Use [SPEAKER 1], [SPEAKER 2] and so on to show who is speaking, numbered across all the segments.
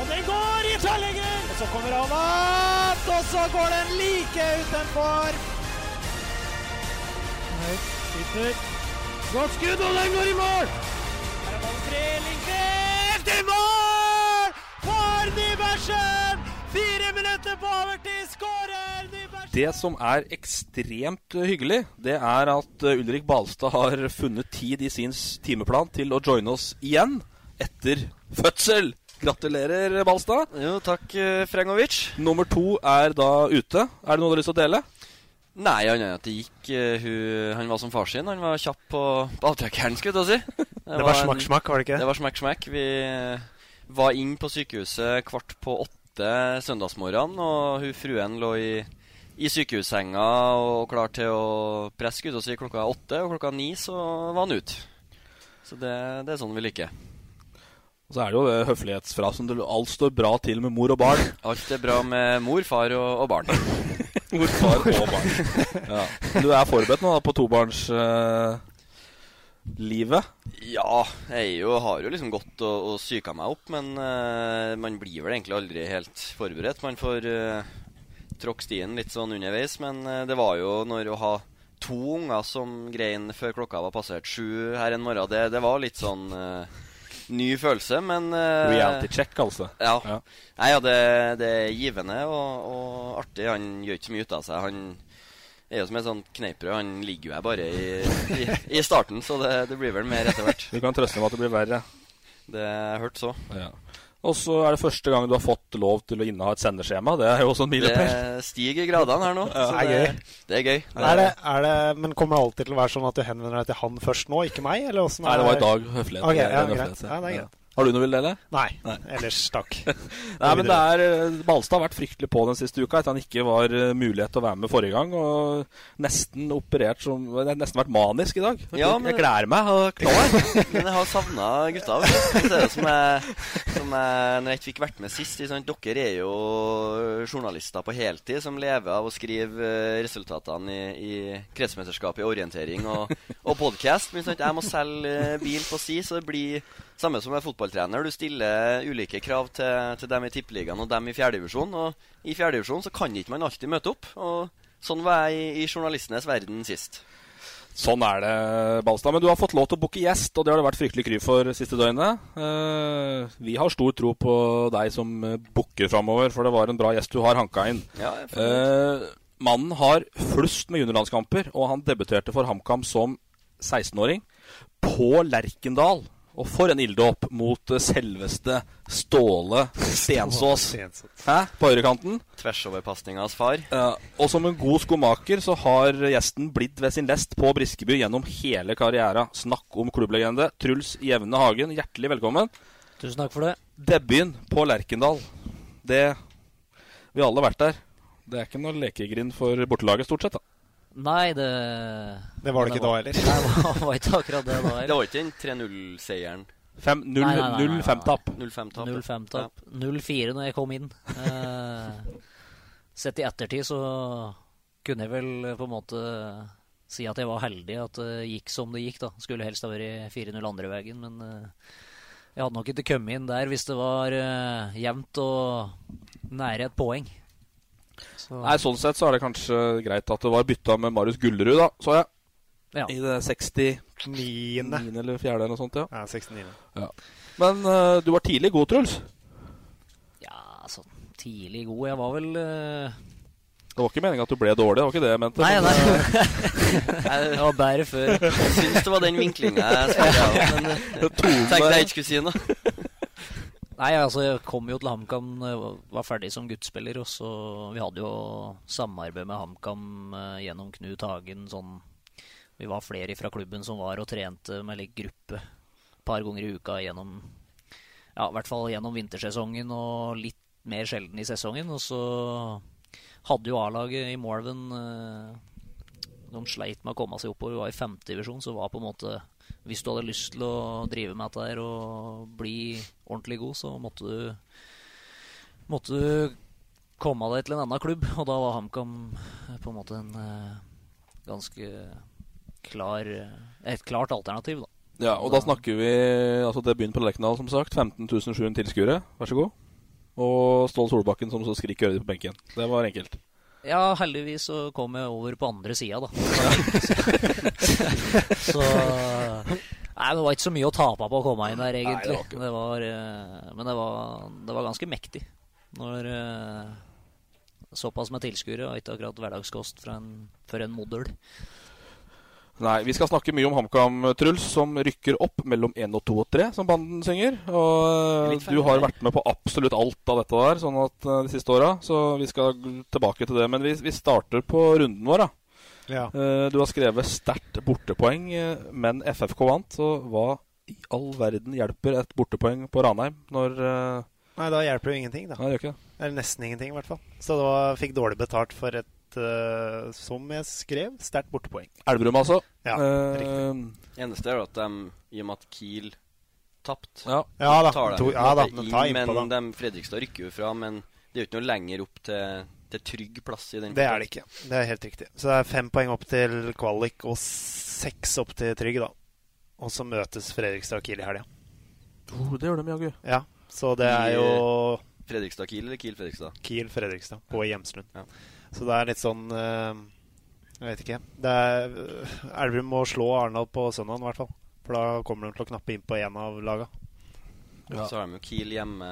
[SPEAKER 1] Og den går i tverrlegger! Og så kommer han opp, og så går den like utenfor. Høyt skyter. Godt skudd, og den går i mål! Her er ballen fri. Lindqvist i mål! For Nybergsen! Fire minutter på overtid, skårer Nybergsen!
[SPEAKER 2] Det som er ekstremt eh, hyggelig, det er at eh, Ulrik Balstad har funnet tid i sin s- timeplan til å joine oss igjen etter fødsel. Gratulerer, Balstad.
[SPEAKER 1] Jo, takk, eh, Frengovic.
[SPEAKER 2] Nummer to er da ute. Er det noe du har lyst til å dele?
[SPEAKER 1] Nei, annet enn at det gikk eh, hun, Han var som far sin. Han var kjapp på, på avtrekkeren, skulle jeg til å si. Det, var en-
[SPEAKER 3] smakk, var
[SPEAKER 1] Det var smekk, smekk. Vi eh, var inn på sykehuset kvart på åtte søndagsmorgen, og hun fruen lå i, i sykehussenga og klar til å presse skuddene sine klokka åtte, og klokka ni så var han ute. Så det, det er sånn vi liker.
[SPEAKER 2] Og så er det jo det høflighetsfrasen til alt står bra til med mor og barn.
[SPEAKER 1] Alt er bra med mor, far og, og barn.
[SPEAKER 2] Mor, far og barn. Ja. Du er forberedt nå da på tobarnslivet?
[SPEAKER 1] Ja, jeg er jo, har jo liksom gått og, og psyka meg opp, men eh, man blir vel egentlig aldri helt forberedt. Man får uh, tråkke stien litt sånn underveis, men eh, det var jo når å ha to unger som grein før klokka var passert sju her en morgen, det, det var litt sånn eh, ny følelse, men eh,
[SPEAKER 2] Reality check, altså.
[SPEAKER 1] ja.
[SPEAKER 2] Ja.
[SPEAKER 1] Nei, ja, det, det er givende og, og artig. Han gjør ikke så mye ut av seg. Han er jo som et sånt kneippbrød. Han ligger jo her bare i, i, i starten, så det, det blir vel mer etter hvert.
[SPEAKER 2] Du kan trøste med at det blir verre.
[SPEAKER 1] Det har jeg hørt så.
[SPEAKER 2] Ja. Og så er det første gang du har fått lov til å inneha et sendeskjema. Det er jo også en
[SPEAKER 1] Det
[SPEAKER 2] milepæl.
[SPEAKER 1] stiger gradene her nå. så
[SPEAKER 3] det er
[SPEAKER 1] Det er gøy.
[SPEAKER 4] Er det, er det, men kommer det alltid til å være sånn at du henvender deg til han først nå, ikke meg? Eller åssen
[SPEAKER 2] Nei, det var i dag. Høflighet.
[SPEAKER 4] Ok, ja,
[SPEAKER 2] Ren
[SPEAKER 4] greit.
[SPEAKER 2] høflighet,
[SPEAKER 4] Ja, det er greit.
[SPEAKER 2] Har du noe du vil dele?
[SPEAKER 4] Nei.
[SPEAKER 2] Nei.
[SPEAKER 4] Ellers, takk.
[SPEAKER 2] Nei, men det er eh, Balstad har vært fryktelig på den siste uka etter han ikke var eh, mulighet til å være med forrige gang. Og nesten operert som Det har nesten vært manisk i dag. Jeg,
[SPEAKER 1] Ja, men-
[SPEAKER 2] jeg gleder meg. og er klar.
[SPEAKER 1] Men jeg har savna gutta. vet du. Det er jo som jeg, som jeg Når jeg ikke fikk vært med sist ikke sant? Dere er jo journalister på heltid som lever av å skrive eh, resultatene i, i kretsmesterskapet i orientering og, og podkast. Men sant? jeg må selge eh, bil på si, så det blir samme som med fotballtrener. Du stiller ulike krav til, til dem i Tippeligaen og dem i fjerdedivisjon. Og i fjerdedivisjon så kan ikke man alltid møte opp. Og sånn var jeg i, i journalistenes verden sist.
[SPEAKER 2] Sånn er det, Balstad. Men du har fått lov til å booke gjest, og det har det vært fryktelig kry for siste døgnet. Eh, vi har stor tro på deg som eh, booker framover, for det var en bra gjest du har hanka inn.
[SPEAKER 1] Ja, jeg får-
[SPEAKER 2] Eh, mannen har flust med juniorlandskamper, og han debuterte for HamKam som 16-åring på Lerkendal. Og for en ilddåp mot eh, selveste Ståle Stensås.
[SPEAKER 4] Stensås.
[SPEAKER 2] Hæ? På høyrekanten.
[SPEAKER 1] Tversoverpasningas far.
[SPEAKER 2] Ja, Eh, og som en god skomaker så har gjesten blitt ved sin lest på Briskeby gjennom hele karriera. Snakk om klubblegende. Truls Jevne Hagen, hjertelig velkommen.
[SPEAKER 3] Tusen takk for det.
[SPEAKER 2] Debuten på Lerkendal. Det Vi har alle vært der. Det er ikke noe lekegrind for bortelaget, stort sett. da.
[SPEAKER 3] Nei, det
[SPEAKER 4] Det var det ikke da heller.
[SPEAKER 3] Nei, det var ikke akkurat det da.
[SPEAKER 1] Det var ikke den 3-0-seieren.
[SPEAKER 2] Fem- null-
[SPEAKER 3] Nei, nei, nei, nei, nei.
[SPEAKER 2] 0-5-tap.
[SPEAKER 1] 0-5-tap.
[SPEAKER 3] 0-5-tap. 0-4 når jeg kom inn. Eh, sett i ettertid så kunne jeg vel på en måte si at jeg var heldig at det gikk som det gikk, da. Skulle helst ha vært 4-0 andre veien, men eh, jeg hadde nok ikke kommet inn der hvis det var eh, jevnt og nære et poeng. Så,
[SPEAKER 2] Nei, Sånn sett så er det kanskje greit at det var bytta med Marius Gullerud, da, så jeg.
[SPEAKER 3] ja.
[SPEAKER 2] I det 60 Niende. eller fjerde eller noe sånt, ja.
[SPEAKER 4] Ja, 69.
[SPEAKER 2] ja. Men eh, du var tidlig god, Truls.
[SPEAKER 3] Ja, sånn tidlig god. Jeg var vel eh,
[SPEAKER 2] Det var ikke meninga at du ble dårlig, det var ikke det jeg mente.
[SPEAKER 3] Nei,
[SPEAKER 2] men,
[SPEAKER 3] nei. Det var bedre før.
[SPEAKER 1] Jeg syns det var den vinklinga jeg skulle ha, men eh,
[SPEAKER 2] Tone.
[SPEAKER 1] tenkte jeg ikke skulle si noe.
[SPEAKER 3] Nei, altså, jeg kom jo til HamKam, eh, var ferdig som guttspiller, og så Vi hadde jo samarbeid med HamKam eh, gjennom Knut Hagen, sånn Vi var flere fra klubben som var og trente med litt gruppe et par ganger i uka gjennom Ja, i hvert fall gjennom vintersesongen og litt mer sjelden i sesongen, og så hadde jo A-laget i Morven eh, de sleit med å komme seg oppover. Vi var i femte divisjon, så var på en måte Hvis du hadde lyst til å drive med dette her og bli ordentlig god, så måtte du, måtte du komme deg til en annen klubb. Og da var HamKam eh, på en måte en eh, ganske klar eh, Et klart alternativ, da.
[SPEAKER 2] Ja, og da snakker vi altså debuten på Lerkendal, som sagt. 15.700 tilskuere, vær så god. Og Ståle Solbakken som så skrik i øret ditt på benken. Det var enkelt.
[SPEAKER 3] Ja, heldigvis så kom jeg over på andre sida, da. så Nei, det var ikke så mye å tape på å komme inn der, egentlig.
[SPEAKER 5] Nei,
[SPEAKER 3] det var, eh, men det var, det var ganske mektig. Når eh, såpass med tilskuere og ikke akkurat hverdagskost fra en, for en modell.
[SPEAKER 2] Nei, vi skal snakke mye om HamKam, Truls, som rykker opp mellom 1 og 2 og 3, som banden synger. Og
[SPEAKER 6] Litt
[SPEAKER 2] eh, du har vært med på absolutt alt av dette der sånn at eh, de siste åra, så vi skal g- tilbake til det. Men vi, vi starter på runden vår, da.
[SPEAKER 4] Ja.
[SPEAKER 2] Eh, Du har skrevet sterkt bortepoeng, eh, men FFK vant. Så hva i all verden hjelper et bortepoeng på Ranheim når eh,
[SPEAKER 4] Nei, da hjelper det jo ingenting, da.
[SPEAKER 2] Nei, det gjør ikke
[SPEAKER 4] Eller nesten ingenting, i hvert fall. Så da fikk dårlig betalt for et, eh, som jeg skrev, sterkt bortepoeng.
[SPEAKER 2] Elverum, altså.
[SPEAKER 4] Ja,
[SPEAKER 2] Eh,
[SPEAKER 1] Eneste er jo at de, i og med at Kiel tapte
[SPEAKER 2] Ja.
[SPEAKER 4] Ja da,
[SPEAKER 1] tar de
[SPEAKER 4] to-
[SPEAKER 1] på en
[SPEAKER 4] ja da,
[SPEAKER 1] måte
[SPEAKER 4] men ta
[SPEAKER 1] inn,
[SPEAKER 4] innpå
[SPEAKER 1] Men de, Fredrikstad rykker jo fra, men det er jo ikke noe lenger opp til, til trygg plass i den
[SPEAKER 4] Det er det ikke. Det er helt riktig. Så det er fem poeng opp til kvalik og seks opp til Trygg, da. Og så møtes Fredrikstad og Kiel i helga.
[SPEAKER 2] Oh, det gjør de jaggu.
[SPEAKER 4] Ja, så det er jo
[SPEAKER 1] Fredrikstad Kiel eller Kiel Fredrikstad?
[SPEAKER 4] Kiel Fredrikstad på Hjemslund. Så det er litt sånn eh, Jeg vet ikke. Det er eh, Elverum må slå Arendal på søndag, i hvert fall. For da kommer de til å knappe inn på én av laga.
[SPEAKER 1] Og Så har de jo Kiel hjemme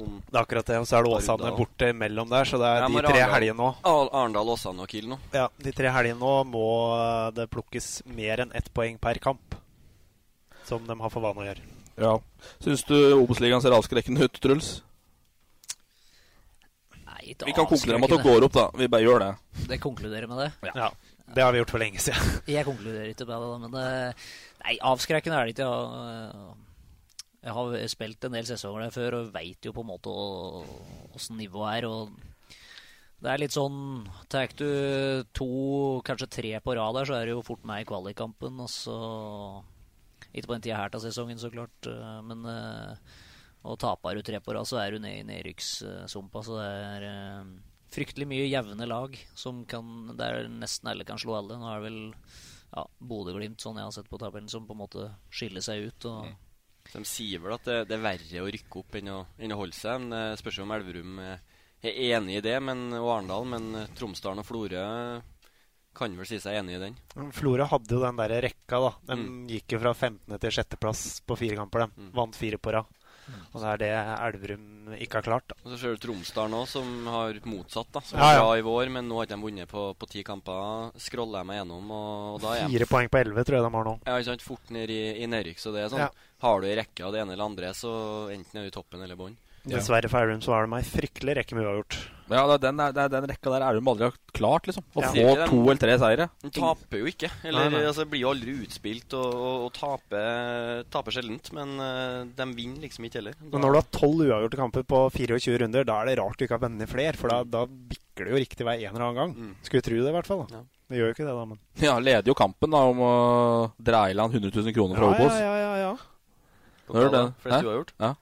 [SPEAKER 1] om
[SPEAKER 4] Det er akkurat det. Og så er det Åsane
[SPEAKER 1] Arendal.
[SPEAKER 4] borte imellom der, så det er
[SPEAKER 1] Ja, men
[SPEAKER 4] de tre
[SPEAKER 1] Arendal-
[SPEAKER 4] helgene nå.
[SPEAKER 1] Ar- Arendal, Åsane og Kiel nå.
[SPEAKER 4] Ja, de tre helgene nå må eh, det plukkes mer enn ett poeng per kamp. Som de har for vane å gjøre.
[SPEAKER 2] Ja. Syns du Obos-ligaen ser avskrekkende ut, Truls?
[SPEAKER 3] Nei,
[SPEAKER 2] Vi kan konkludere med at det går opp, da. Vi bare gjør det.
[SPEAKER 3] Det konkluderer med det?
[SPEAKER 4] Ja. Det har vi gjort for lenge siden.
[SPEAKER 3] Jeg konkluderer ikke med det, men eh, Nei, avskrekkende er det ikke. Jeg har, eh, Jeg har spilt en del sesonger der før og veit jo på en måte åssen nivået er. og det er litt sånn Tar du to, kanskje tre på rad der, så er det jo fort meg i kvalikkampen. Og så Ikke på den tida her til sesongen, så klart, eh, men eh, Og taper du tre på rad, så er du nede i nedrykkssumpa, så det er eh, fryktelig mye jevne lag som kan Der nesten alle kan slå alle. Nå er det vel ja, Bodø-Glimt, sånn jeg har sett på tabellen, som på en måte skiller seg ut. Og,
[SPEAKER 1] De sier vel at det, det er verre å rykke opp enn å, enn å holde seg. Men det spørs jo om Elverum eh, er enig i det, men, og Arendal. Men eh, Tromsdalen og Florø eh, kan vel si seg enig i den.
[SPEAKER 4] Florø hadde jo den der rekka, da. De
[SPEAKER 1] Mm.
[SPEAKER 4] gikk jo fra 15. til 6. plass på fire kamper, de. Vant fire på rad. Og det er det Elverum ikke har klart.
[SPEAKER 1] Og så ser du Tromsdalen òg, som har motsatt. da Som
[SPEAKER 4] Ja,
[SPEAKER 1] var
[SPEAKER 4] ja.
[SPEAKER 1] bra i vår, men nå har ikke de vunnet på, på ti kamper. Scroller jeg meg gjennom, og, og da
[SPEAKER 4] da.
[SPEAKER 1] er jeg
[SPEAKER 4] Fire poeng på elleve tror jeg de har nå.
[SPEAKER 1] Ja, ikke sant. Fort ned i, i nedrykk. Så det er sånn.
[SPEAKER 4] Ja.
[SPEAKER 1] Har du ei rekke av det ene eller andre, så enten er du i toppen eller bånn.
[SPEAKER 4] Dessverre for Elverum så har de ei fryktelig rekke med uavgjort.
[SPEAKER 2] Ja, det er den, det er den rekka der er de aldri har klart, liksom. Å
[SPEAKER 1] Ja.
[SPEAKER 2] få to eller tre seire.
[SPEAKER 1] De taper jo ikke. Eller
[SPEAKER 2] Nei, nei.
[SPEAKER 1] Altså, blir jo aldri utspilt og, og, og taper, taper sjeldent. Men eh, de vinner liksom ikke heller.
[SPEAKER 4] Men når du har tolv uavgjorte kamper på 24 runder, da er det rart du ikke har vunnet flere, for
[SPEAKER 1] Mm.
[SPEAKER 4] da, da bikker det jo riktig hver en eller annen gang. Skulle tro det, i hvert fall. da. Det gjør jo ikke det, da, men
[SPEAKER 2] Ja, leder jo kampen da om å dra i land 100 000 kroner fra
[SPEAKER 4] Ja,
[SPEAKER 2] Obos.
[SPEAKER 4] ja, ja, ja,
[SPEAKER 2] Hører du det?
[SPEAKER 1] Flest
[SPEAKER 2] Hæ?
[SPEAKER 1] uavgjort?
[SPEAKER 2] Ja.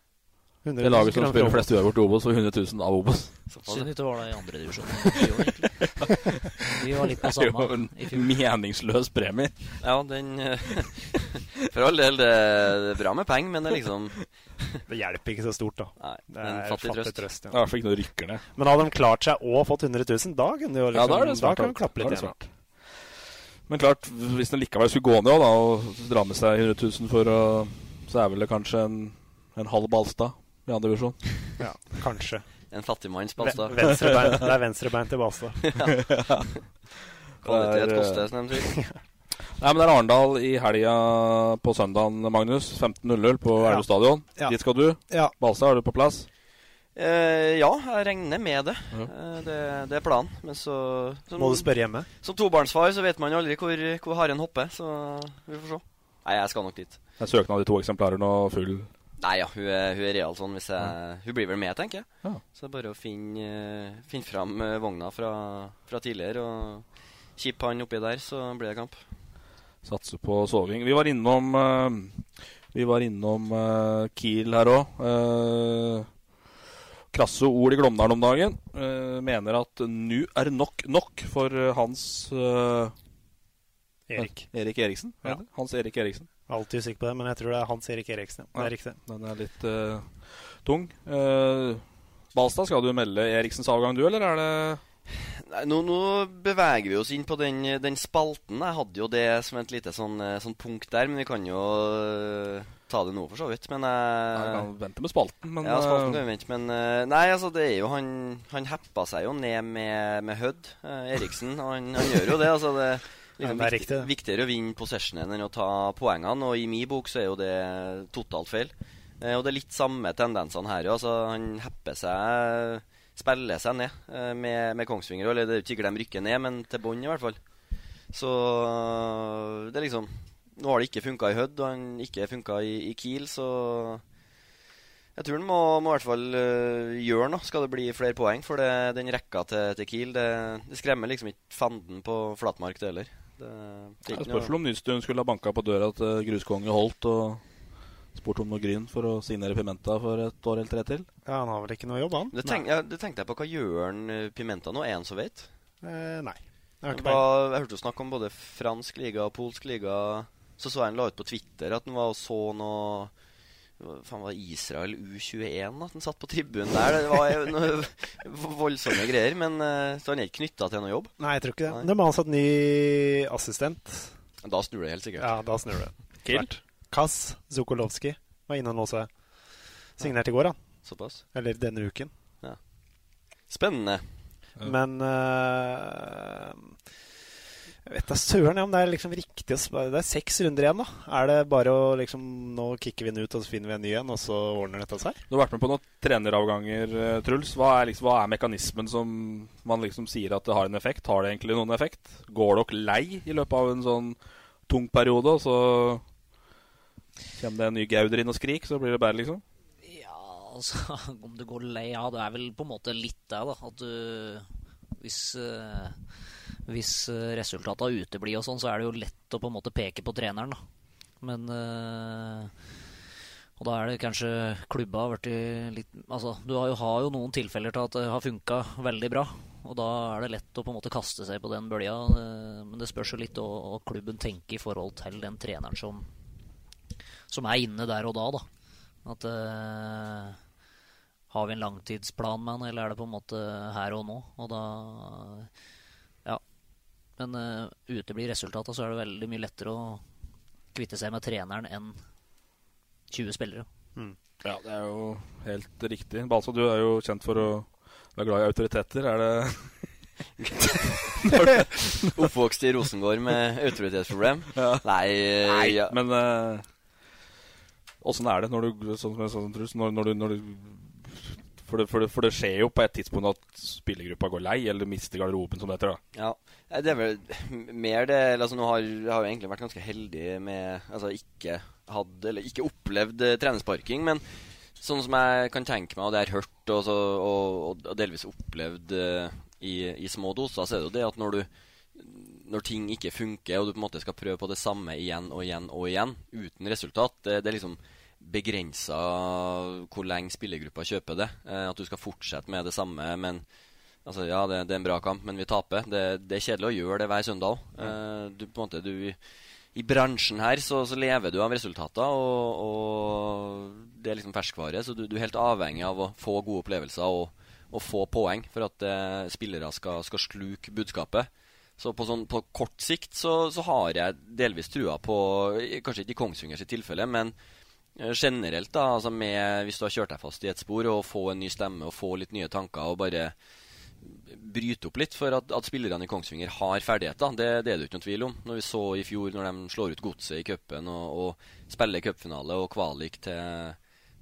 [SPEAKER 4] 100 000
[SPEAKER 2] Det laget som
[SPEAKER 4] kroner fra
[SPEAKER 2] spiller
[SPEAKER 4] Obos.
[SPEAKER 2] flest uavgjort i Obos, får 100 000 av Obos.
[SPEAKER 3] Synd ikke det var det i andre divisjon i år, egentlig. Vi var litt på
[SPEAKER 2] Det er jo
[SPEAKER 3] samme
[SPEAKER 2] en
[SPEAKER 3] i fjor.
[SPEAKER 2] meningsløs premie.
[SPEAKER 1] Ja, den eh, For all del, det, det er bra med penger, men det er liksom
[SPEAKER 4] Det hjelper ikke så stort, da.
[SPEAKER 1] Nei,
[SPEAKER 4] Det
[SPEAKER 1] men
[SPEAKER 4] er
[SPEAKER 1] fattig,
[SPEAKER 4] fattig
[SPEAKER 1] trøst.
[SPEAKER 4] trøst, ja.
[SPEAKER 2] Det er i hvert fall ikke noe rykker ned.
[SPEAKER 4] Men hadde de klart seg og fått 100 000, da kunne de jo liksom,
[SPEAKER 2] Ja, da er det smart.
[SPEAKER 4] kan de
[SPEAKER 2] alt.
[SPEAKER 4] klappe
[SPEAKER 2] Da
[SPEAKER 4] litt
[SPEAKER 2] er det
[SPEAKER 4] igjen.
[SPEAKER 2] smart. Men klart, hvis den likevel skulle gå ned også, da, og dra med seg 100 000 for å Så er vel det kanskje en, en halv Balstad i andre divisjon.
[SPEAKER 4] Ja, kanskje.
[SPEAKER 1] En fattigmanns Balstad.
[SPEAKER 4] Ve- venstrebein- det er venstrebein til Balstad.
[SPEAKER 1] ja. Kvalitet
[SPEAKER 2] Det er, eh,
[SPEAKER 1] koster, som de sier.
[SPEAKER 2] Nei, men det er Arendal i helga på søndagen, Magnus. 15.00 på
[SPEAKER 1] Ja.
[SPEAKER 2] Elve stadion.
[SPEAKER 1] Ja.
[SPEAKER 2] Dit skal du.
[SPEAKER 4] Ja.
[SPEAKER 2] Balstad, er du på plass?
[SPEAKER 1] Eh, ja, jeg regner med det. Eh, det. Det er planen. Men så som-
[SPEAKER 4] Må du spørre hjemme?
[SPEAKER 1] Som tobarnsfar så vet man jo aldri hvor, hvor haren hopper, så vi får se. Nei, jeg skal nok dit.
[SPEAKER 2] Det er søknad i to eksemplarer nå, full.
[SPEAKER 1] Nei ja, hun er, hun er real sånn hvis jeg Hun blir vel med, tenker jeg.
[SPEAKER 2] Ja.
[SPEAKER 1] Så det er bare å finne, eh, finne fram eh, vogna fra, fra tidligere og kippe han oppi der, så blir det kamp.
[SPEAKER 2] Satse på soving. Vi var innom eh, Vi var innom eh, Kiel her òg. krasse ord i Glåmdalen om dagen. Eh, mener at nu er nok nok for eh, hans eh,
[SPEAKER 4] Erik.
[SPEAKER 2] eh, Erik Eriksen?
[SPEAKER 4] Ja.
[SPEAKER 2] heter det? Hans Erik Eriksen.
[SPEAKER 4] Alltid usikker på det, men jeg tror det er Hans Erik Eriksen. ja. Det
[SPEAKER 2] Ja,
[SPEAKER 4] er riktig.
[SPEAKER 2] Den er litt eh, tung. Eh, Balstad, skal du melde Eriksens avgang du, eller er det
[SPEAKER 1] Nei, nå, nå beveger vi oss inn på den, den spalten. Jeg hadde jo det som et lite sånn, eh, sånn punkt der, men vi kan jo eh, ta det nå, for så vidt. Men jeg
[SPEAKER 2] Nei, vi kan vente med spalten, men,
[SPEAKER 1] Eh. Ja, spalten
[SPEAKER 2] eh,
[SPEAKER 1] kan vi vente, men eh, Nei, altså, det er jo han Han heppa seg jo ned med, med Hødd, eh, Eriksen. og Han, han gjør jo det. Altså, det er liksom
[SPEAKER 4] Ja, det er
[SPEAKER 1] viktig, viktigere å vinne possessionen enn å ta poengene, og i min bok så er jo det totalt feil. Eh, og det er litt samme tendensene her. jo, Altså, han hepper seg Spiller seg ned eh, med, med Kongsvinger. Eller det er jo ikke sikkert de rykker ned, men til bånn, i hvert fall. Så øh, det er liksom Nå har det ikke funka i Hødd, og han ikke funka i, i Kiel, så jeg tror han må, må i hvert fall øh, gjøre noe, skal det bli flere poeng. For det, den rekka til, til Kiel, det, det skremmer liksom ikke fanden på flatmark, det heller. Det, det er
[SPEAKER 2] Det er
[SPEAKER 1] ikke noe-
[SPEAKER 2] spørsmål om Nystuen skulle ha banka på døra til Gruskonge Holt og spurt om noe gryn for å signere Pimenta for et år eller tre til.
[SPEAKER 4] Ja, han har vel ikke noe jobb, han?
[SPEAKER 1] Det, tenk, ja, det tenkte jeg på. Hva gjør han eh, Pimenta nå? Er han så veit?
[SPEAKER 4] Eh, nei. Jeg
[SPEAKER 1] Jeg,
[SPEAKER 4] har ikke peiling.
[SPEAKER 1] jeg hørte jo snakk om både fransk liga og polsk liga. Så så jeg han la ut på Twitter at han var og så noe hva Faen, var det Israel U21 at han satt på tribunen der? Det var jo noe voldsomme greier. Men eh, så han er ikke knytta til noe jobb.
[SPEAKER 4] Nei, jeg tror ikke det. De har ansatt ny assistent.
[SPEAKER 1] Da snur det helt sikkert.
[SPEAKER 4] Ja, da snur det.
[SPEAKER 1] Kill?
[SPEAKER 4] Svært. Kass Zukolowski var inne og låsa. Signert i går, han.
[SPEAKER 1] Såpass.
[SPEAKER 4] Eller denne uken.
[SPEAKER 1] Ja. Spennende.
[SPEAKER 4] Men eh, Jeg vet da søren ja, om det er liksom riktig å sp- Det er seks runder igjen, da. Er det bare å liksom Nå kicker vi den ut, og så finner vi en ny en, og så ordner dette seg?
[SPEAKER 2] Du har vært med på noen treneravganger, eh, Truls. Hva er, liksom, hva er mekanismen som man liksom sier at det har en effekt? Har det egentlig noen effekt? Går dere lei i løpet av en sånn tung periode, og så kommer det en ny Gauder inn og skrik, så blir det bedre, liksom?
[SPEAKER 3] altså, om du går lei av Det er vel på en måte litt det, da. At du Hvis, eh, hvis eh, resultatene uteblir og sånn, så er det jo lett å på en måte peke på treneren, da. Men eh, Og da er det kanskje klubba har blitt litt Altså, du har jo, har jo noen tilfeller til at det har funka veldig bra. Og da er det lett å på en måte kaste seg på den bølja. eh, Men det spørs jo litt hva hva klubben tenker i forhold til den treneren som som er inne der og da, da. At eh, Har vi en langtidsplan med han, eller er det på en måte her og nå? Og da Ja. Men eh, uteblir resultatet, så er det veldig mye lettere å kvitte seg med treneren enn 20 spillere.
[SPEAKER 2] Ja, det er jo helt riktig. Balsa, du er jo kjent for å være glad i autoriteter. Er det
[SPEAKER 1] Oppvokst i Rosengård med autoritetsproblem? Nei, eh,
[SPEAKER 2] Nei,
[SPEAKER 1] ja.
[SPEAKER 2] men eh, åssen er det når du Sånn som jeg sa, som Truls. Når, når du, når du for, det, for, det, for det skjer jo på et tidspunkt at spillergruppa går lei, eller mister garderoben, som det heter. da
[SPEAKER 1] Ja, Nei, det er vel mer det eller, altså, Nå har jeg har jo egentlig vært ganske heldig med Altså ikke hatt Eller ikke opplevd eh, trenersparking, men sånn som jeg kan tenke meg, og det jeg har hørt og, så, og, og, og delvis opplevd eh, i, i små doser, så er det jo det at når du når ting ikke funker, og du på en måte skal prøve på det samme igjen og igjen og igjen uten resultat, det, det er liksom begrensa hvor lenge spillergruppa kjøper det. Eh, at du skal fortsette med det samme, men altså, ja, det, det er en bra kamp, men vi taper. Det, det er kjedelig å gjøre det hver søndag òg. Eh, du på en måte du i bransjen her så, så lever du av resultater, og, og det er liksom ferskvare. Så du, du er helt avhengig av å få gode opplevelser og, og få poeng for at eh, spillere skal, skal sluke budskapet. Så på, sånn, på kort sikt så, så har jeg delvis trua på Kanskje ikke i Kongsvinger sitt tilfelle, men eh, generelt, da, altså med, hvis du har kjørt deg fast i et spor, og få en ny stemme og få litt nye tanker og bare bryte opp litt for at, at spillerne i Kongsvinger har ferdigheter. Det, det er det jo ikke noen tvil om. Når vi så i fjor, når de slår ut Godset i cupen og, og spiller cupfinale og kvalik til,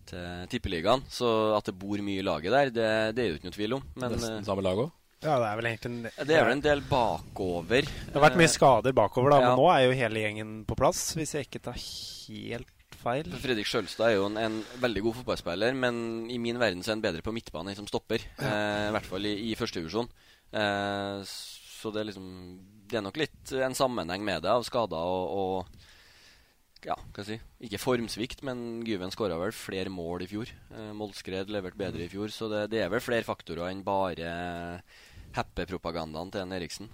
[SPEAKER 1] til Tippeligaen, så at det bor mye i laget der, det, det er det jo ikke noe tvil om. eh,
[SPEAKER 2] Nesten samme lag òg?
[SPEAKER 4] Ja, det er vel egentlig en
[SPEAKER 1] Det er vel en del bakover. eh,
[SPEAKER 4] Det har vært mye skader bakover, da,
[SPEAKER 1] Ja.
[SPEAKER 4] men nå er jo hele gjengen på plass, hvis jeg ikke tar helt feil.
[SPEAKER 1] Fredrik Sjølstad er jo en, en veldig god fotballspiller, men i min verden så er han bedre på midtbane som stopper. Eh, I hvert fall i, i første divisjon. Eh, s- så det er liksom Det er nok litt eh, en sammenheng med det, av skader og, og Ja, hva skal jeg si Ikke formsvikt, men Gyven skåra vel flere mål i fjor. Eh, Moldskred leverte bedre i fjor, så det, det er vel flere faktorer enn bare happy-propagandaen til en Eriksen.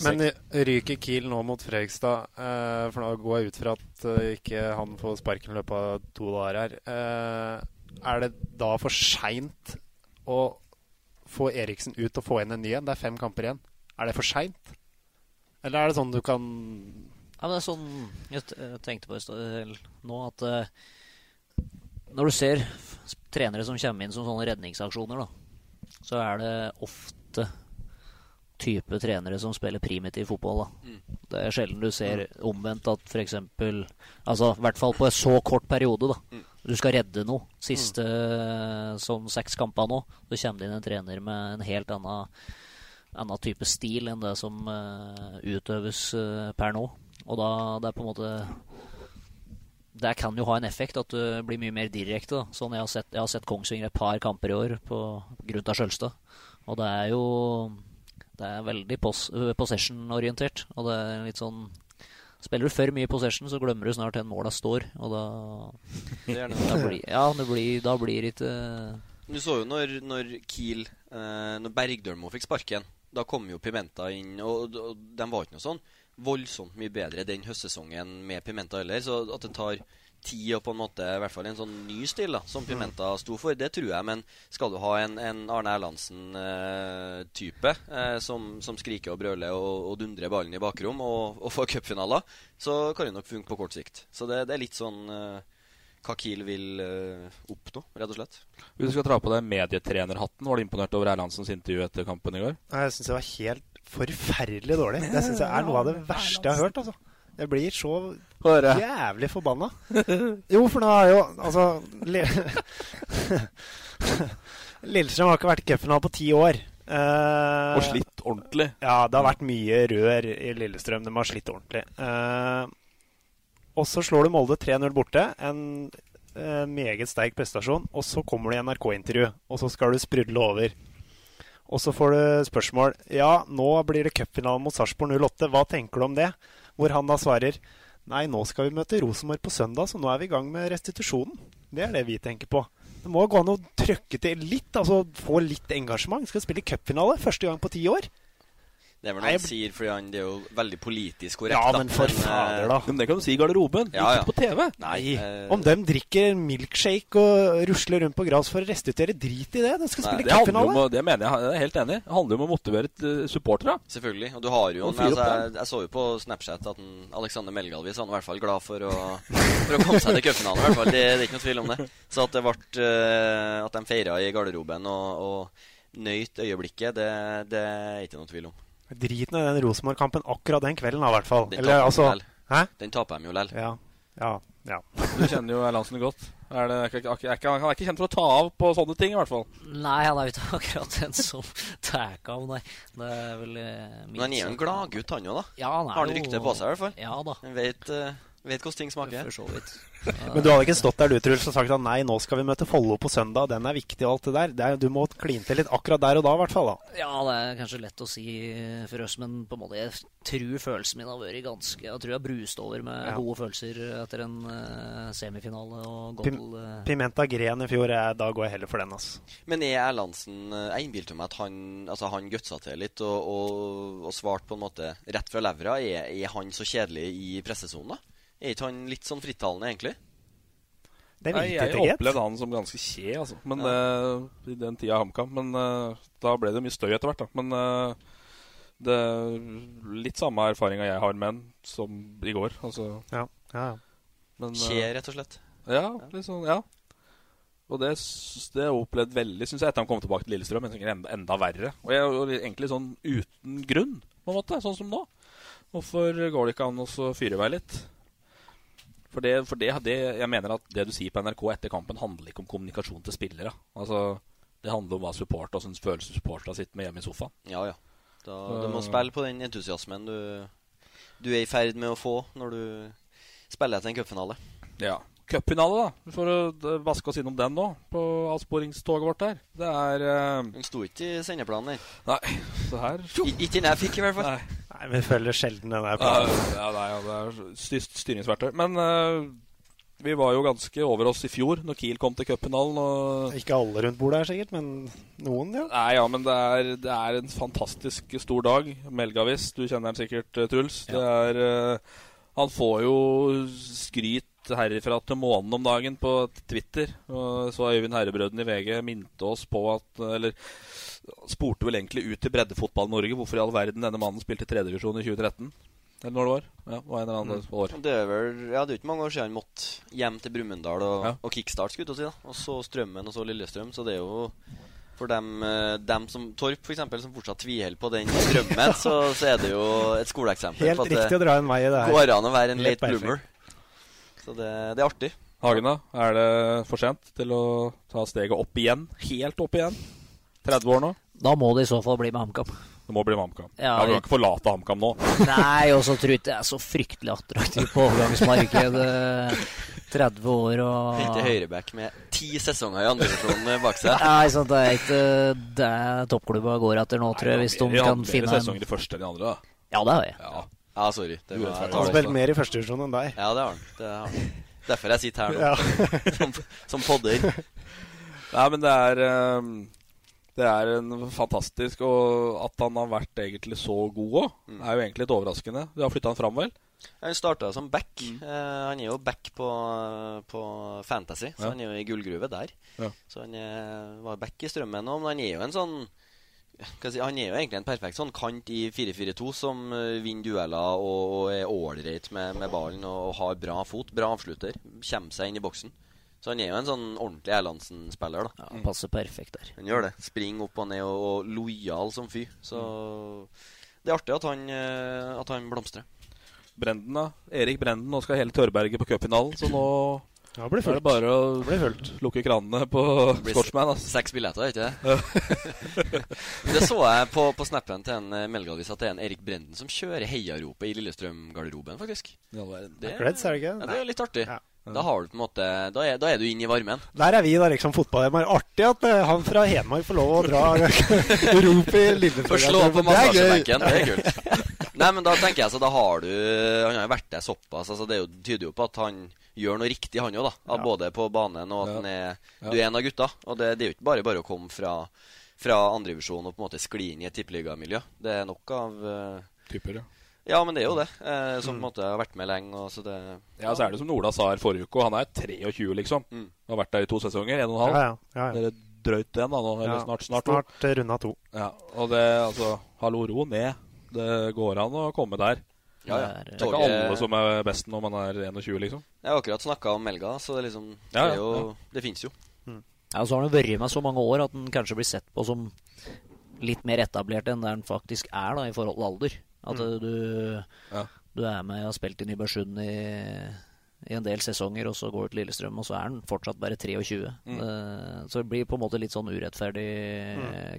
[SPEAKER 4] Men ryker Kiel nå mot Fredrikstad, eh, for nå går jeg ut fra at eh, ikke han får sparken i løpet av to dager her. Eh, er det da for seint å få Eriksen ut og få inn en ny en? Det er fem kamper igjen. Er det for seint? Eller er det sånn du kan
[SPEAKER 3] Ja, men det er sånn jeg t- jeg tenkte på i stad, eller nå, at eh, når du ser f- trenere som kommer inn som sånne redningsaksjoner, da, så er det ofte type trenere som spiller primitiv fotball. Da. Det er sjelden du ser omvendt at f.eks. Altså, i hvert fall på en så kort periode, da. Du skal redde noe. Siste sånn seks kamper nå, så kommer det inn en trener med en helt annen, annen type stil enn det som eh, utøves eh, per nå. Og da det er på en måte det kan jo ha en effekt at du blir mye mer direkte. Da. Sånn jeg har, sett, jeg har sett Kongsvinger et par kamper i år på grunn av Skjølstad. Og det er jo Det er veldig pos øh, possession-orientert. Og det er litt sånn Spiller du for mye possession, så glemmer du snart hvor måla står. Og da,
[SPEAKER 1] Det er det.
[SPEAKER 3] da blir, Ja, det blir, da blir det ikke
[SPEAKER 1] Du så jo når, når Kiel eh, Når Bergdølmo fikk sparken, da kom jo Pimenta inn, og, og de var ikke noe sånn voldsomt mye bedre den høstsesongen med Pimenta heller. Så at det tar tid og på en måte i hvert fall en sånn ny stil da som Pimenta sto for, det tror jeg. Men skal du ha en, en Arne Erlandsen-type eh, som, som skriker og brøler og, og dundrer ballen i bakrom og, og får cupfinaler, så kan det nok funke på kort sikt. Så det, det er litt sånn eh, hva Kiel vil eh, oppnå, rett og slett.
[SPEAKER 2] Hvis du skal dra på deg medietrenerhatten, var du imponert over Erlandsens intervju etter kampen i går?
[SPEAKER 4] Nei, Jeg syns det var helt forferdelig dårlig. Det syns jeg er noe av det verste jeg har hørt. altså. Jeg blir så
[SPEAKER 2] Høre.
[SPEAKER 4] jævlig forbanna. Jo, for nå er jo Altså Le Lillestrøm har ikke vært i cupfinale på ti år. Eh,
[SPEAKER 2] Og slitt ordentlig.
[SPEAKER 4] Ja, det har vært mye rør i Lillestrøm. De har slitt ordentlig. Eh, og så slår du Molde 3-0 borte. En eh, meget sterk prestasjon. Og så kommer du i NRK-intervju, og så skal du sprudle over. Og så får du spørsmål. Ja, nå blir det cupfinale mot Sarpsborg 08. Hva tenker du om det? Hvor han da svarer. Nei, nå skal vi møte Rosenborg på søndag, så nå er vi i gang med restitusjonen. Det er det vi tenker på. Det må gå an å trøkke til litt, altså få litt engasjement. Skal spille cupfinale første gang på ti år.
[SPEAKER 1] Det er vel
[SPEAKER 4] Nei,
[SPEAKER 1] noe
[SPEAKER 4] jeg
[SPEAKER 1] han sier, fordi han, det er jo veldig politisk korrekt.
[SPEAKER 4] Ja,
[SPEAKER 1] da.
[SPEAKER 4] men for
[SPEAKER 1] eh,
[SPEAKER 4] fader, da.
[SPEAKER 2] Men det kan du si i garderoben.
[SPEAKER 1] Ja, ja.
[SPEAKER 2] Ikke på TV.
[SPEAKER 1] Nei, eh,
[SPEAKER 4] Om dem drikker milkshake og rusler rundt på gras for å restituere, drit i det. De skal
[SPEAKER 2] Nei,
[SPEAKER 4] spille
[SPEAKER 2] det, handler jo om,
[SPEAKER 4] cupfinale.
[SPEAKER 2] å- det mener jeg, jeg er helt enig. i. Det handler jo om å motivere eh, supportere.
[SPEAKER 1] selvfølgelig. Og du har jo
[SPEAKER 2] Og
[SPEAKER 1] en,
[SPEAKER 2] fyr opp
[SPEAKER 1] altså, jeg, jeg så jo på Snapchat at en Alexander Melgalvis han var i hvert fall glad for å, for å komme seg til cupfinalen. i hvert fall. Det, det er ikke noe tvil om det. Så at det ble eh, At de feira i garderoben og, og nøyt øyeblikket, det, det er ikke noe tvil om.
[SPEAKER 4] Drit nå i den Rosenborg-kampen akkurat den kvelden, da, i hvert fall.
[SPEAKER 1] Den
[SPEAKER 4] Eller
[SPEAKER 1] taper
[SPEAKER 4] altså
[SPEAKER 1] de lell.
[SPEAKER 4] Hæ?
[SPEAKER 1] Den taper de jo lell.
[SPEAKER 4] Ja. Ja. ja.
[SPEAKER 2] Du kjenner jo Erlandsen godt. Er det, er ikke- er ikke- han er ikke kjent for å ta av på sånne ting, i hvert fall.
[SPEAKER 3] Nei, han er jo ikke akkurat den som tar av, nei. Det er vel eh,
[SPEAKER 1] Men han er jo en gladgutt, han òg, da.
[SPEAKER 3] Ja, han er
[SPEAKER 1] har han
[SPEAKER 3] jo-
[SPEAKER 1] rykte på seg, i hvert fall.
[SPEAKER 3] Ja da.
[SPEAKER 1] Han vet, eh, vet hvordan ting smaker.
[SPEAKER 3] For så vidt.
[SPEAKER 4] Men du hadde ikke stått der du, Truls, og sagt at nei, nå skal vi møte Follo på søndag, den er viktig og alt det der. Det er, du må kline til litt akkurat der og da, i hvert fall. da.
[SPEAKER 3] Ja, det er kanskje lett å si eh, for oss, men på en måte jeg tror følelsen min har vært ganske Jeg tror jeg har brust over med
[SPEAKER 4] Ja.
[SPEAKER 3] gode følelser etter en eh, semifinale og
[SPEAKER 4] Pim-
[SPEAKER 3] goal. eh.
[SPEAKER 4] Pimenta Gren i fjor, eh, da går jeg heller for den, altså.
[SPEAKER 1] Men er Erlandsen eh, Jeg innbilte meg at han, altså han gutsa til litt og, og, og svarte på en måte rett fra levra. Er, er han så kjedelig i pressesonen, da? Er ikke han litt sånn frittalende, egentlig?
[SPEAKER 4] Det
[SPEAKER 2] Nei,
[SPEAKER 4] virket
[SPEAKER 2] jeg
[SPEAKER 4] ikke helt.
[SPEAKER 2] opplevde han som ganske kje, altså. Men eh, I den tida i HamKam. Men eh, da ble det mye støy etter hvert, da. Men eh, Det er litt samme erfaringa jeg har med den som i går. Altså.
[SPEAKER 4] Ja, ja, ja.
[SPEAKER 2] Men, eh,
[SPEAKER 1] Skje, rett og slett.
[SPEAKER 2] Ja, litt sånn, ja. Og det, s- det har jeg opplevd veldig, syns jeg, etter han kom tilbake til Lillestrøm. Jeg tenker enda, enda verre. Og jeg og egentlig sånn uten grunn, på en måte, sånn som nå. Hvorfor går det ikke an å så fyre i vei litt? For, det, for det, det, jeg mener at det du sier på NRK etter kampen, handler ikke om kommunikasjon til spillere. Altså, det handler om hva support og sånn følelse supporterne sitter med hjemme i sofaen.
[SPEAKER 1] Ja, ja. Da, du må spille på den entusiasmen du, du er i ferd med å få når du spiller etter en cupfinale.
[SPEAKER 2] Ja. Cupfinale, da. For å eh, vaske oss innom den nå, på avsporingstoget vårt der. Det er
[SPEAKER 1] Den sto ikke i sendeplanen, den.
[SPEAKER 2] Nei. Så her
[SPEAKER 1] I- Ikke den jeg fikk, i hvert fall.
[SPEAKER 2] Nei.
[SPEAKER 4] Nei, vi følger sjelden den der
[SPEAKER 2] Ja,
[SPEAKER 4] planen.
[SPEAKER 2] ja, nei, ja, det er styrt styringsverktøy. Men eh, vi var jo ganske over oss i fjor når Kiel kom til cupfinalen. Og...
[SPEAKER 4] Ikke alle rundt bordet her, sikkert, men noen, ja.
[SPEAKER 2] Nei, ja, men det er, det er en fantastisk stor dag. Melgavis, du kjenner ham sikkert, eh, Truls. Det er eh, Han får jo skryt herifra til månen om dagen på Twitter. Og så Øyvind Herrebrøden i VG minte oss på at eh, Eller spurte vel egentlig ut til breddefotball-Norge hvorfor i all verden denne mannen spilte tredjevisjon i 2013. Eller når det var. Ja, det var en eller annen år.
[SPEAKER 1] Det er vel ja, det er jo ikke mange år siden han måtte hjem til Brumunddal og, og kickstart, skulle jeg til å si. da Og så Strømmen og så Lillestrøm. Så det er jo for dem, eh, dem som Torp, for eksempel, som fortsatt tviholder på den strømmen, så, så er det jo et skoleeksempel.
[SPEAKER 4] Helt
[SPEAKER 1] på at det
[SPEAKER 4] riktig å dra en vei i det her.
[SPEAKER 1] Går an å være en
[SPEAKER 4] Helt
[SPEAKER 1] late
[SPEAKER 4] perfekt.
[SPEAKER 1] bloomer. Så det, det er artig.
[SPEAKER 2] Hagen, da? Er det for sent til å ta steget opp igjen? Helt opp igjen? 30 år nå?
[SPEAKER 3] Da må det i så fall bli med HamKam.
[SPEAKER 2] Det må bli med HamKam.
[SPEAKER 3] Ja,
[SPEAKER 2] Ja, du kan ikke forlate HamKam nå.
[SPEAKER 3] Nei, og så tror jeg ikke jeg er så fryktelig attraktiv på overgangsmarkedet. 30 år og
[SPEAKER 1] Hente
[SPEAKER 4] Ah.
[SPEAKER 1] høyreback med ti sesonger i andredivisjon bak seg.
[SPEAKER 3] Nei, sant, det er ikke det toppklubba går etter nå, tror jeg, hvis de kan finne
[SPEAKER 2] en
[SPEAKER 3] en
[SPEAKER 2] de første enn de andre, da.
[SPEAKER 3] Ja, det har jeg.
[SPEAKER 2] Ja,
[SPEAKER 1] ja sorry. Det
[SPEAKER 2] Du
[SPEAKER 1] var-
[SPEAKER 2] er
[SPEAKER 1] jeg
[SPEAKER 2] ferdig.
[SPEAKER 1] tar
[SPEAKER 4] Han
[SPEAKER 1] det
[SPEAKER 4] spilte
[SPEAKER 1] også.
[SPEAKER 4] mer i første divisjon enn deg.
[SPEAKER 1] Ja, det har han. Det har han. Derfor jeg sitter her nå.
[SPEAKER 4] Ja.
[SPEAKER 1] som, som podder.
[SPEAKER 2] Nei, men det er eh, Det er en fantastisk Og at han har vært egentlig så god òg, er jo egentlig litt overraskende. Du har flytta han fram, vel?
[SPEAKER 1] Han starta som back. Eh, han er jo back på, på Fantasy, så
[SPEAKER 2] Ja.
[SPEAKER 1] han er jo i gullgruve der.
[SPEAKER 2] Ja.
[SPEAKER 1] Så han eh, var back i strømmen òg, men han er jo en sånn hva skal jeg si, han er jo egentlig en perfekt sånn kant i 4-4-2 som eh, vinner dueller og, og er ålreit med, med ballen og har bra fot, bra avslutter. Kommer seg inn i boksen. Så han er jo en sånn ordentlig Erlandsen-spiller, da.
[SPEAKER 3] Han passer perfekt der.
[SPEAKER 1] Han gjør det. Springer opp og ned og, og lojal som fy. Så Mm. det er artig at han, eh, at han blomstrer.
[SPEAKER 2] Brenden, da. Erik Brenden. Nå skal hele Tørberget på cupfinalen, så nå
[SPEAKER 4] Ja, det blir
[SPEAKER 2] er det
[SPEAKER 4] fullt.
[SPEAKER 2] bare å
[SPEAKER 4] blir fullt.
[SPEAKER 2] lukke kranene på
[SPEAKER 1] blir s-
[SPEAKER 2] Scotsman. ass.
[SPEAKER 1] Seks billetter, ikke det? det så jeg på, på snappen til en eh, Melgalvis at det er en Erik Brenden som kjører heiaropet i Lillestrøm-garderoben, faktisk.
[SPEAKER 2] I all verden.
[SPEAKER 1] Det,
[SPEAKER 4] Creds, er det ikke?
[SPEAKER 1] ja, det er jo litt artig.
[SPEAKER 4] Ja.
[SPEAKER 1] Da har du på en måte Da er, da er du inne i varmen.
[SPEAKER 4] Der er vi, da, liksom fotballhjemmer. Artig at eh, han fra Hedmark får lov å dra rop i
[SPEAKER 1] Få slå på
[SPEAKER 4] Lillestrøm.
[SPEAKER 1] massasjebenken. Det er kult. Nei, men da tenker jeg så da har du Han har jo vært der såpass. Altså, det er jo, tyder jo på at han gjør noe riktig, han òg, da. At Både på banen og at
[SPEAKER 2] Ja.
[SPEAKER 1] han er
[SPEAKER 2] Ja.
[SPEAKER 1] Du er en av gutta. Og det, det er jo ikke bare bare å komme fra fra andredivisjon og på en måte skli inn i et tippeligamiljø. Det er nok av eh,
[SPEAKER 2] Typer, ja.
[SPEAKER 1] Ja, men det er jo det. Eh, som på en måte har vært med lenge. Og så det
[SPEAKER 2] Ja,
[SPEAKER 1] altså,
[SPEAKER 2] så er det som Ola sa her forrige uke, og han er 23, liksom.
[SPEAKER 1] Mm.
[SPEAKER 2] Han har vært der i to sesonger, en og en halv.
[SPEAKER 4] Ja, ja. ja, ja.
[SPEAKER 2] Eller drøyt en, da. Nå, eller
[SPEAKER 4] Ja,
[SPEAKER 2] snart, snart, to.
[SPEAKER 4] Snart eh, runda to.
[SPEAKER 2] Ja, og det, altså, hallo, ro ned. Det går an å komme der.
[SPEAKER 1] Ja, ja.
[SPEAKER 3] Det er- eh,
[SPEAKER 2] Det er ikke alle som er best når man er 21, liksom.
[SPEAKER 1] Jeg har akkurat snakka om Melga, så det er liksom Det,
[SPEAKER 2] Ja, ja,
[SPEAKER 1] er jo, det fins jo.
[SPEAKER 3] Ja, og så har han jo vært med så mange år at han kanskje blir sett på som litt mer etablert enn der han faktisk er, da, i forhold til alder. At eh, du,
[SPEAKER 2] Mm. Ja.
[SPEAKER 3] du er med og har spilt i Nybergsund i, i en del sesonger, og så går du til Lillestrøm, og så er han fortsatt bare 23.
[SPEAKER 2] Mm.
[SPEAKER 3] Eh, så det blir på en måte litt sånn urettferdig
[SPEAKER 2] Mm.
[SPEAKER 3] eh,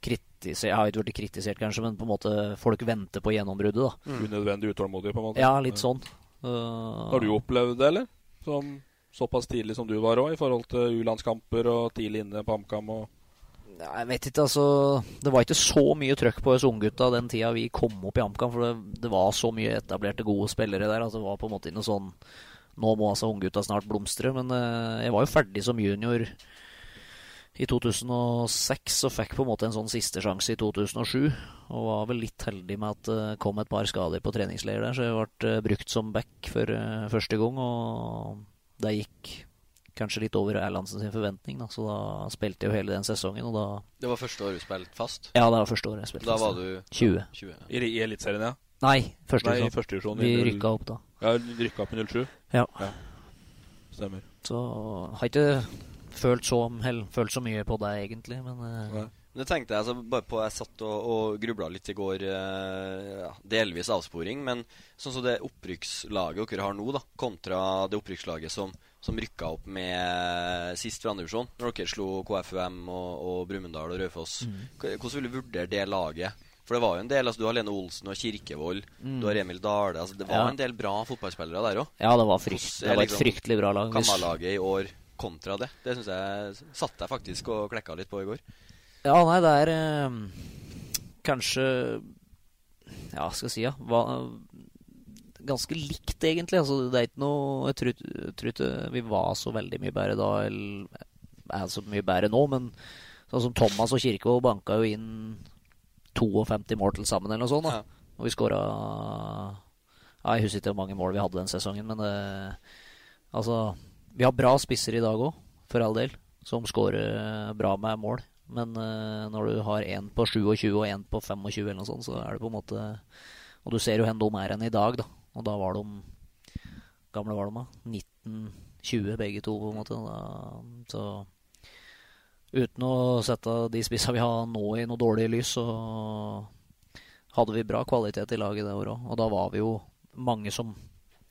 [SPEAKER 3] kritisert Jeg har ikke blitt kritisert, kanskje, men på en måte folk venter på gjennombruddet, da.
[SPEAKER 4] Mm.
[SPEAKER 2] Unødvendig utålmodig, på en måte.
[SPEAKER 3] Ja, litt sånn. Eh,
[SPEAKER 2] Har du opplevd det, eller? Som såpass tidlig som du var òg, i forhold til U-landskamper og tidlig inne på HamKam og
[SPEAKER 3] Nei, jeg vet ikke, altså Det var ikke så mye trøkk på oss unggutta den tida vi kom opp i HamKam, for det, det var så mye etablerte, gode spillere der. Altså, det var på en måte ikke noe sånn Nå må altså unggutta snart blomstre. Men eh, jeg var jo ferdig som junior i 2006 og fikk på en måte en sånn siste sjanse i 2007. Og var vel litt heldig med at det kom et par skader på treningsleir der, så jeg ble eh, brukt som back for eh, første gang, og det gikk kanskje litt over Erlandsen sin forventning, da. så da spilte jeg jo hele den sesongen, og da
[SPEAKER 1] Det var første året du spilte fast?
[SPEAKER 3] Ja, det var første året jeg spilte
[SPEAKER 1] Da
[SPEAKER 3] fast,
[SPEAKER 1] var
[SPEAKER 3] ja.
[SPEAKER 1] du
[SPEAKER 3] 20.
[SPEAKER 2] I, i Eliteserien, ja?
[SPEAKER 3] Nei, første
[SPEAKER 2] Nei,
[SPEAKER 3] divisjon.
[SPEAKER 2] i første divisjon.
[SPEAKER 3] Vi
[SPEAKER 2] i null-
[SPEAKER 3] rykka opp da.
[SPEAKER 2] Ja, rykka opp i 07?
[SPEAKER 3] Ja.
[SPEAKER 2] Stemmer.
[SPEAKER 3] Så har ikke følt så, hell, følt så mye på det, egentlig, men eh,
[SPEAKER 1] Det tenkte jeg altså, bare på Jeg satt og, og grubla litt i går. eh, ja, delvis avsporing, men sånn som det opprykkslaget dere har nå, da, kontra det opprykkslaget som, som rykka opp med sist fra andre divisjon, når dere slo KFUM og, og Brumunddal og Raufoss.
[SPEAKER 5] Mm.
[SPEAKER 1] K- Hvordan vil du vurdere det laget? For det var jo en del, altså Du har Lene Olsen, du har Kirkevold,
[SPEAKER 3] Mm.
[SPEAKER 1] du har Emil Dale. Altså, det var
[SPEAKER 3] Ja.
[SPEAKER 1] en del bra fotballspillere der òg.
[SPEAKER 3] Ja, det var frykt- det var
[SPEAKER 1] liksom
[SPEAKER 3] et fryktelig bra lag. Hvis-
[SPEAKER 1] Kammalaget i år kontra det. Det syns jeg satt jeg faktisk og klekka litt på i går.
[SPEAKER 3] Ja, nei, det er eh, kanskje Ja, skal jeg si, ja. Hva, ganske likt, egentlig. Altså, det er ikke noe Jeg tror ikke- jeg tror ikke vi var så veldig mye bedre da, eller er så mye bedre nå, men sånn som Thomas og Kirkevold banka jo inn 52 mål til sammen, eller noe sånt. Sånn, Da. Og vi skåra ja, Jeg husker ikke hvor mange mål vi hadde den sesongen, men eh, altså Vi har bra spisser i dag òg, for all del, som skårer eh, bra med mål. Men eh, når du har én på 27 og én på 25, eller noe sånt, så er det på en måte Og du ser jo hvor de er enn i dag, da. Og da var de gamle var de, da? 1920 begge to, på en måte. Da, så uten å sette de spissa vi har nå i noe dårlig lys, så hadde vi bra kvalitet i laget det året òg. Og da var vi jo mange som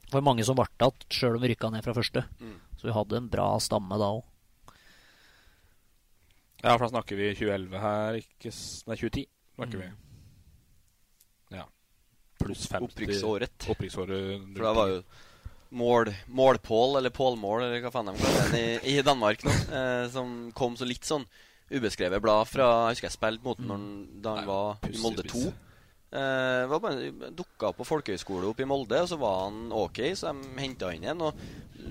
[SPEAKER 3] det var mange som ble igjen, sjøl om vi rykka ned fra første.
[SPEAKER 1] Mm.
[SPEAKER 3] Så vi hadde en bra stamme da òg.
[SPEAKER 2] Ja, for da snakker vi 2011 her, ikke s- Nei, 2010 snakker
[SPEAKER 1] Mm.
[SPEAKER 2] vi. Ja. Pluss 50
[SPEAKER 1] Opprykksåret.
[SPEAKER 2] Opprykksåret
[SPEAKER 1] For da var jo mål, Målpål, eller Pålmål, eller hva faen de kaller den i, i Danmark nå, eh, som kom så litt sånn ubeskrevet blad fra Jeg husker jeg spilte mot den når
[SPEAKER 4] Mm.
[SPEAKER 1] han- da han var i Molde 2. Eh, var bare, dukka opp på folkehøyskole oppe i Molde, og så var han ok, så de henta han igjen. Og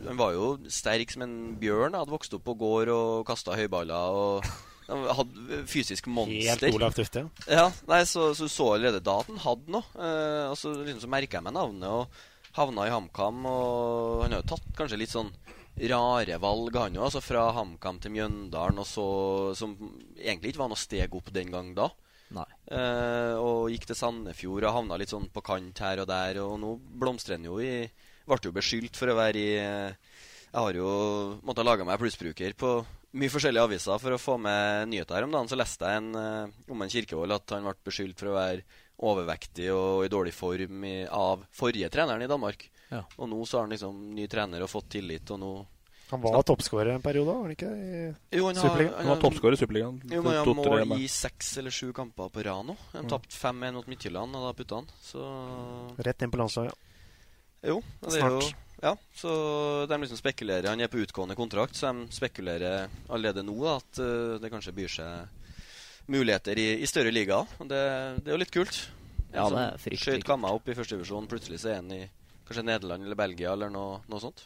[SPEAKER 1] han var jo sterk som en bjørn. da. Hadde vokst opp på gård og kasta høyballer. og han hadde fysisk monster.
[SPEAKER 4] Helt Olav Tufte, ja.
[SPEAKER 1] Ja, nei, så, så så allerede da at han hadde noe. Eh, og så liksom så merka jeg meg navnet og havna i HamKam. Og han har jo tatt kanskje litt sånn rare valg, han òg. Altså fra HamKam til Mjøndalen, og så, som egentlig ikke var noe steg opp den gang da.
[SPEAKER 3] Nei.
[SPEAKER 1] Eh, og gikk til Sandefjord og havna litt sånn på kant her og der. Og nå blomstrer han jo i Ble jo beskyldt for å være i eh, Jeg har jo måttet lage meg plussbruker på mye forskjellige aviser for å få med nyheter her om dagen. Så leste jeg en, eh, om en Kirkevold at han ble beskyldt for å være overvektig og i dårlig form i, av forrige treneren i Danmark.
[SPEAKER 3] Ja.
[SPEAKER 1] Og nå så har han liksom ny trener og fått tillit, og nå
[SPEAKER 4] Han var toppskårer en periode, var han ikke det? I
[SPEAKER 1] Jo, han har-
[SPEAKER 4] Superligaen?
[SPEAKER 1] han har- Han var toppskårer i
[SPEAKER 2] Superligaen.
[SPEAKER 1] Jo, men han
[SPEAKER 2] To- tre
[SPEAKER 1] mål
[SPEAKER 2] med.
[SPEAKER 1] i seks eller sju kamper på rad nå. De
[SPEAKER 4] Mm.
[SPEAKER 1] tapte 5-1 mot Midtjylland, og da putta han. Så
[SPEAKER 4] Rett inn på landslaget.
[SPEAKER 1] Jo, og det er jo ja, så de liksom spekulerer Han er på utgående kontrakt, så de spekulerer allerede nå da, at eh, det kanskje byr seg muligheter i, i større ligaer. Og Det, det er jo litt kult.
[SPEAKER 3] Ja,
[SPEAKER 1] En
[SPEAKER 3] det er
[SPEAKER 1] som
[SPEAKER 3] fryktelig
[SPEAKER 1] Skjøt Kamma opp i første divisjon, plutselig så er han i kanskje Nederland eller Belgia eller noe, noe sånt.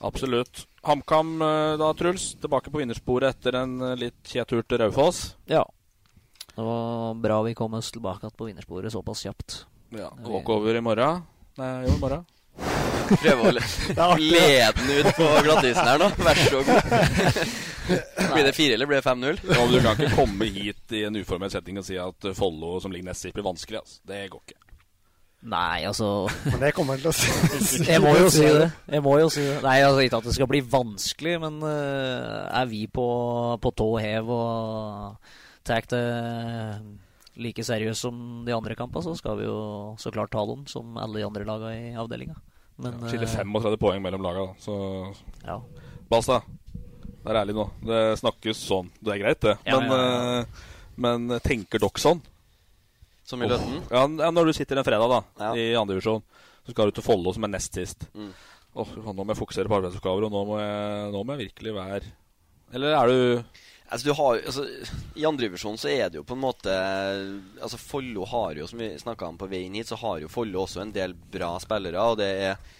[SPEAKER 2] Absolutt. HamKam eh, da, Truls. Tilbake på vinnersporet etter en eh, litt kjed tur til Raufoss.
[SPEAKER 3] Ja. Det var bra vi kom oss tilbake igjen på vinnersporet såpass kjapt.
[SPEAKER 2] Ja, Walkover i morgen. Nei, jo, i morgen.
[SPEAKER 1] Prøve å le- lede den ut på glattisen her nå. Vær så god. Blir det fire, eller blir det 5-0?
[SPEAKER 2] Ja, men du kan ikke komme hit i en uformell setting og si at eh, Follo, som ligger nest sist, blir vanskelig. Altså. Det går ikke.
[SPEAKER 3] Nei, altså
[SPEAKER 4] Men det kommer han til å si.
[SPEAKER 3] Jeg må jo si det. Jeg må jo si det. Nei, altså ikke at det skal bli vanskelig, men eh, er vi på, på tå hev og tar det like seriøst som de andre kampene, så skal vi jo så klart ta dem, som alle de andre lagene i avdelinga. Men
[SPEAKER 2] Ja, Skiller
[SPEAKER 3] eh,
[SPEAKER 2] 35 poeng mellom laga, da. Så
[SPEAKER 3] ja.
[SPEAKER 2] Basta. Vær ærlig nå. Det snakkes sånn. Det er greit, det.
[SPEAKER 3] Ja,
[SPEAKER 2] men,
[SPEAKER 3] ja,
[SPEAKER 2] eh, men tenker dere sånn?
[SPEAKER 1] Som i Løten?
[SPEAKER 2] Ja, n- ja, når du sitter en fredag da i andre divisjon, så skal du til Follo, som er nest sist.
[SPEAKER 1] Mm.
[SPEAKER 2] Åh, fy faen, nå må jeg fokusere på arbeidsoppgaver, og nå må jeg, nå må jeg virkelig være Eller er du
[SPEAKER 1] Altså, du har, altså, I andredivisjon så er det jo på en måte Altså Follo har jo, som vi snakka om på veien hit, så har jo Follo også en del bra spillere. Og det er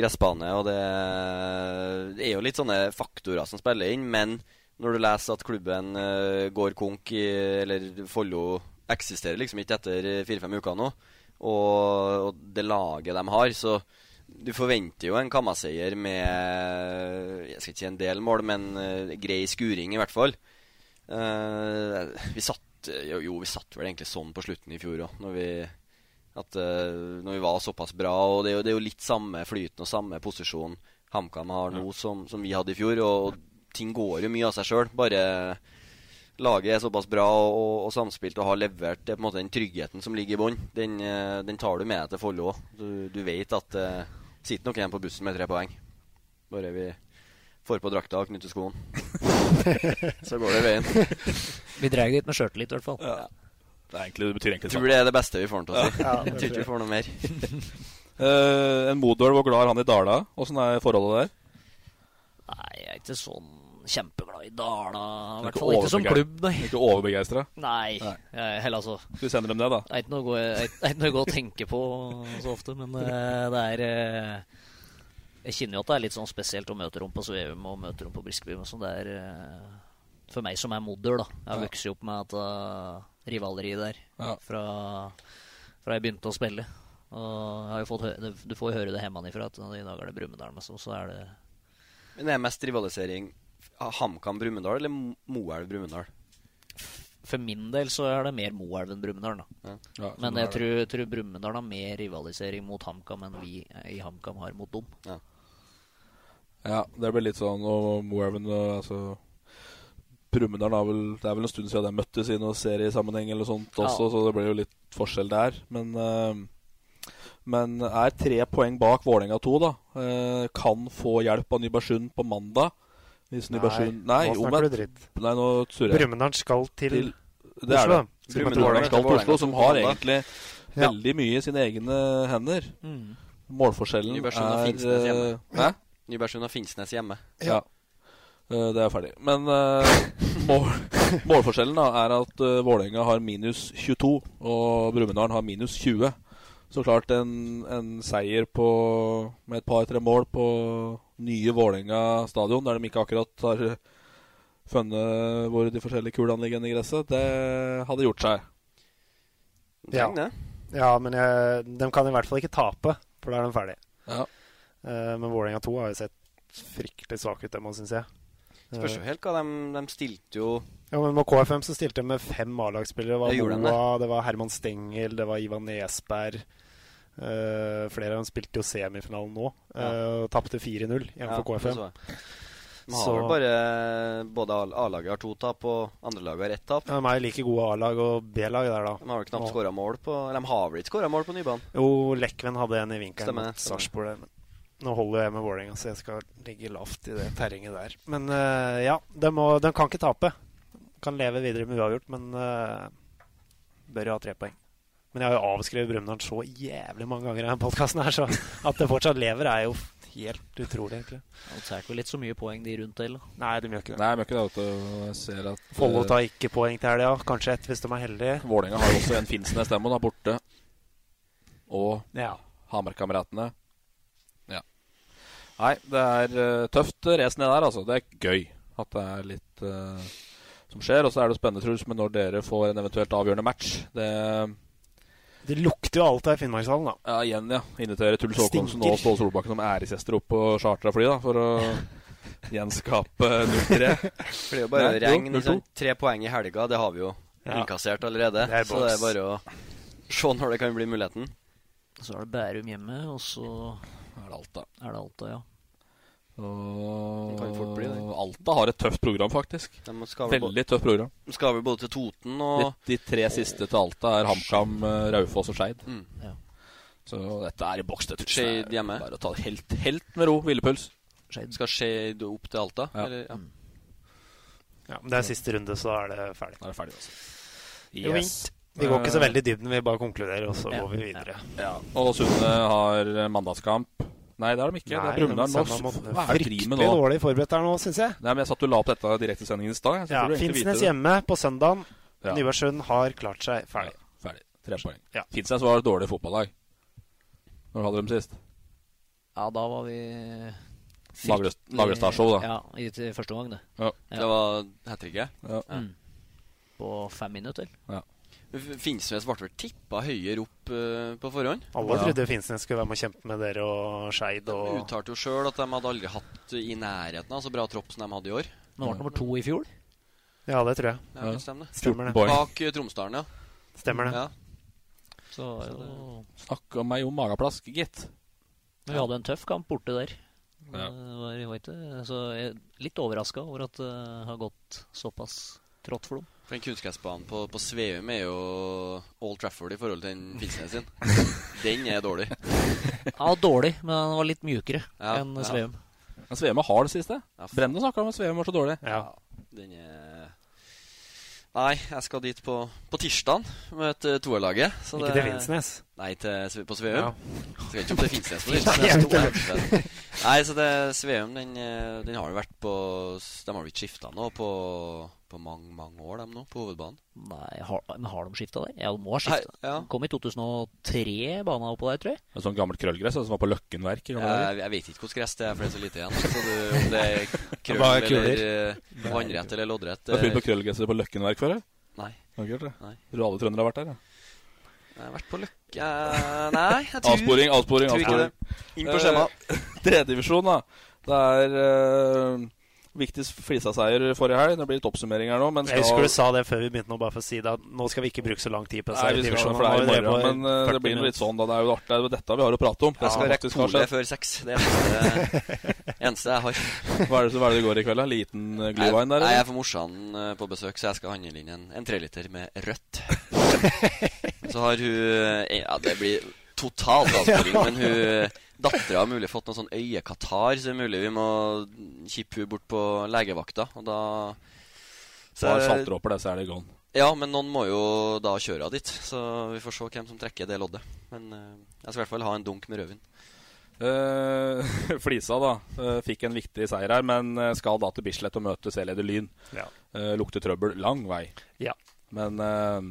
[SPEAKER 1] gressbane, og det er, det er jo litt sånne faktorer som spiller inn. Men når du leser at klubben eh, går konk, i, eller Follo eksisterer liksom ikke etter eh, fire-fem uker nå, og, og det laget de har, så du forventer jo en Kamma-seier med jeg skal ikke si en del mål, men eh, grei skuring, i hvert fall. Eh, vi satt eh, jo, jo, vi satt vel egentlig sånn på slutten i fjor òg, når vi at eh, når vi var såpass bra. Og det er jo, det er jo litt samme flyten og samme posisjon HamKam har nå som, som vi hadde i fjor. Og, og ting går jo mye av seg sjøl. Bare laget er såpass bra og, og, og samspilt og har levert. Det er på en måte den tryggheten som ligger i bånn. Den, eh, den tar du med deg til Follo òg. Du, du vet at eh, sitter nok igjen på bussen med tre poeng. Bare vi får på drakta og knytter skoen. Så går det veien.
[SPEAKER 3] Vi drar dit med sjøltillit, i hvert fall.
[SPEAKER 2] Det, betyr egentlig
[SPEAKER 1] Tror det er det beste vi får den til å si.
[SPEAKER 3] Ja, det
[SPEAKER 1] Jeg tror ikke
[SPEAKER 3] tror jeg.
[SPEAKER 1] vi får noe mer.
[SPEAKER 2] Eh, en Modøl, hvor glad er han i Dala? Åssen er forholdet der?
[SPEAKER 3] Nei, jeg er ikke sånn kjempeglad i Dala. I
[SPEAKER 2] Ikke
[SPEAKER 3] hvert fall ikke som
[SPEAKER 2] overbegei-
[SPEAKER 3] klubb, nei.
[SPEAKER 2] Ikke overbegeistra?
[SPEAKER 3] Nei. Jeg, heller altså.
[SPEAKER 2] Skal vi sende dem det, da?
[SPEAKER 3] Det er ikke noe, gå- det er ikke- det er ikke noe å tenke på så ofte, men eh, det er eh, Jeg kjenner jo at det er litt sånn spesielt å møte dem på Sveum og møte dem på Briskeby. Men sånn det er eh, for meg som er modder, da. Jeg har
[SPEAKER 2] Ja.
[SPEAKER 3] vokst opp med at uh, rivaleriet der
[SPEAKER 2] Ja.
[SPEAKER 3] fra, fra jeg begynte å spille. Og jeg har jo fått hø- du får jo høre det hjemmefra at i dag er det Brumunddal, men så, så er det
[SPEAKER 1] Men det er mest rivalisering av HamKam Brumunddal eller Mo- Moelv Brumunddal?
[SPEAKER 3] For min del så er det mer Moelv enn Brumunddal. da.
[SPEAKER 1] Ja, så
[SPEAKER 3] Men
[SPEAKER 1] det
[SPEAKER 3] jeg
[SPEAKER 1] er
[SPEAKER 3] tror, tror Brumunddal har mer rivalisering mot HamKam enn vi i HamKam har mot dem.
[SPEAKER 2] Ja, det blir litt sånn Og Moelven og altså Brumunddal har vel Det er vel en stund siden de møttes i noen seriesammenheng eller sånt
[SPEAKER 3] Ja.
[SPEAKER 2] også, så det blir jo litt forskjell der. Men, eh, men er tre poeng bak Vålerenga 2, da. Eh, kan få hjelp av Nybergsund på mandag. Hvis
[SPEAKER 4] Nei,
[SPEAKER 2] Nybergsund Nei,
[SPEAKER 4] nå snakker
[SPEAKER 2] omvendt.
[SPEAKER 4] du dritt.
[SPEAKER 2] Nei, nå surrer jeg.
[SPEAKER 4] Brumunddal skal til
[SPEAKER 2] Det er
[SPEAKER 4] Oslo,
[SPEAKER 2] det.
[SPEAKER 4] da. Skal møte
[SPEAKER 2] Brumunddal skal til
[SPEAKER 4] Vålerenga.
[SPEAKER 2] Oslo, som har
[SPEAKER 4] Vålerenga.
[SPEAKER 2] egentlig
[SPEAKER 4] Ja.
[SPEAKER 2] veldig mye i sine egne hender.
[SPEAKER 4] Mm.
[SPEAKER 2] Målforskjellen
[SPEAKER 1] Nybergsund har
[SPEAKER 2] er
[SPEAKER 1] Finnsnes hjemme.
[SPEAKER 2] eh, Hæ?
[SPEAKER 1] Nybergsund har Finnsnes hjemme.
[SPEAKER 2] Ja. Eh, Det er ferdig. Men eh, mål, målforskjellen da er at uh, Vålerenga har minus 22, og Brumunddal har minus 20. Så klart en, en seier på, med et par-tre mål på nye Vålerenga stadion, der de ikke akkurat har funnet hvor de forskjellige kulene ligger i gresset, det hadde gjort seg.
[SPEAKER 4] Ja, ja men jeg, de kan i hvert fall ikke tape, for da er de ferdige.
[SPEAKER 2] Ja.
[SPEAKER 4] Eh, men Vålerenga 2 har jo sett fryktelig svak ut, det må synes jeg. Eh,
[SPEAKER 1] Spørs jo helt hva de, de stilte jo
[SPEAKER 4] Ja, men Med KFM så stilte de med fem A-lagsspillere. Det var
[SPEAKER 1] Det gjorde de,
[SPEAKER 4] Moa, det var Herman Stengel, det var Ivan Nesberg. Eh, flere av dem spilte jo semifinalen nå, eh, og tapte 4-0 igjen for
[SPEAKER 1] det
[SPEAKER 4] KFM.
[SPEAKER 1] så jeg. altså. De har vel bare Både A- A-laget har to tap, og andrelaget har ett tap.
[SPEAKER 4] ja, de er jo like gode A-lag og B-lag der, da.
[SPEAKER 1] De har vel knapt
[SPEAKER 4] Nå.
[SPEAKER 1] skåra mål på Eller de har vel ikke skåra mål på Nybanen?
[SPEAKER 4] Jo, Lekven hadde en i vinkelen
[SPEAKER 1] Stemmer det, stemmer det.
[SPEAKER 4] mot Sarpsborg. der, men Nå holder jeg med Vålerenga, så jeg skal ligge lavt i det terrenget der. Men eh, ja, de, må, de kan ikke tape. Kan leve videre med uavgjort, men eh, bør jo ha tre poeng. Men jeg har jo avskrevet Brumunddal så jævlig mange ganger i denne podkasten her, så at det fortsatt lever, er jo helt utrolig, egentlig.
[SPEAKER 3] Og tar ikke vel litt så mye poeng de rundt til.
[SPEAKER 4] Nei, de gjør ikke
[SPEAKER 2] Nei, men ikke det at uh, jeg ser at
[SPEAKER 4] Follo
[SPEAKER 2] eh,
[SPEAKER 4] tar ikke poeng til helga, kanskje ett hvis de er heldige.
[SPEAKER 2] Vålerenga har også en Finnsnes demo da, borte. Og
[SPEAKER 4] Ja.
[SPEAKER 2] Hamar-kameratene. Ja. Nei, det er eh, tøft eh, race ned der, altså. Det er gøy at det er litt eh, som skjer. Og så er det spennende, Truls, men når dere får en eventuelt avgjørende match Det
[SPEAKER 4] Det lukter jo alt her i Finnmarkshallen, da.
[SPEAKER 2] ja, igjen, ja. Invitere Truls Håkonsen
[SPEAKER 4] Stinker.
[SPEAKER 2] og Ståle Solbakken som æresgjester opp på chartra fly, da, for å gjenskape 0-3.
[SPEAKER 1] For det er jo bare
[SPEAKER 2] Nei, jo,
[SPEAKER 1] regn.
[SPEAKER 2] 0-2.
[SPEAKER 1] ikke sant? sånn Tre poeng i helga, det har vi jo
[SPEAKER 2] Ja.
[SPEAKER 1] innkassert allerede.
[SPEAKER 2] Det er
[SPEAKER 1] så det
[SPEAKER 2] boks.
[SPEAKER 1] er bare å se når det kan bli muligheten.
[SPEAKER 3] Så er det Bærum hjemme, og så
[SPEAKER 2] Er det Alta.
[SPEAKER 3] Er det Alta, ja.
[SPEAKER 2] Og
[SPEAKER 1] Det kan fort bli det.
[SPEAKER 2] Alta har et tøft program, faktisk.
[SPEAKER 1] De skal vel
[SPEAKER 2] Veldig tøft program.
[SPEAKER 1] De skal vel både til Toten
[SPEAKER 2] De,
[SPEAKER 1] og
[SPEAKER 2] de tre siste til Alta er HamKam, eh, Raufoss og Skeid.
[SPEAKER 1] Mm.
[SPEAKER 3] Ja.
[SPEAKER 2] Så dette er i boks. det tror jeg.
[SPEAKER 1] Skeid hjemme.
[SPEAKER 2] Bare å ta det helt, helt med ro. Hvilepuls.
[SPEAKER 1] Skal Skeid opp til Alta?
[SPEAKER 2] Ja.
[SPEAKER 1] Eller, ja.
[SPEAKER 4] Ja, men det er siste runde, så da er det ferdig.
[SPEAKER 2] Da er det ferdig, altså.
[SPEAKER 4] Jo,
[SPEAKER 2] Yes.
[SPEAKER 4] fint. Vi går ikke så
[SPEAKER 2] Eh,
[SPEAKER 4] veldig i dybden, vi bare konkluderer, og så går vi videre.
[SPEAKER 2] Ja. Og Sunne har eh, mandagskamp. Nei, det har de ikke. det er Brumunddal nå. Hva er det de driver med
[SPEAKER 4] Fryktelig
[SPEAKER 2] nå?
[SPEAKER 4] dårlig forberedt der nå, syns jeg.
[SPEAKER 2] Nei, men Jeg satt og la opp dette direktesendingen i stad. jeg, så jeg
[SPEAKER 4] Ja,
[SPEAKER 2] burde egentlig
[SPEAKER 4] Finnsnes
[SPEAKER 2] vite det.
[SPEAKER 4] hjemme på søndagen.
[SPEAKER 2] Ja.
[SPEAKER 4] Nybergsund har klart seg ferdig.
[SPEAKER 2] Ferdig. Tre poeng.
[SPEAKER 4] Ja.
[SPEAKER 2] Finnsnes var et dårlig fotballag. Når hadde de sist?
[SPEAKER 3] Ja, da var vi
[SPEAKER 2] Lagerøst- Lagerøstad-show, da.
[SPEAKER 3] Ja, i til første omgang, det.
[SPEAKER 2] Ja.
[SPEAKER 1] Det var hat tricket?
[SPEAKER 2] Ja.
[SPEAKER 3] Mm. På fem minutter.
[SPEAKER 2] Ja.
[SPEAKER 1] Finnsnes ble vel tippa høyere opp eh, på forhånd?
[SPEAKER 4] Alle trodde Finnsnes skulle være med og kjempe med dere og Skeid
[SPEAKER 1] De
[SPEAKER 4] og
[SPEAKER 1] uttalte jo sjøl at de hadde aldri hatt i nærheten av så bra tropp som de hadde i år.
[SPEAKER 3] Men det ble nummer to i fjor.
[SPEAKER 4] Ja, det tror jeg.
[SPEAKER 1] Ja, det stemmer det.
[SPEAKER 4] Stemmer det.
[SPEAKER 1] Bak eh, Tromsdalen, ja.
[SPEAKER 4] Stemmer det.
[SPEAKER 1] Ja.
[SPEAKER 3] Så,
[SPEAKER 2] Snakk om meg om mageplask, gitt.
[SPEAKER 3] Men vi hadde en tøff kamp borte der.
[SPEAKER 2] Ja.
[SPEAKER 3] Det var, det var ikke- så jeg er litt overraska over at det har gått såpass trått for dem.
[SPEAKER 1] For Den kunstgressbanen på, på Sveum er jo Old Trafford i forhold til den Finnsnes sin. Den er dårlig.
[SPEAKER 3] Ja, dårlig, men han var litt mjukere
[SPEAKER 1] Ja,
[SPEAKER 3] enn
[SPEAKER 1] ja.
[SPEAKER 3] Sveum.
[SPEAKER 2] Men Sveum var hard det siste. Bremne snakka om at Sveum var så dårlig.
[SPEAKER 1] Den er Nei, jeg skal dit på, på tirsdag møte toerlaget. så
[SPEAKER 4] Ikke
[SPEAKER 1] det-
[SPEAKER 4] til Finnsnes?
[SPEAKER 1] Nei, til, Sve- på Sveum.
[SPEAKER 4] Ja.
[SPEAKER 1] Skal ikke opp til Finnsnes på
[SPEAKER 4] Nei, jeg vet
[SPEAKER 1] tirsdag.
[SPEAKER 4] det.
[SPEAKER 1] Nei, så det Sveum, den, eh, den har jo vært på De har jo ikke skifta nå på, på mange, mange år, dem nå, på hovedbanen.
[SPEAKER 3] Nei, har, men har de skifta det? Ja, de må ha skifta. Kom i 2003, bana oppå der, tror jeg.
[SPEAKER 2] Et sånn gammelt krøllgress altså, som var på Løkken verk. i gamle dager.
[SPEAKER 1] Eh, Jeg, jeg vet ikke hvordan gress det er, for det er så lite igjen. Så du, om det er krøll
[SPEAKER 2] Bare
[SPEAKER 1] eller
[SPEAKER 2] kuler.
[SPEAKER 1] eh, vannrett eller loddrett
[SPEAKER 2] Du har funnet
[SPEAKER 1] eh,
[SPEAKER 2] på krøllgresset på Løkken verk før? eller?
[SPEAKER 1] Nei.
[SPEAKER 2] Har du ikke gjort det?
[SPEAKER 1] Nei.
[SPEAKER 2] Tror du alle trøndere har vært der? Ja.
[SPEAKER 1] Jeg har vært på Løkke Eh, Nei, jeg tror
[SPEAKER 2] Avsporing, avsporing,
[SPEAKER 1] tror ikke
[SPEAKER 2] avsporing.
[SPEAKER 1] det. Inn på skjema.
[SPEAKER 2] Eh, Tredjedivisjon, da. Det er eh, viktigst Flisa-seier forrige helg. Det blir litt oppsummering her nå, men
[SPEAKER 4] Jeg husker du sa det før vi begynte nå, bare for å si det. at Nå skal vi ikke bruke så lang tid på
[SPEAKER 2] Nei, vi skal, for det er i morgen, men eh, det blir noe litt sånn, da. Det er jo artig. Det er jo dette vi har å prate om.
[SPEAKER 1] Jeg skal
[SPEAKER 2] Ja,
[SPEAKER 1] rekke
[SPEAKER 2] faktisk har
[SPEAKER 1] polet
[SPEAKER 2] skjedd.
[SPEAKER 1] før seks. Det er eneste, eneste jeg har.
[SPEAKER 2] Hva er det, så, hva er det det går i kveld, da? Liten eh,
[SPEAKER 1] Nei,
[SPEAKER 2] Glühwein der?
[SPEAKER 1] Nei, jeg
[SPEAKER 2] eller?
[SPEAKER 1] er for morsan eh, på besøk, så jeg skal handle inn en, en treliter med rødt. så har hun eh, Ja, det blir totalt avsporing,
[SPEAKER 2] Ja.
[SPEAKER 1] men hun Dattera har mulig fått noe sånn øyekatarr, så det er mulig vi må kippe hun bort på legevakta, og da
[SPEAKER 2] Bare saltdråper, det, så er det gone.
[SPEAKER 1] Ja, men noen må jo da kjøre av dit, så vi får se hvem som trekker det loddet. Men eh, jeg skal i hvert fall ha en dunk med rødvin.
[SPEAKER 2] Eh, Flisa da, eh, fikk en viktig seier her, men eh, skal da til Bislett og møte C-leder Lyn.
[SPEAKER 4] Ja.
[SPEAKER 2] Eh, lukter trøbbel lang vei.
[SPEAKER 4] Ja.
[SPEAKER 2] Men eh,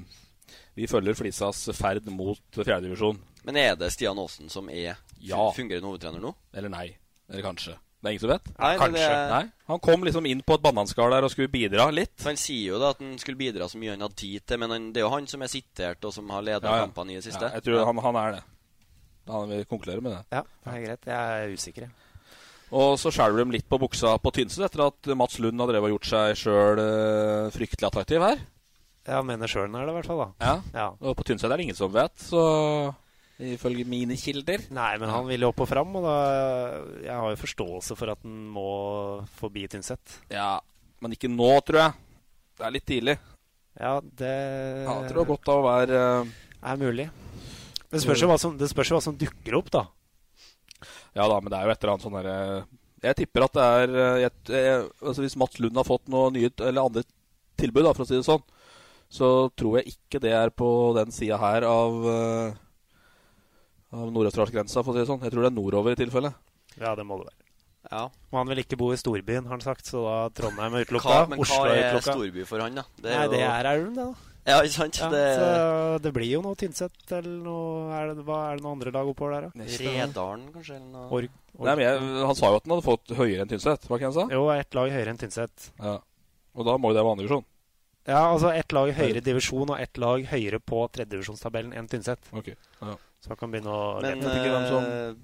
[SPEAKER 2] vi følger Flisas ferd mot fjerdedivisjon.
[SPEAKER 1] Men er det Stian Aasen som er
[SPEAKER 2] Ja.
[SPEAKER 1] fungerende hovedtrener nå?
[SPEAKER 2] Eller nei. Eller kanskje. Det er ingen som vet?
[SPEAKER 1] Nei, det- Kanskje. det er-
[SPEAKER 2] Nei, Han kom liksom inn på et bananskall der og skulle bidra litt.
[SPEAKER 1] For Han sier jo da at han skulle bidra så mye han hadde tid til, men han, det er jo han som er sitert, og som har ledet
[SPEAKER 2] Ja, ja.
[SPEAKER 1] kampene i det siste.
[SPEAKER 2] Ja, jeg tror han, han er det. Han vil konkludere med det.
[SPEAKER 4] Ja, det er greit. Jeg er usikker. jeg.
[SPEAKER 2] Og så skjelver de litt på buksa på Tynset etter at Mats Lund har drevet og gjort seg sjøl fryktelig attraktiv her.
[SPEAKER 4] Ja, mener sjøl er det, i hvert fall. da.
[SPEAKER 2] Ja.
[SPEAKER 4] Ja.
[SPEAKER 2] Og på Tynset er det ingen som vet, så ifølge mine kilder
[SPEAKER 4] Nei, men han vil jo opp og fram, og da Jeg har jo forståelse for at han må forbi Tynset.
[SPEAKER 2] Ja, men ikke nå, tror jeg. Det er litt tidlig.
[SPEAKER 4] Ja, det
[SPEAKER 2] Ja, jeg tror det er godt av å være eh,
[SPEAKER 4] Er mulig. Det spørs jo hva som, det spørs jo hva som dukker opp, da.
[SPEAKER 2] Ja da, men det er jo et eller annet sånn derre Jeg tipper at det er eh, jeg, jeg, altså Hvis Mats Lund har fått noe nye eller andre tilbud, da, for å si det sånn, så tror jeg ikke det er på den sida her av eh, Av nordøsterdalsgrensa, for å si det sånn. Jeg tror det er nordover i tilfelle.
[SPEAKER 4] Ja, det må det være.
[SPEAKER 1] Ja.
[SPEAKER 4] Og han vil ikke bo i storbyen, har han sagt, så da Trondheim er
[SPEAKER 1] Hva,
[SPEAKER 4] utelukka.
[SPEAKER 1] men
[SPEAKER 4] Oslo
[SPEAKER 1] hva
[SPEAKER 4] er
[SPEAKER 1] er
[SPEAKER 4] utelukka.
[SPEAKER 1] storby for han, da?
[SPEAKER 4] Nei, det er Elm, det, da.
[SPEAKER 1] Ja, ikke sant?
[SPEAKER 4] Ja,
[SPEAKER 1] det...
[SPEAKER 4] Så det blir jo noe Tynset eller noe er det, Hva er det noen andre lag oppover der, da?
[SPEAKER 1] Redalen, kanskje? Eller noe?
[SPEAKER 4] Org.
[SPEAKER 2] Nei, men jeg, han sa jo at han hadde fått høyere enn Tynset, var ikke det han sa?
[SPEAKER 4] Jo, ett lag høyere enn Tynset.
[SPEAKER 2] Ja. Og da må jo det være andre divisjon.
[SPEAKER 4] Ja, altså ett lag høyere i divisjon og ett lag høyere på tredjedivisjonstabellen enn Tynset.
[SPEAKER 2] Okay. Ja.
[SPEAKER 4] Så han kan begynne å
[SPEAKER 1] Men
[SPEAKER 4] lete.
[SPEAKER 1] eh,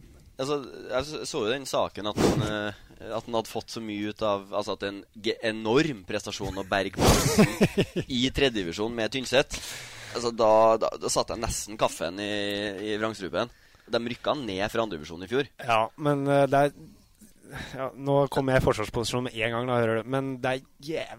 [SPEAKER 1] altså, jeg så- så jo den saken at han, eh, at han hadde fått så mye ut av Altså at det er en ge- enorm prestasjon å berge plassen i tredjedivisjon med Tynset. Altså, da, da, da satte jeg nesten kaffen i, i vrangstrupen. De rykka ned fra andredivisjon i fjor.
[SPEAKER 4] Ja, men eh, det er ja, Nå kommer jeg i forsvarsposisjon med en gang, da, hører du. Men det er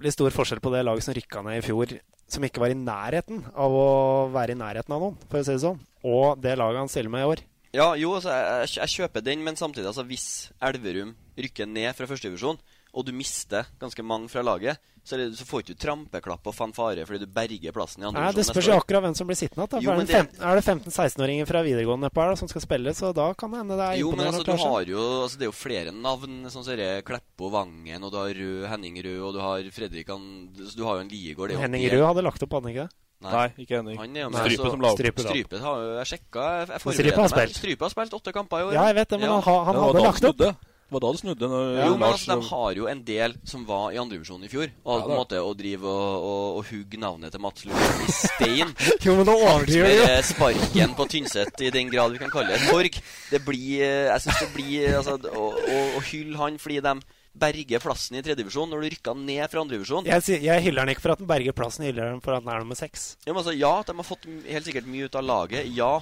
[SPEAKER 4] jævlig stor forskjell på det laget som rykka ned i fjor, som ikke var i nærheten av å være i nærheten av noen, for å si det sånn, og det laget han stiller med i år.
[SPEAKER 1] Ja, jo, altså, jeg, jeg kjøper den, men samtidig, altså, hvis Elverum rykker ned fra førstedivisjon, og du mister ganske mange fra laget, så, er det, så får ikke du trampeklapp og fanfare fordi du berger plassen i
[SPEAKER 4] Nei,
[SPEAKER 1] andredivisjon.
[SPEAKER 4] Det spørs jo akkurat hvem som blir sittende igjen.
[SPEAKER 1] Jo,
[SPEAKER 4] Er
[SPEAKER 1] men
[SPEAKER 4] det en fem- er det 15-16-åringer fra videregående nedpå her da, som skal spille, så da kan det hende det er
[SPEAKER 1] Jo, men altså,
[SPEAKER 4] imponerende. å
[SPEAKER 1] du
[SPEAKER 4] klare seg.
[SPEAKER 1] har jo, altså, det er jo flere navn. Sånn som det Kleppo Vangen, og du har Rød, Henning Rød, og du har Fredrik Han så Du har jo en Liegård. det er jo
[SPEAKER 4] Henning
[SPEAKER 1] helt-
[SPEAKER 4] Rød hadde lagt opp, hadde han ikke det?
[SPEAKER 2] Nei, ikke Henning.
[SPEAKER 1] Han er jo
[SPEAKER 2] Nei.
[SPEAKER 1] med,
[SPEAKER 2] Strype
[SPEAKER 4] altså,
[SPEAKER 1] så-
[SPEAKER 2] som la opp.
[SPEAKER 1] Strype,
[SPEAKER 2] Strype, da.
[SPEAKER 1] har jo jeg sjekka. Jeg, jeg
[SPEAKER 4] Strype har
[SPEAKER 1] forbereder meg.
[SPEAKER 4] spilt.
[SPEAKER 1] Strype har spilt åtte kamper i år.
[SPEAKER 4] Ja, jeg vet det, men han, ha- han
[SPEAKER 2] Ja, det var
[SPEAKER 4] hadde
[SPEAKER 2] da
[SPEAKER 4] lagt opp.
[SPEAKER 2] snudde. Det var da det snudde. Når
[SPEAKER 1] Jo, men
[SPEAKER 2] Lars-
[SPEAKER 1] altså, De har jo en del som var i andrevisjonen i fjor. Og
[SPEAKER 2] Ja,
[SPEAKER 1] på en
[SPEAKER 2] da.
[SPEAKER 1] måte å drive og, og, og hugge navnet til Mats Lund i stein
[SPEAKER 4] Jo, men nå overdriver de, jo.
[SPEAKER 1] Med sparken på Tynset i den grad vi kan kalle det et torg. Det blir, eh, jeg synes det blir altså, å, å, å hylle han fordi de berger plassen i tredjevisjon når du rykker ned fra andrevisjon.
[SPEAKER 4] Jeg, sier- jeg hyller han ikke for at han berger plassen, jeg hyller han for at han er nummer seks.
[SPEAKER 1] Ja, men altså, ja, de har fått m- helt sikkert mye ut av laget. Ja,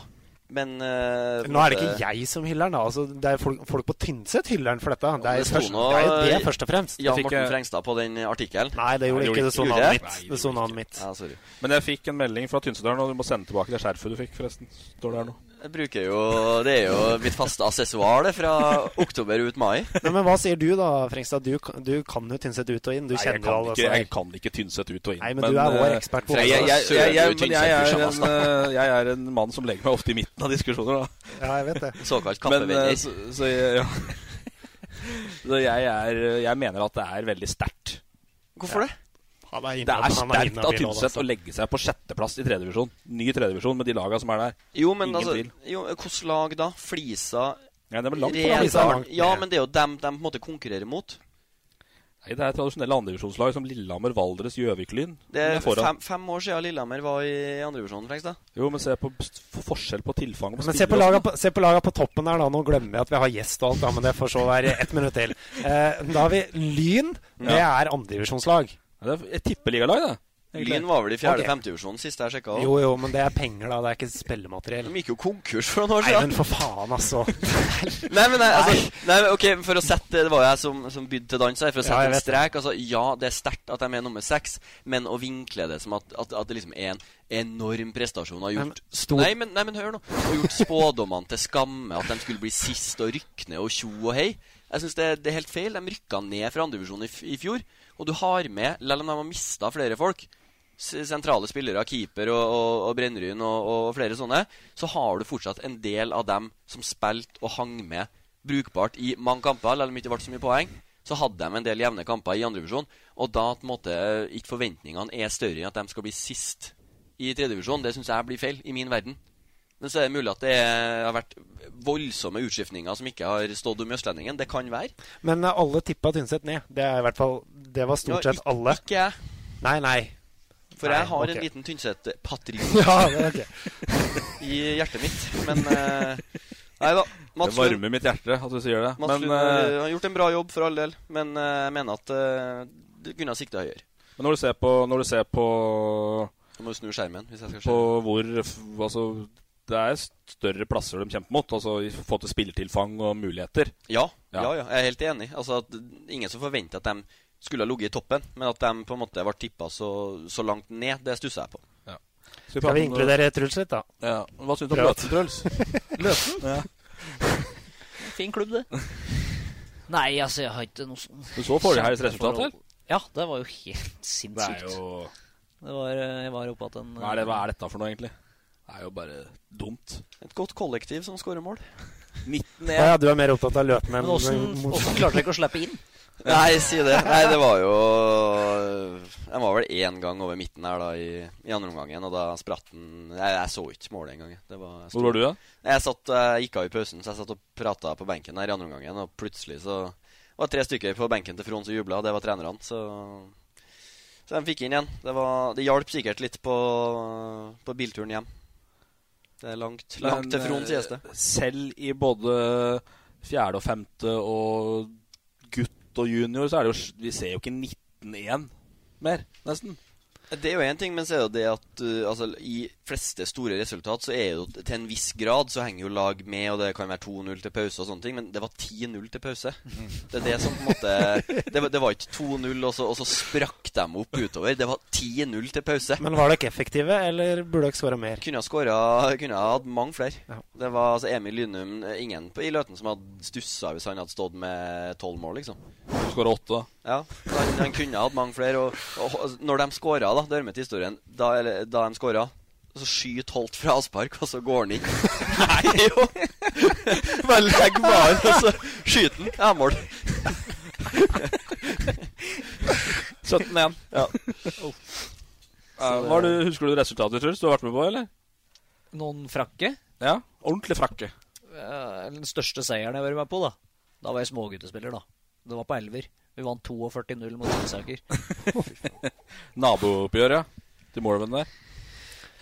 [SPEAKER 1] men eh, på en
[SPEAKER 4] Nå er det
[SPEAKER 1] måte-
[SPEAKER 4] ikke jeg som hyller han, da. Altså, det er folk, folk på Tynset hyller han for dette. Det er,
[SPEAKER 1] Det sto
[SPEAKER 4] først,
[SPEAKER 1] nå-
[SPEAKER 4] det, er jo det først og fremst.
[SPEAKER 1] Ja,
[SPEAKER 4] Det fikk
[SPEAKER 1] Morten
[SPEAKER 4] jeg-
[SPEAKER 1] Frengstad på den artikkelen.
[SPEAKER 4] Nei, det gjorde ikke det sto navnet mitt. Det sto navnet mitt.
[SPEAKER 1] Ja, sorry.
[SPEAKER 2] Men jeg fikk en melding fra Tynsedalen, og du må sende tilbake det skjerfet du fikk, forresten. Står det her nå.
[SPEAKER 1] Jeg bruker jo Det er jo mitt faste assessoar, det, fra oktober ut mai.
[SPEAKER 4] Nei, men hva sier du da, Frengstad? Du, kan- du kan jo Tynset ut og inn. Du
[SPEAKER 2] Nei,
[SPEAKER 4] kjenner
[SPEAKER 2] jeg
[SPEAKER 4] jo
[SPEAKER 2] kan,
[SPEAKER 4] alle
[SPEAKER 2] ikke,
[SPEAKER 4] som er-
[SPEAKER 2] jeg kan ikke Tynset ut og inn.
[SPEAKER 4] Nei, men du er vår
[SPEAKER 2] eh,
[SPEAKER 4] ekspert på
[SPEAKER 2] jeg, jeg, jeg, jeg,
[SPEAKER 4] Tynset. Søler,
[SPEAKER 2] men jeg,
[SPEAKER 4] Tynset,
[SPEAKER 2] er en,
[SPEAKER 4] Bursabasta.
[SPEAKER 2] eh, jeg er en mann som legger meg ofte i midten av diskusjoner, da.
[SPEAKER 4] Ja, jeg vet det.
[SPEAKER 1] Såkalt
[SPEAKER 2] Men, eh,
[SPEAKER 1] kaffevenner.
[SPEAKER 2] Så, så, jeg- ja. så jeg, er, jeg mener at det er veldig sterkt.
[SPEAKER 1] Hvorfor det?
[SPEAKER 2] Det er
[SPEAKER 4] han er
[SPEAKER 2] sterkt
[SPEAKER 4] inhabil
[SPEAKER 2] av
[SPEAKER 4] nå,
[SPEAKER 2] Tynset
[SPEAKER 4] altså.
[SPEAKER 2] å legge seg på sjetteplass i tredjevisjon. Ny tredjevisjon med de laga som er der.
[SPEAKER 1] Jo, men
[SPEAKER 2] Ingen
[SPEAKER 1] altså
[SPEAKER 2] tvil.
[SPEAKER 1] jo, Hvilket lag da? Flisa?
[SPEAKER 2] Ja, det er vel langt på
[SPEAKER 1] Rendalen?
[SPEAKER 2] Flisa, langt ned.
[SPEAKER 1] Ja, men det er jo dem de på en måte konkurrerer mot.
[SPEAKER 2] Nei, det er tradisjonelle andredivisjonslag som Lillehammer, Valdres, Gjøvik-Lyn.
[SPEAKER 1] Det
[SPEAKER 2] De
[SPEAKER 1] er
[SPEAKER 2] er foran.
[SPEAKER 1] fem, fem år siden Lillehammer var i andrevisjonen, Frengstad.
[SPEAKER 2] Jo, men se på s- forskjell på tilfang og
[SPEAKER 4] Men se på,
[SPEAKER 2] spillere
[SPEAKER 4] laga
[SPEAKER 2] også.
[SPEAKER 4] på, se på laga på toppen her, da. Nå glemmer jeg at vi har gjest og alt, da, men det får så være ett minutt til. Eh, da har vi Lyn. Det
[SPEAKER 2] Ja.
[SPEAKER 4] er andredivisjonslag.
[SPEAKER 2] Ja, det er et tippeligalag, det. egentlig.
[SPEAKER 1] Lyn var vel i fjerde
[SPEAKER 4] Ok.
[SPEAKER 1] femtevisjonen sist jeg sjekka.
[SPEAKER 4] Jo, jo, men det er penger, da. Det er ikke spillemateriell.
[SPEAKER 1] De gikk jo konkurs for noen år
[SPEAKER 4] Nei,
[SPEAKER 1] siden.
[SPEAKER 4] men for faen, altså.
[SPEAKER 1] Nei, men nei, altså, nei, men ok, for å sette Det var jo jeg som, som bydde til dans her. For å
[SPEAKER 4] Ja,
[SPEAKER 1] sette
[SPEAKER 4] jeg
[SPEAKER 1] en
[SPEAKER 4] vet det.
[SPEAKER 1] strek. Altså, ja, det er sterkt at de er nummer seks, men å vinkle det som at, at, at det liksom er en enorm prestasjon har
[SPEAKER 4] Nei,
[SPEAKER 1] gjort
[SPEAKER 4] men stor-
[SPEAKER 1] nei, men, nei, men hør nå. Har gjort spådommene til skamme. At de skulle bli sist og rykke ned og tjo og hei. Jeg syns det, det er helt feil. De rykka ned fra andredivisjon i, f- i fjor. Og du har med, selv om de har mista flere folk s- sentrale spillere, keeper og, og, og Brennryn og, og flere sånne, så har du fortsatt en del av dem som spilte og hang med brukbart i mange kamper, selv om det ikke ble så mye poeng. Så hadde de en del jevne kamper i andredivisjon, og da på en måte ikke forventningene er større enn at de skal bli sist i tredjedivisjon. Det syns jeg blir feil, i min verden. Men så er det mulig at det er, har vært voldsomme utskiftninger som ikke har stått om i Østlendingen. Det kan være.
[SPEAKER 4] Men eh, alle tippa Tynset ned. Det er i hvert fall Det var stort
[SPEAKER 1] Ja,
[SPEAKER 4] sett alle.
[SPEAKER 1] Ikke jeg.
[SPEAKER 4] Nei, nei.
[SPEAKER 1] For
[SPEAKER 4] Nei,
[SPEAKER 1] jeg har
[SPEAKER 4] ok.
[SPEAKER 1] en liten Tynset-patriot
[SPEAKER 4] Ja, det er
[SPEAKER 1] i hjertet mitt. Men eh, Nei da.
[SPEAKER 2] Det
[SPEAKER 1] Mats Lund,
[SPEAKER 2] varmer mitt hjerte at du sier det.
[SPEAKER 1] Mats
[SPEAKER 2] Men,
[SPEAKER 1] Lund eh,
[SPEAKER 2] eh,
[SPEAKER 1] har gjort en bra jobb, for all del. Men eh, jeg mener at eh, du kunne ha sikta høyere.
[SPEAKER 2] men når du ser på, når du ser på,
[SPEAKER 1] Du må jo snu skjermen. hvis jeg skal
[SPEAKER 2] på hvor f- Altså, det er større plasser de kjemper mot. Altså i forhold til spilletilfang og muligheter.
[SPEAKER 1] Ja, ja, ja, jeg er helt enig. Altså, at Ingen som forventer at de skulle ha ligget i toppen, men at de på en måte ble tippa så, så langt ned, det stusser jeg på.
[SPEAKER 4] Skal vi inkludere Truls litt, da?
[SPEAKER 2] Ja. Hva syns du om
[SPEAKER 4] Prøv.
[SPEAKER 2] Løten, Truls? Løten? Ja.
[SPEAKER 3] Fin klubb, det. Nei, altså, jeg har ikke noe sånn
[SPEAKER 2] Du så forrige helgs resultat,
[SPEAKER 3] kjempeforhold.
[SPEAKER 2] vel?
[SPEAKER 3] Ja, det var jo helt sinnssykt.
[SPEAKER 2] Det er jo-
[SPEAKER 3] Det var, eh, jeg var oppe at en
[SPEAKER 2] Hva er, det, hva er dette for noe, egentlig? Det er jo bare dumt.
[SPEAKER 1] Et godt kollektiv som skårer mål.
[SPEAKER 2] 19
[SPEAKER 4] Å ja, du er mer opptatt av løpene enn
[SPEAKER 3] Men åssen åssen klarte dere ikke å slippe inn?
[SPEAKER 1] Nei, si det. Nei, det var jo Jeg var vel én gang over midten her da i, i andre omgangen, og da spratt den Nei, jeg så ikke målet engang. jeg. Det var-
[SPEAKER 2] Hvor var du, da?
[SPEAKER 1] Jeg satt, eh, gikk av i pausen, så jeg satt og prata på benken her i andre omgangen, og plutselig så var det tre stykker på benken til Fron som jubla, og det var trenerne, så Så de fikk inn igjen. Det, var, det hjalp sikkert litt på, på bilturen hjem. Det er langt, langt til Fron,
[SPEAKER 2] eh,
[SPEAKER 1] sies det.
[SPEAKER 2] Selv i både fjerde og femte og gutt og junior, så er det jo s- Vi ser jo ikke 19-1 mer, nesten.
[SPEAKER 1] Det er jo én ting, men så er det jo det at uh, altså, i fleste store resultat så er jo til en viss grad så henger jo lag med, og det kan være 2-0 til pause og sånne ting, men det var 10-0 til pause. Det er det som på en måte Det, var- det var ikke 2-0, og, så- og så sprakk de opp utover. Det var 10-0 til pause.
[SPEAKER 4] Men var dere effektive, eller burde dere skåra mer?
[SPEAKER 1] Kunne ha skåra Kunne ha hatt mange flere. Det var altså Emil Lynum eh, Ingen på, i Løten som hadde stussa hvis han hadde stått med tolv mål, liksom.
[SPEAKER 2] Skåra åtte, da.
[SPEAKER 1] Ja, han, han kunne hatt mange flere. Og, og, og når de skåra, da, det hører med til historien Da, eller, da de skåra, så skyter Holt fra avspark, og så går han inn. Nei, jo! Bare legg varen, og så skyter han. Ja, mål.
[SPEAKER 2] 17-1.
[SPEAKER 1] Ja.
[SPEAKER 2] Eh, hva er det- husker du resultatet, Truls? Du har vært med på, eller?
[SPEAKER 3] Noen frakke?
[SPEAKER 2] Ja. Ordentlig frakke.
[SPEAKER 3] Eh, Den største seieren jeg har vært med på, da. Da var jeg småguttespiller, da. Det var på elver. Vi vant 42-0 mot Lysaker.
[SPEAKER 2] Nabooppgjøret til Morven der.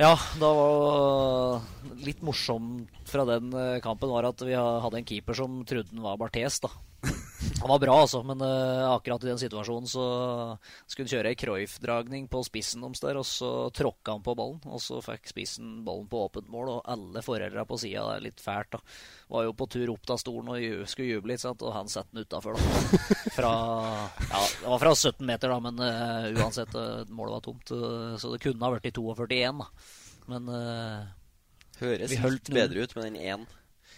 [SPEAKER 3] Ja, da var litt morsomt fra den eh, kampen var at vi ha- hadde en keeper som trodde han var Barthes, da. Han var bra, altså, men eh, akkurat i den situasjonen så skulle han kjøre ei Cruyff-dragning på spissen deres der, og så tråkka han på ballen. Og så fikk spissen ballen på åpent mål, og alle foreldra på sida er litt fælt, da. Var jo på tur opp av stolen og ju skulle juble litt, sant? og han setter den utafor, da. Fra Ja, det var fra 17 meter, da, men eh, uansett, eh, målet var tomt. eh, så det kunne ha vært i 42-1, da. Men eh,
[SPEAKER 1] Høres
[SPEAKER 3] vi
[SPEAKER 1] litt
[SPEAKER 3] holdt
[SPEAKER 1] bedre ut med den én.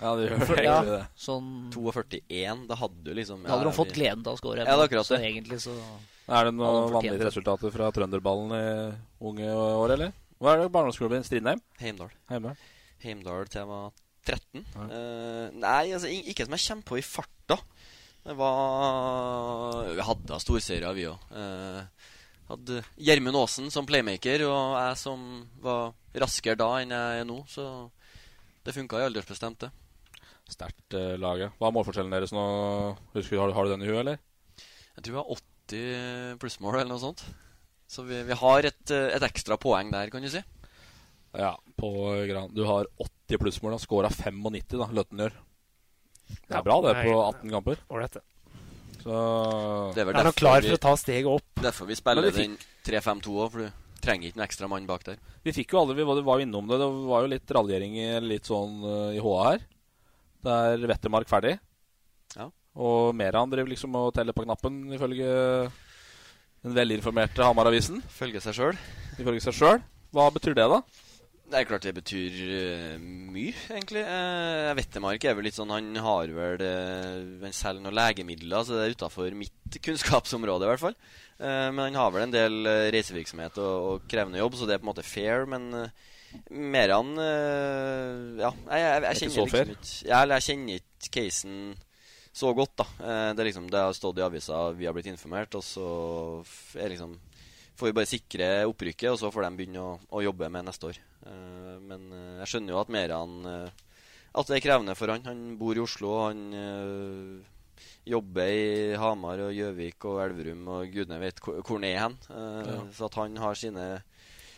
[SPEAKER 2] Ja, det
[SPEAKER 3] gjør det. Ja, sånn-
[SPEAKER 1] 42-1, da hadde du liksom
[SPEAKER 3] Da hadde de fått gleden av å score.
[SPEAKER 1] Ja, det er akkurat
[SPEAKER 3] så
[SPEAKER 1] det.
[SPEAKER 3] egentlig så
[SPEAKER 2] Er det
[SPEAKER 3] hadde de
[SPEAKER 2] noen
[SPEAKER 3] fortjent
[SPEAKER 2] vanlige
[SPEAKER 3] det.
[SPEAKER 2] resultater fra trønderballen i unge år, eller? Hva er det barndomsklubben din? Strindheim?
[SPEAKER 1] Heimdal.
[SPEAKER 2] Heimdal.
[SPEAKER 1] Heimdal tema 13. Eh, nei, altså, i- ikke som jeg kommer på i farta. Det var Vi hadde da storserier, vi òg. Eh, hadde Gjermund Aasen som playmaker, og jeg som var raskere da enn jeg er nå. Så det funka i aldersbestemt, det.
[SPEAKER 2] Sterkt eh, lag, ja. Hva er målforskjellen deres nå? Husker, du- har, har du den i huet, eller?
[SPEAKER 1] Jeg tror vi har 80 plussmål eller noe sånt. Så vi, vi har et, eh, et ekstra poeng der, kan du si.
[SPEAKER 2] Ja, på Gran. Du har 80 plussmål. Han scora 95, da, Løtten gjør. Det
[SPEAKER 4] Ja,
[SPEAKER 2] er bra, det,
[SPEAKER 4] nei,
[SPEAKER 2] på 18 kamper.
[SPEAKER 4] Ålreit, det.
[SPEAKER 2] Så
[SPEAKER 1] Det er vel
[SPEAKER 4] Er han
[SPEAKER 1] derfor
[SPEAKER 4] klar
[SPEAKER 1] vi-
[SPEAKER 4] for å ta steget opp?
[SPEAKER 1] Derfor vi
[SPEAKER 2] Men
[SPEAKER 1] spiller
[SPEAKER 2] vi fikk-
[SPEAKER 1] den 3-5-2 òg, for du trenger ikke en ekstra mann bak der.
[SPEAKER 2] Vi fikk jo aldri, vi var vi var jo innom det. Det var jo litt raljering i- litt sånn eh, i HA her. Det er Wettermark ferdig.
[SPEAKER 1] Ja.
[SPEAKER 2] Og Meran driver liksom og teller på knappen, ifølge den velinformerte Hamar-avisen.
[SPEAKER 1] Følge seg sjøl.
[SPEAKER 2] Ifølge seg sjøl. Hva betyr det, da?
[SPEAKER 1] Det er klart det betyr eh, mye, egentlig. Uh, Vettemark er vel litt sånn Han har vel eh, Han selger noen legemidler, så det er utafor mitt kunnskapsområde, i hvert fall. Eh, men han har vel en del eh, reisevirksomhet og, og krevende jobb, så det er på en måte fair, men uh, mer han eh, Ja, jeg, jeg, jeg
[SPEAKER 2] Det er ikke
[SPEAKER 1] kjenner
[SPEAKER 2] så fair.
[SPEAKER 1] liksom ikke ja, eller Jeg kjenner ikke casen så godt, da. Eh, det er liksom Det har stått i avisa, vi har blitt informert, og så f- er liksom får vi bare sikre opprykket, og så får de begynne å, å jobbe med neste år. Eh, men eh, jeg skjønner jo at Meran eh, At det er krevende for han. Han bor i Oslo, og han eh, jobber i Hamar og Gjøvik og Elverum og gudene vet hvor hvor han er hen. Eh,
[SPEAKER 2] Ja.
[SPEAKER 1] Så at han har sine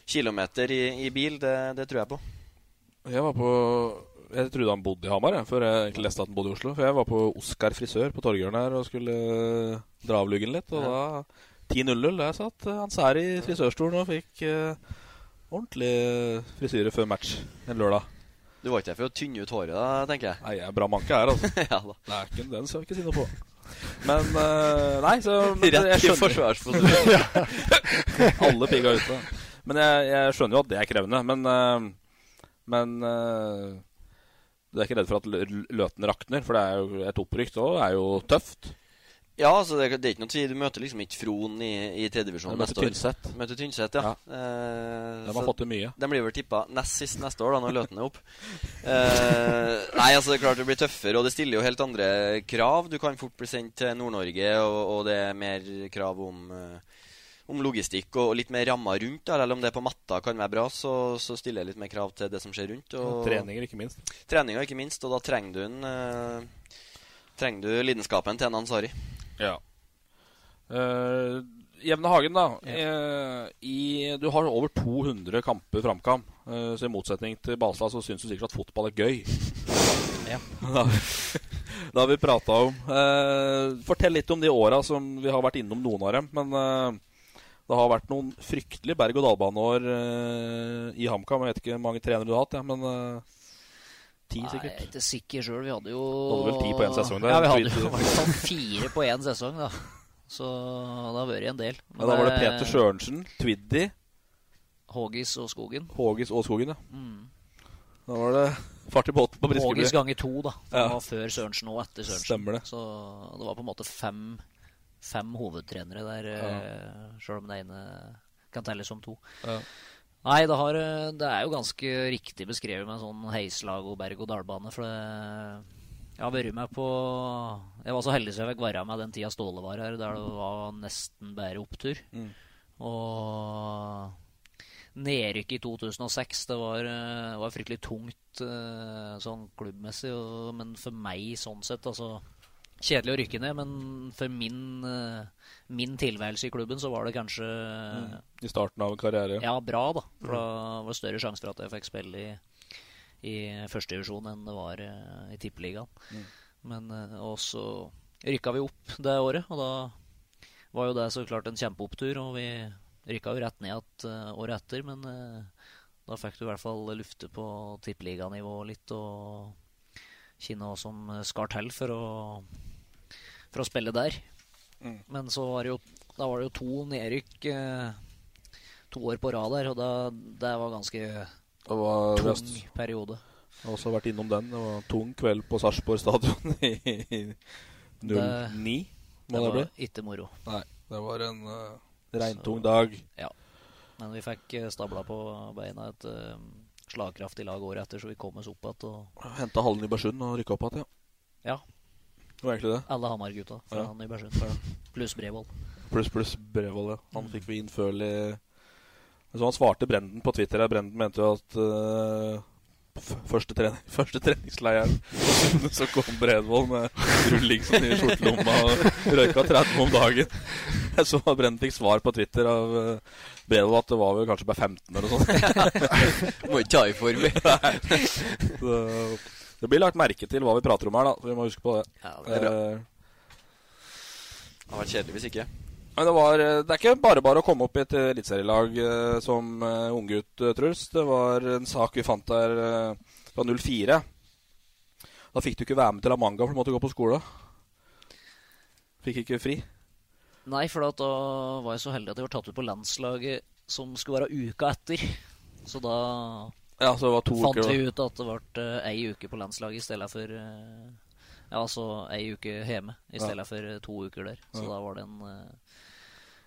[SPEAKER 1] kilometer i, i bil, det, det tror jeg på.
[SPEAKER 2] Jeg var på Jeg trodde han bodde i Hamar, jeg, før jeg egentlig leste at han bodde i Oslo. For jeg var på Oskar frisør på Torgeren her og skulle eh, dra av luggen litt. Og da 10.00 der satt eh, han sær i frisørstolen og fikk eh, ordentlig eh, frisyre før match en lørdag.
[SPEAKER 1] Du var ikke der for å tynne ut håret, da, tenker jeg?
[SPEAKER 2] Nei, jeg er bra manke her, altså.
[SPEAKER 1] ja, da.
[SPEAKER 2] Det er ikke den skal vi ikke si noe på. Men eh, Nei, så men
[SPEAKER 1] Rett i
[SPEAKER 2] jeg skjønner-
[SPEAKER 1] forsvarsposisjon.
[SPEAKER 2] Ja. Alle pigga ute. Men jeg, jeg skjønner jo at det er krevende. Men, eh, men eh, du er ikke redd for at lø- Løten rakner? For det er jo et opprykk og er jo tøft.
[SPEAKER 1] Ja, altså det, er- det er ikke noe tvil. Du møter liksom ikke Fron i, i tredjedivisjon
[SPEAKER 2] Du møter
[SPEAKER 1] neste år.
[SPEAKER 2] Tynset.
[SPEAKER 1] Møter Tynset, ja. Eh,
[SPEAKER 2] De har fått til mye.
[SPEAKER 1] De blir vel tippa nest sist neste år, da, når Løten er opp. Eh, nei, altså det er klart det blir tøffere, og det stiller jo helt andre krav. Du kan fort bli sendt til Nord-Norge, og, og det er mer krav om eh, om logistikk og og litt mer rammer rundt. da. Eller om det på matta kan være bra, så, så stiller jeg litt mer krav til det som skjer rundt.
[SPEAKER 2] Og treninger, ikke minst.
[SPEAKER 1] Treninger, ikke minst. Og da trenger du en eh, Trenger du lidenskapen til en Ansari.
[SPEAKER 2] Ja. Eh, Jevne Hagen, da. Eh, i, du har over 200 kamper framkam. Eh, så i motsetning til Balstad så syns du sikkert at fotball er gøy.
[SPEAKER 3] Ja.
[SPEAKER 2] Da, det har vi prata om. Eh, fortell litt om de åra som vi har vært innom noen av dem. Men eh, det har vært noen fryktelige berg-og-dal-baneår eh, i HamKam. Jeg vet ikke hvor mange trenere du har hatt, ja, men eh, ti
[SPEAKER 3] Nei, jeg
[SPEAKER 2] sikkert.
[SPEAKER 3] er ikke sikker sjøl. Vi hadde jo
[SPEAKER 2] Du hadde vel ti på en sesong der?
[SPEAKER 3] Ja, vi hadde jo
[SPEAKER 2] Tweet-
[SPEAKER 3] i hvert fall fire på én sesong, da. Så det har vært en del.
[SPEAKER 2] Ja, da var det
[SPEAKER 3] Men, eh,
[SPEAKER 2] Peter Sørensen, Twiddy
[SPEAKER 3] Hågis og Skogen.
[SPEAKER 2] Hågis og Skogen, ja.
[SPEAKER 3] Mm.
[SPEAKER 2] Da var det fart i båten på Briskeby.
[SPEAKER 3] Hågis ganger to, da. For
[SPEAKER 2] Ja.
[SPEAKER 3] Det var før Sørensen og etter Sørensen.
[SPEAKER 2] Stemmer det.
[SPEAKER 3] Så det var på en måte fem, fem hovedtrenere der, ja. sjøl om den ene kan telles som to.
[SPEAKER 2] Ja.
[SPEAKER 3] Nei, det, har, eh, det er jo ganske riktig beskrevet med en sånn heislag og berg-og-dal-bane. For det, jeg har vært med på Jeg var så heldig som jeg fikk være med den tida Ståle var her, der det var nesten bare opptur.
[SPEAKER 2] Mm.
[SPEAKER 3] Og nedrykket i 2006, det var, eh, var fryktelig tungt eh, sånn klubbmessig. Og, men for meg sånn sett, altså Kjedelig å rykke ned, men for min, eh, min tilværelse i klubben så var det kanskje
[SPEAKER 2] Mm. I starten av en karriere.
[SPEAKER 3] ja, bra, da. For da var det større sjanse for at jeg fikk spille i, i førstedivisjon enn det var eh, i tippeligaen.
[SPEAKER 2] Mm.
[SPEAKER 3] Men eh, og så rykka vi opp det året, og da var jo det så klart en kjempeopptur. Og vi rykka jo rett ned igjen eh, året etter, men eh, da fikk du i hvert fall lufte på tippeliganivå litt, og kjenne hva som skar til for å, for å spille der.
[SPEAKER 2] Mm.
[SPEAKER 3] Men så var det jo, da var det jo to nedrykk eh, to år på rad der, og da, det var ganske
[SPEAKER 2] Det var
[SPEAKER 3] tung
[SPEAKER 2] rest-
[SPEAKER 3] periode.
[SPEAKER 2] Jeg har også vært innom den. Det var en tung kveld på Sarpsborg stadion i i 09.
[SPEAKER 3] det
[SPEAKER 2] Må det,
[SPEAKER 3] var
[SPEAKER 2] bli?
[SPEAKER 3] ikke moro.
[SPEAKER 2] Nei, det var en eh, regntung dag.
[SPEAKER 3] Ja. Men vi fikk eh, stabla på beina et eh, slagkraftig lag året etter, så vi kom oss opp igjen. og-
[SPEAKER 2] Henta hallen i Nybergsund og rykka opp igjen, ja.
[SPEAKER 3] Ja.
[SPEAKER 2] Det var egentlig det.
[SPEAKER 3] Alle Hamar-gutta fra
[SPEAKER 2] Ja.
[SPEAKER 3] Nybergsund. fra- Pluss Brevold.
[SPEAKER 2] Pluss, pluss Brevold, ja. Han fikk vi innførlig Så han svarte Brenden på Twitter her. Brenden mente jo at eh, f- første, trening, første treningsleiren så kom Bredvold med rullingsen i skjortelomma og røyka 30 om dagen. Jeg så at Brenden fikk svar på Twitter av eh, Bredvold at det var vel kanskje bare 15 eller noe sånt.
[SPEAKER 6] Må ikke ta i form.
[SPEAKER 2] Nei. Så Det blir lagt merke til hva vi prater om her, da. Så vi må huske på det.
[SPEAKER 1] Ja, det er bra.
[SPEAKER 2] Eh,
[SPEAKER 1] Det hadde vært kjedelig hvis ikke.
[SPEAKER 2] men det, var, eh, det er ikke bare bare å komme opp i et eliteserielag eh, som eh, unggutt, eh, Truls. Det var en sak vi fant der eh, fra 04. Da fikk du ikke være med til Amanga, for du måtte gå på skole. Fikk ikke fri.
[SPEAKER 3] Nei, for at da var jeg så heldig at jeg var tatt ut på landslaget som skulle være uka etter. Så da
[SPEAKER 2] Ja, så det var to
[SPEAKER 3] fant
[SPEAKER 2] uker,
[SPEAKER 3] vi
[SPEAKER 2] da.
[SPEAKER 3] ut at det ble eh, ei uke på landslaget i stedet for eh, Ja, altså ei uke hjemme i
[SPEAKER 2] Ja.
[SPEAKER 3] stedet for eh, to uker der. Så
[SPEAKER 2] Ja.
[SPEAKER 3] da var det en eh,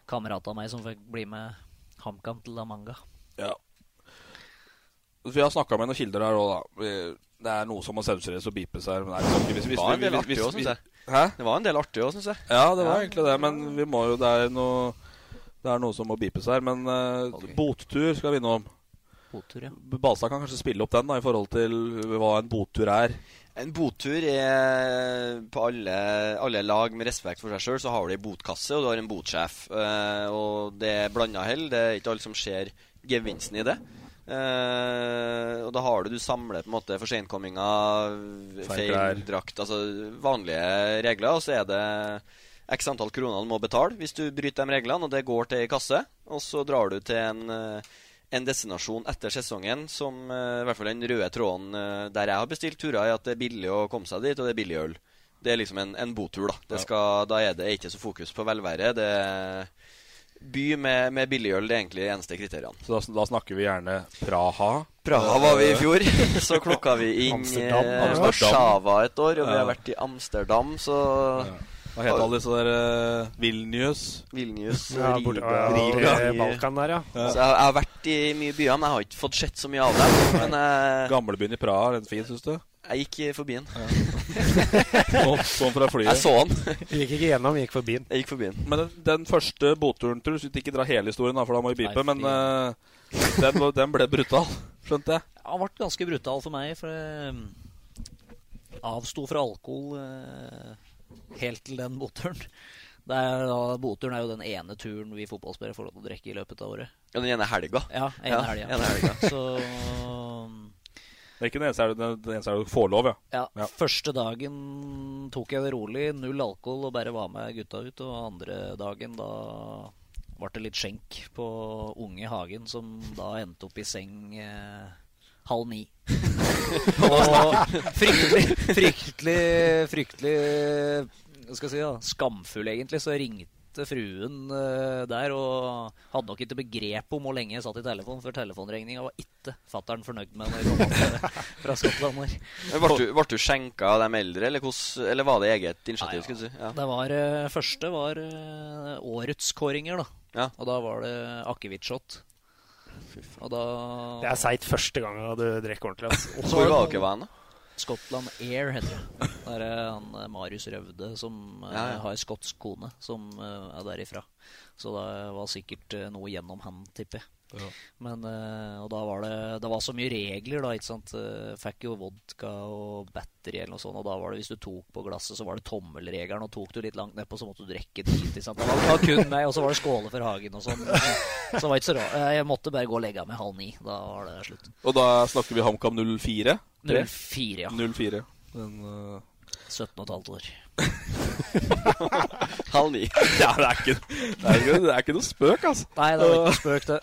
[SPEAKER 3] kamerat av meg som fikk bli med HamKam til Amanga.
[SPEAKER 2] Ja. Vi har snakka med noen kilder her òg, da. Vi- Det er noe som må sensureres og beepes her. Men det er ikke- hvis-
[SPEAKER 1] Det
[SPEAKER 2] hvis-
[SPEAKER 1] var en del
[SPEAKER 2] hvis-
[SPEAKER 1] artig
[SPEAKER 2] hvis-
[SPEAKER 1] også, synes jeg.
[SPEAKER 2] Hæ?
[SPEAKER 1] Det var en del artig òg, syns jeg.
[SPEAKER 2] Ja, det var
[SPEAKER 1] Ja.
[SPEAKER 2] egentlig det, men vi må jo Det er noe, det er noe som må bipes her. Men eh, bottur skal vi innom.
[SPEAKER 3] Bottur, ja.
[SPEAKER 2] Balstad kan kanskje spille opp den da i forhold til hva en bottur er.
[SPEAKER 1] En bottur er På alle, alle lag med respekt for seg sjøl, så har du ei botkasse, og du har en botsjef. Eh, og det er blanda hell. Det er ikke alle som ser gevinsten i det. Eh, og da har du Du samler på en måte for seinkomminger,
[SPEAKER 2] Feil klær.
[SPEAKER 1] feil drakt Altså vanlige regler. Og så er det x antall kroner du må betale hvis du bryter de reglene, og det går til ei kasse. Og så drar du til en eh, en destinasjon etter sesongen som eh, i hvert fall den røde tråden eh, der jeg har bestilt turer, er at det er billig å komme seg dit, og det er billig øl. Det er liksom en, en botur, da. Det skal, da er det ikke så fokus på velvære. Det er by med, med billigøl, det er egentlig de eneste kriteriene.
[SPEAKER 2] Så da, da snakker vi gjerne Praha.
[SPEAKER 1] Praha var vi i fjor, så klokka vi inn eh,
[SPEAKER 2] Amsterdam. Amsterdam.
[SPEAKER 1] Warszawa et år, og vi
[SPEAKER 2] Ja.
[SPEAKER 1] har vært i Amsterdam, så
[SPEAKER 2] Hva heter alle disse der eh, Vilnius?
[SPEAKER 1] Vilnius,
[SPEAKER 4] Ja, bort- ja,
[SPEAKER 1] Riga.
[SPEAKER 4] til Balkan der, ja.
[SPEAKER 1] Så jeg, jeg har vært i mye byer, men jeg har ikke fått sett så mye av dem. Men jeg,
[SPEAKER 2] Gamlebyen i Praha, er den fin, syns du?
[SPEAKER 1] jeg gikk eh, forbi den.
[SPEAKER 2] Så- sånn fra flyet.
[SPEAKER 1] Jeg så den.
[SPEAKER 4] Gikk ikke gjennom, gikk forbi den.
[SPEAKER 1] Jeg gikk forbi den.
[SPEAKER 2] Men den, den første botturen, Truls, vi ikke dra hele historien, da, for da må vi bipe,
[SPEAKER 3] Nei,
[SPEAKER 2] men eh, den, var- den ble brutal, skjønte jeg.
[SPEAKER 3] Han ble ganske brutal for meg, for jeg avsto fra alkohol eh, helt til den boturen. Det er, da- boturen er jo den ene turen vi fotballspillere får lov til å drikke i løpet av året.
[SPEAKER 1] Ja, den ene helga.
[SPEAKER 3] Ja, ene
[SPEAKER 1] Ja,
[SPEAKER 3] helga.
[SPEAKER 1] ene helga.
[SPEAKER 3] Så
[SPEAKER 2] Det er ikke den eneste er- den- den eneste er du får lov, ja.
[SPEAKER 3] ja, første dagen tok jeg det rolig, null alkohol og bare var med gutta ut. Og andre dagen da ble det litt skjenk på unge i Hagen, som da endte opp i seng eh, halv ni. og fryktelig, fryktelig, fryktelig hva skal jeg si da, skamfull, egentlig. Så ringte fruen eh, der og hadde nok ikke begrep om hvor lenge jeg satt i telefonen, for telefonregninga var ikke fatter'n fornøyd med når jeg kom opp eh, fra Skottland. der.
[SPEAKER 1] Men Ble du, ble du skjenka av de eldre, eller, hvordan- eller var det eget initiativ? skulle du si? Ja.
[SPEAKER 3] Det var, eh, første var eh, årets kåringer, da. Og da var det akevittshot. Og da
[SPEAKER 4] Det er seigt første gangen du drikker ordentlig. Altså.
[SPEAKER 3] Så var det noen- Scotland Air heter det. Der er han eh, Marius Røvde som eh,
[SPEAKER 1] Ja, ja.
[SPEAKER 3] har skotsk kone, som eh, er derifra. Så det var sikkert eh, noe gjennom han, tipper jeg.
[SPEAKER 2] Ja.
[SPEAKER 3] Men, eh, og da var det, det var så mye regler, da. ikke sant? Eh, Fikk jo vodka og battery eller noe sånt. Og da var det, hvis du tok på glasset, så var det tommelregelen. Og tok du litt langt nedpå, så måtte du drikke dit. ikke sant? Det var, det var kun meg, og så var det skåle for hagen og sånn. Så det var ikke så rart. Eh, Jeg måtte bare gå og legge meg halv ni. Da var det slutt.
[SPEAKER 2] Og da snakker vi HamKam 04?
[SPEAKER 3] 04, ja.
[SPEAKER 2] 04. Den, eh,
[SPEAKER 3] 17 15 år.
[SPEAKER 1] Halv ni.
[SPEAKER 2] ja, det er, ikke, det, er ikke, det er ikke noe spøk, altså.
[SPEAKER 3] Nei, det var ikke spøk, det.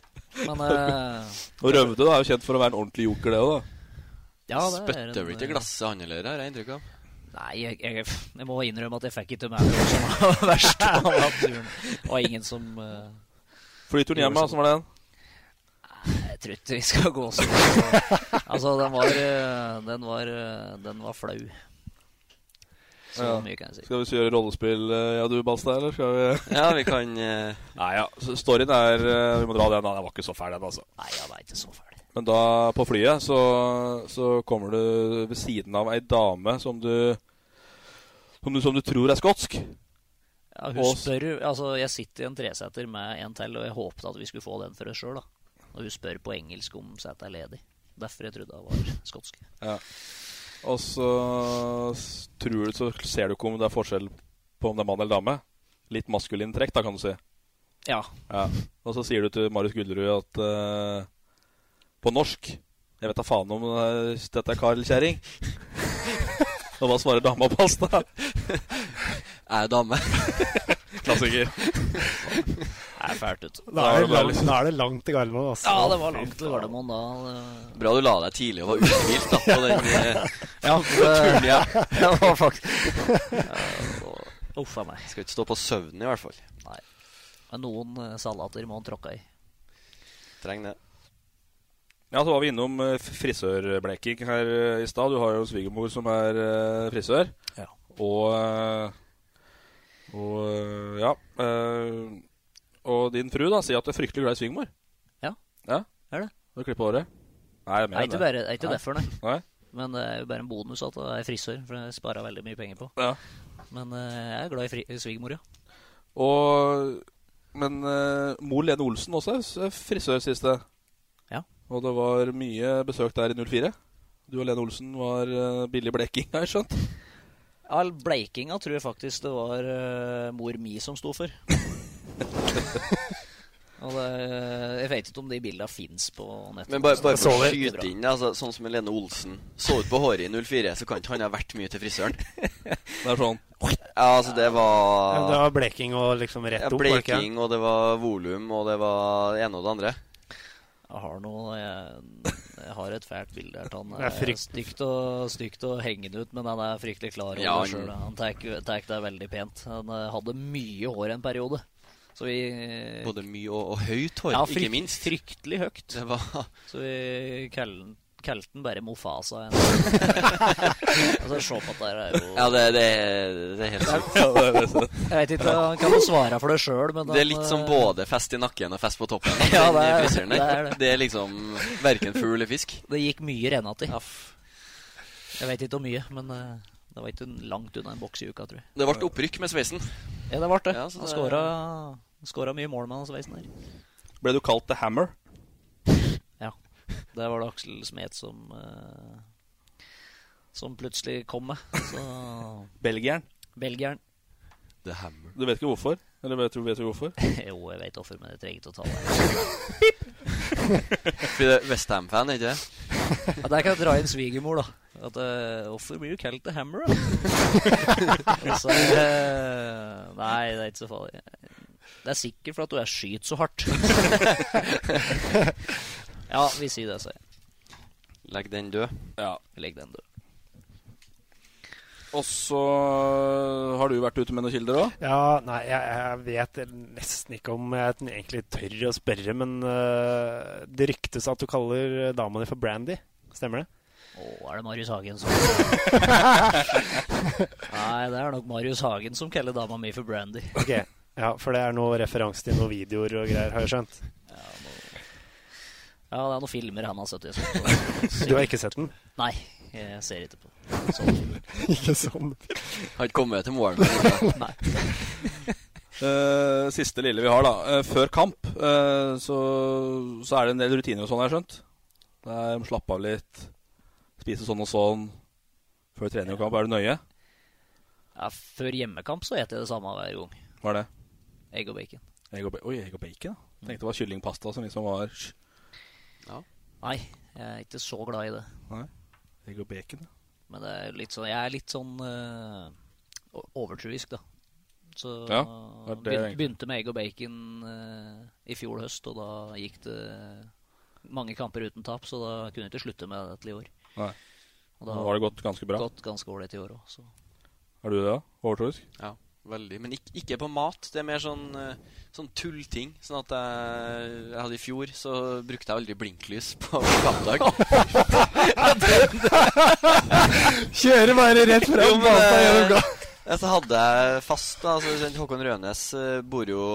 [SPEAKER 3] Men eh,
[SPEAKER 2] Og Røvde da, er jo kjent for å være en ordentlig joker, det òg, da.
[SPEAKER 3] Ja, det er en- eh,
[SPEAKER 2] Spytter vel ikke
[SPEAKER 1] glasset han heller, har jeg inntrykk av.
[SPEAKER 3] Nei, jeg, jeg, jeg må innrømme at jeg fikk ikke med meg som var verst på den turen. Det var ingen som uh,
[SPEAKER 2] Flyturen hjem, hvordan var den?
[SPEAKER 3] Jeg tror ikke vi skal gå så Altså, den var, eh, den var, eh, den var flau. Så
[SPEAKER 2] Ja.
[SPEAKER 3] mye kan jeg si.
[SPEAKER 2] Skal vi så gjøre rollespill, eh, ja du, Balstad, eller skal vi
[SPEAKER 1] Ja, vi kan eh,
[SPEAKER 2] Nei ja, så storyen er eh, Vi må dra den, da. Den var ikke så fæl, den, altså.
[SPEAKER 3] Nei, den er ikke så fæl.
[SPEAKER 2] Men da, på flyet, så, så kommer du ved siden av ei dame som du Som du, som du tror er skotsk.
[SPEAKER 3] Ja, hun
[SPEAKER 2] Og-
[SPEAKER 3] spør, altså, jeg sitter i en treseter med en til, og jeg håpet at vi skulle få den for oss sjøl. Og hun spør på engelsk om setet er ledig. Derfor jeg trodde hun var skotsk.
[SPEAKER 2] Ja. Og så s- tror du, så ser du ikke om det er forskjell på om det er mann eller dame. Litt maskulin trekk, da, kan du si.
[SPEAKER 3] Ja.
[SPEAKER 2] Og så sier du til Marius Gullerud at eh, På norsk Jeg vet da faen om eh, dette er kar eller kjerring. Og hva svarer dama på oss, da?
[SPEAKER 1] Er dame.
[SPEAKER 2] Klassiker.
[SPEAKER 3] Det er fælt ut.
[SPEAKER 4] Da er liksom- det langt, da er det langt til Gardermoen. Altså.
[SPEAKER 3] Ja, det var langt til Gardermoen da. det-
[SPEAKER 1] Bra du la deg tidlig og var uthvilt da, på den eh,
[SPEAKER 3] Ja,
[SPEAKER 1] på turen hjem.
[SPEAKER 3] det var faktisk Uff a meg.
[SPEAKER 1] Skal ikke stå på søvnen, i hvert fall.
[SPEAKER 3] Nei. Men noen eh, salater må han tråkke i.
[SPEAKER 1] Trenger det.
[SPEAKER 2] Ja, så var vi innom eh, f- frisørbleking her eh, i stad. Du har jo svigermor som er eh, frisør.
[SPEAKER 3] Ja.
[SPEAKER 2] Og eh, Og eh, ja. eh, Og din fru da sier at du er fryktelig glad i svigermor.
[SPEAKER 3] Ja.
[SPEAKER 2] ja.
[SPEAKER 3] Er det?
[SPEAKER 2] Har du klippet håret? Nei,
[SPEAKER 3] Det
[SPEAKER 2] det er
[SPEAKER 3] er
[SPEAKER 2] mer enn
[SPEAKER 3] ikke, bare, det er ikke
[SPEAKER 2] Nei.
[SPEAKER 3] derfor, nei.
[SPEAKER 2] Nei.
[SPEAKER 3] Men det er jo bare en bonus at jeg er frisør, for jeg sparer veldig mye penger på.
[SPEAKER 2] Ja.
[SPEAKER 3] Men eh, jeg er glad i fri- svigermor, ja.
[SPEAKER 2] Og Men eh, mor Lene Olsen også er s- er frisør siste.
[SPEAKER 3] Ja.
[SPEAKER 2] Og det var mye besøk der i 04. Du og Lene Olsen var eh, billig bleking, har jeg skjønt.
[SPEAKER 3] All bleikinga tror jeg faktisk det var eh, mor mi som sto for. Og det, eh, jeg vet ikke om de bildene fins på nettet.
[SPEAKER 1] Men bare, bare
[SPEAKER 3] Så
[SPEAKER 1] for å
[SPEAKER 3] det ikke
[SPEAKER 1] skyte
[SPEAKER 3] bra.
[SPEAKER 1] inn, altså, sånn som Helene Olsen så ut på håret i 04, så kan ikke han ha vært mye til frisøren.
[SPEAKER 2] Det er sånn
[SPEAKER 1] Ja, altså, det var
[SPEAKER 4] Ja, det var bleking og liksom rett
[SPEAKER 1] Ja,
[SPEAKER 4] opp, var det ikke?
[SPEAKER 1] bleking, og det var volum, og det var det ene og det andre.
[SPEAKER 3] Jeg har noe jeg, jeg har et fælt bilde her. til Han
[SPEAKER 4] Det er
[SPEAKER 3] er
[SPEAKER 4] frykt-
[SPEAKER 3] stygt og, stygt og hengende ut, men han er fryktelig klar over
[SPEAKER 1] Ja,
[SPEAKER 3] det
[SPEAKER 1] han-
[SPEAKER 3] sjøl. Han tar det veldig pent. Han eh, hadde mye hår en periode. Så vi
[SPEAKER 1] Både mye og, og høyt hår,
[SPEAKER 3] Ja,
[SPEAKER 1] ikke
[SPEAKER 3] frykt-
[SPEAKER 1] minst.
[SPEAKER 3] Fryktelig høyt.
[SPEAKER 1] Det var
[SPEAKER 3] Så vi kalte den bare Mofasa. altså, se på at der er jo
[SPEAKER 1] Ja, det, det, det er helt sant.
[SPEAKER 2] Ja, det er sant.
[SPEAKER 3] Jeg vet ikke, han kan jo svare for det sjøl, men
[SPEAKER 1] Det er
[SPEAKER 3] han,
[SPEAKER 1] litt som
[SPEAKER 3] eh,
[SPEAKER 1] både fest i nakken og fest på toppen.
[SPEAKER 3] Ja, det er-
[SPEAKER 1] Den frisøren der.
[SPEAKER 3] det er det.
[SPEAKER 1] Det er liksom verken fugl eller fisk.
[SPEAKER 3] Det gikk mye rennati. Jeg vet ikke hvor mye, men eh, det var ikke langt unna en boks i uka, tror jeg.
[SPEAKER 1] Det ble opprykk med sveisen.
[SPEAKER 3] Ja, det ble det.
[SPEAKER 1] Ja, så
[SPEAKER 3] han
[SPEAKER 1] det-
[SPEAKER 3] skåra, skåra mye mål med den sveisen der.
[SPEAKER 2] Ble du kalt The Hammer?
[SPEAKER 3] Ja. Der var det Aksel Smet som eh, Som plutselig kom med. Så
[SPEAKER 2] Belgieren.
[SPEAKER 3] Belgieren.
[SPEAKER 1] The Hammer.
[SPEAKER 2] Du vet ikke hvorfor? Eller vet du, vet du hvorfor?
[SPEAKER 3] jo, jeg vet hvorfor, men jeg trenger ikke å ta det.
[SPEAKER 1] Fordi det er Westham-fan, er ikke det?
[SPEAKER 3] Ja, der kan jeg dra inn svigermor, da. At eh, Hvorfor blir du kalt The Hammer, da? Og så, eh, nei, det er ikke så farlig. Det er sikkert for at du er skyt så hardt. ja, vi sier det, sier jeg.
[SPEAKER 1] Legg den død.
[SPEAKER 2] Ja.
[SPEAKER 3] Legg den død.
[SPEAKER 2] Og så eh, har du vært ute med noen kilder òg?
[SPEAKER 4] Ja, nei, jeg, jeg vet nesten ikke om jeg egentlig tør å spørre, men øh, det ryktes at du kaller dama di for Brandy. Stemmer det?
[SPEAKER 3] Å, er det Marius Hagen som Nei, det er nok Marius Hagen som kaller dama mi for Brandy.
[SPEAKER 4] Ok, ja, For det er noe referanse til noen videoer og greier, har jeg skjønt.
[SPEAKER 3] Ja, det er noen filmer han har sett. jeg så- så-
[SPEAKER 4] Du har ikke sett den?
[SPEAKER 3] Nei, jeg ser ikke på sånne filmer.
[SPEAKER 4] Ikke sånn.
[SPEAKER 1] Har ikke kommet til morgenen.
[SPEAKER 3] Nei.
[SPEAKER 2] Eh, siste lille vi har, da. Eh, før kamp eh, så, så er det en del rutiner og sånn, har jeg skjønt. Det er slappe av litt, spise sånn og sånn før trening og kamp. Er du nøye?
[SPEAKER 3] Ja, før hjemmekamp så eter jeg det samme hver gang.
[SPEAKER 2] Hva er det?
[SPEAKER 3] Egg og bacon.
[SPEAKER 2] Egg og ba Oi, egg og bacon? ja. Tenkte det var kyllingpasta som liksom var
[SPEAKER 3] Nei, jeg er ikke så glad i det.
[SPEAKER 2] Nei. Egg og bacon, ja.
[SPEAKER 3] Men det er litt sånn, jeg er litt sånn eh, o- overtruisk, da. Så
[SPEAKER 2] Ja,
[SPEAKER 3] eh,
[SPEAKER 2] det er det
[SPEAKER 3] begynte,
[SPEAKER 2] egentlig.
[SPEAKER 3] begynte med egg og bacon eh, i fjor høst, og da gikk det mange kamper uten tap, så da kunne jeg ikke slutte med det til i år.
[SPEAKER 2] Nei.
[SPEAKER 3] Og da
[SPEAKER 2] Nå har det gått ganske bra.
[SPEAKER 3] Gått ganske ålreit i år òg, så
[SPEAKER 2] Er du det, da? Overtroisk?
[SPEAKER 1] Ja, veldig. Men ikke, ikke på mat. Det er mer sånn, eh, sånn tullting. Sånn at jeg, jeg hadde i fjor, så brukte jeg aldri blinklys på kampdag.
[SPEAKER 4] Kjører bare rett frem,
[SPEAKER 1] Jo, men,
[SPEAKER 4] gata
[SPEAKER 1] eh,
[SPEAKER 4] gjennom gata.
[SPEAKER 1] ja, Så hadde jeg fast, da. Så kjent Håkon Rønes eh, bor jo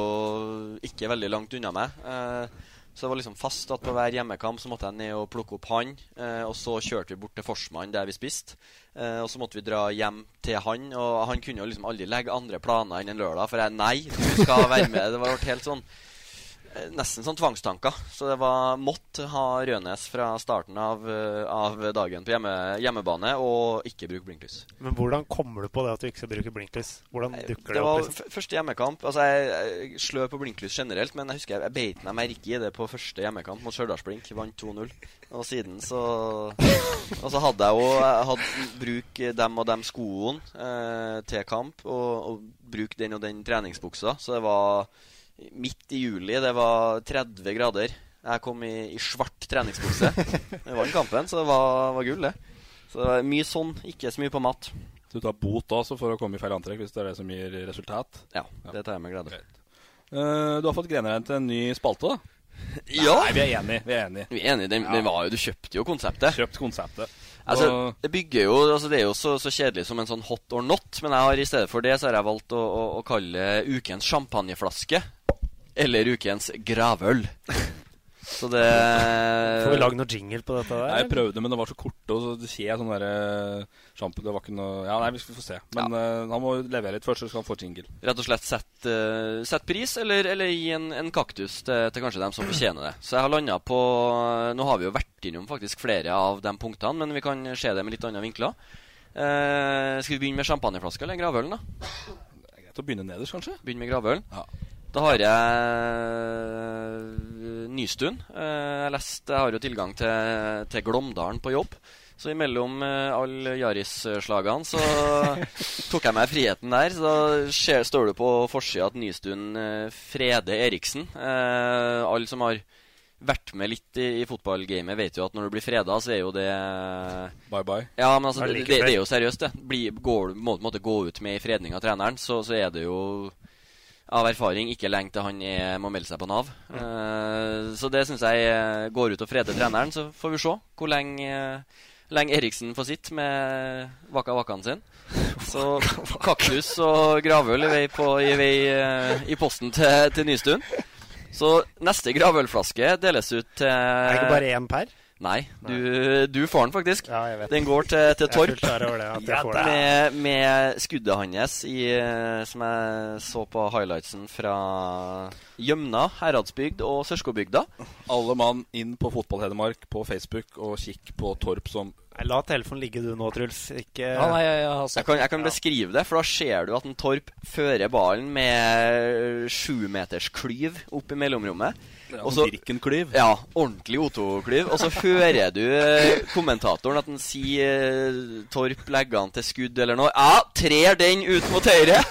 [SPEAKER 1] ikke veldig langt unna meg. eh, Så det var liksom fast at på hver hjemmekamp så måtte jeg ned og plukke opp han. eh, Og så kjørte vi bort til Forsmann, der vi spiste. eh, Og så måtte vi dra hjem til han. Og han kunne jo liksom aldri legge andre planer enn en lørdag, for jeg nei, du skal være med. Det var vært helt sånn eh, Nesten sånn tvangstanker. Så det var måtte ha Rønes fra starten av, eh, av dagen på hjemme, hjemmebane, og ikke bruke blinklys.
[SPEAKER 4] Men hvordan kommer du på det at du ikke skal bruke blinklys? Hvordan dukker det,
[SPEAKER 1] Det
[SPEAKER 4] opp?
[SPEAKER 1] var
[SPEAKER 4] liksom?
[SPEAKER 1] f- første hjemmekamp. Altså, jeg, jeg slør på blinklys generelt, men jeg husker jeg, jeg beit meg merke i det på første hjemmekamp mot Stjørdalsblink. Vant 2-0. Og siden så Og så hadde jeg jo jeg hadde bruk dem og dem skoene eh, til kamp, og, og bruk den og den treningsbuksa. Så det var midt i juli. Det var 30 grader. Jeg kom i, i svart treningsbukse. Jeg vant kampen, så det var, var gull, det. Så det var mye sånn, ikke så mye på mat.
[SPEAKER 2] Du tar bot da, så for å komme i feil antrekk, hvis det er det som gir resultat?
[SPEAKER 1] Ja, det tar jeg med glede.
[SPEAKER 2] Eh, du har fått Greneren til en ny spalte, da?
[SPEAKER 1] Ja.
[SPEAKER 2] Nei, vi er enige. Vi er enige.
[SPEAKER 1] Vi er enige, den, den var jo, Du kjøpte jo konseptet.
[SPEAKER 2] Kjøpt konseptet.
[SPEAKER 1] Altså, det bygger jo altså Det er jo så, så kjedelig som en sånn hot or not, men jeg har i stedet for det så har jeg valgt å, å, å kalle det ukens champagneflaske. Eller ukens gravøl. Så det
[SPEAKER 4] Får vi lagd noe jingle på dette der?
[SPEAKER 2] Nei, jeg prøvde, men det var så korte, og så ser jeg sånn derre sjampo Det var ikke noe Ja, nei, vi skal få se. Men eh, han må jo levere litt først, så skal han få jingle.
[SPEAKER 1] Rett og slett sett, eh, sett pris, eller, eller gi en, en kaktus til, til kanskje dem som fortjener det. Så jeg har landa på Nå har vi jo vært innom faktisk flere av de punktene, men vi kan se det med litt andre vinkler. Eh, skal vi begynne med champagneflaska eller gravølen, da? Det
[SPEAKER 2] er greit å begynne nederst, kanskje?
[SPEAKER 1] Begynne med gravølen. Da har jeg Nystuen. Eh, jeg, leste, jeg har jo tilgang til, til Glåmdalen på jobb. Så imellom eh, alle Yaris-slagene så tok jeg meg friheten der. Så da skje- står det på forsida at Nystuen eh, freder Eriksen. Eh, alle som har vært med litt i, i fotballgamet, vet jo at når du blir freda, så er jo det
[SPEAKER 2] Bye bye.
[SPEAKER 1] Ja, men altså,
[SPEAKER 2] Ja,
[SPEAKER 1] det,
[SPEAKER 2] like
[SPEAKER 1] det,
[SPEAKER 2] før.
[SPEAKER 1] det er jo seriøst, det. Bli, går du må på en måte gå ut med i fredning av treneren, så, så er det jo av erfaring ikke lenge til han er, må melde seg på Nav. Eh, så det syns jeg eh, går ut og freder treneren. Så får vi se hvor lenge, eh, lenge Eriksen får sitte med Vaka Vakan sin. Så kaktus og gravøl i vei, på, i, vei eh, i posten til, til Nystuen. Så neste gravølflaske deles ut til
[SPEAKER 4] Er det ikke
[SPEAKER 1] eh,
[SPEAKER 4] bare én per?
[SPEAKER 1] Nei, du, du får den faktisk. Den går til, til
[SPEAKER 4] Jeg er
[SPEAKER 1] Torp.
[SPEAKER 4] fullt klar over det, at jeg får den.
[SPEAKER 1] med, med skuddet hans i, eh, som jeg så på highlightsen fra Gjømna, Heradsbygd og Sørskobygda.
[SPEAKER 2] Alle mann inn på Fotball-Hedmark på Facebook og kikk på Torp som
[SPEAKER 4] Nei, La telefonen ligge du nå, Truls. Ikke
[SPEAKER 1] jeg kan, jeg kan beskrive det, for da ser du at en Torp fører ballen med sjumetersklyv opp i mellomrommet.
[SPEAKER 2] Ja,
[SPEAKER 1] Og så-
[SPEAKER 2] Birkenklyv.
[SPEAKER 1] Ja, ordentlig Otto-klyv. Og så hører du eh, kommentatoren at han sier eh, Torp legger han til skudd eller noe. Ja, trer den ut mot høyre!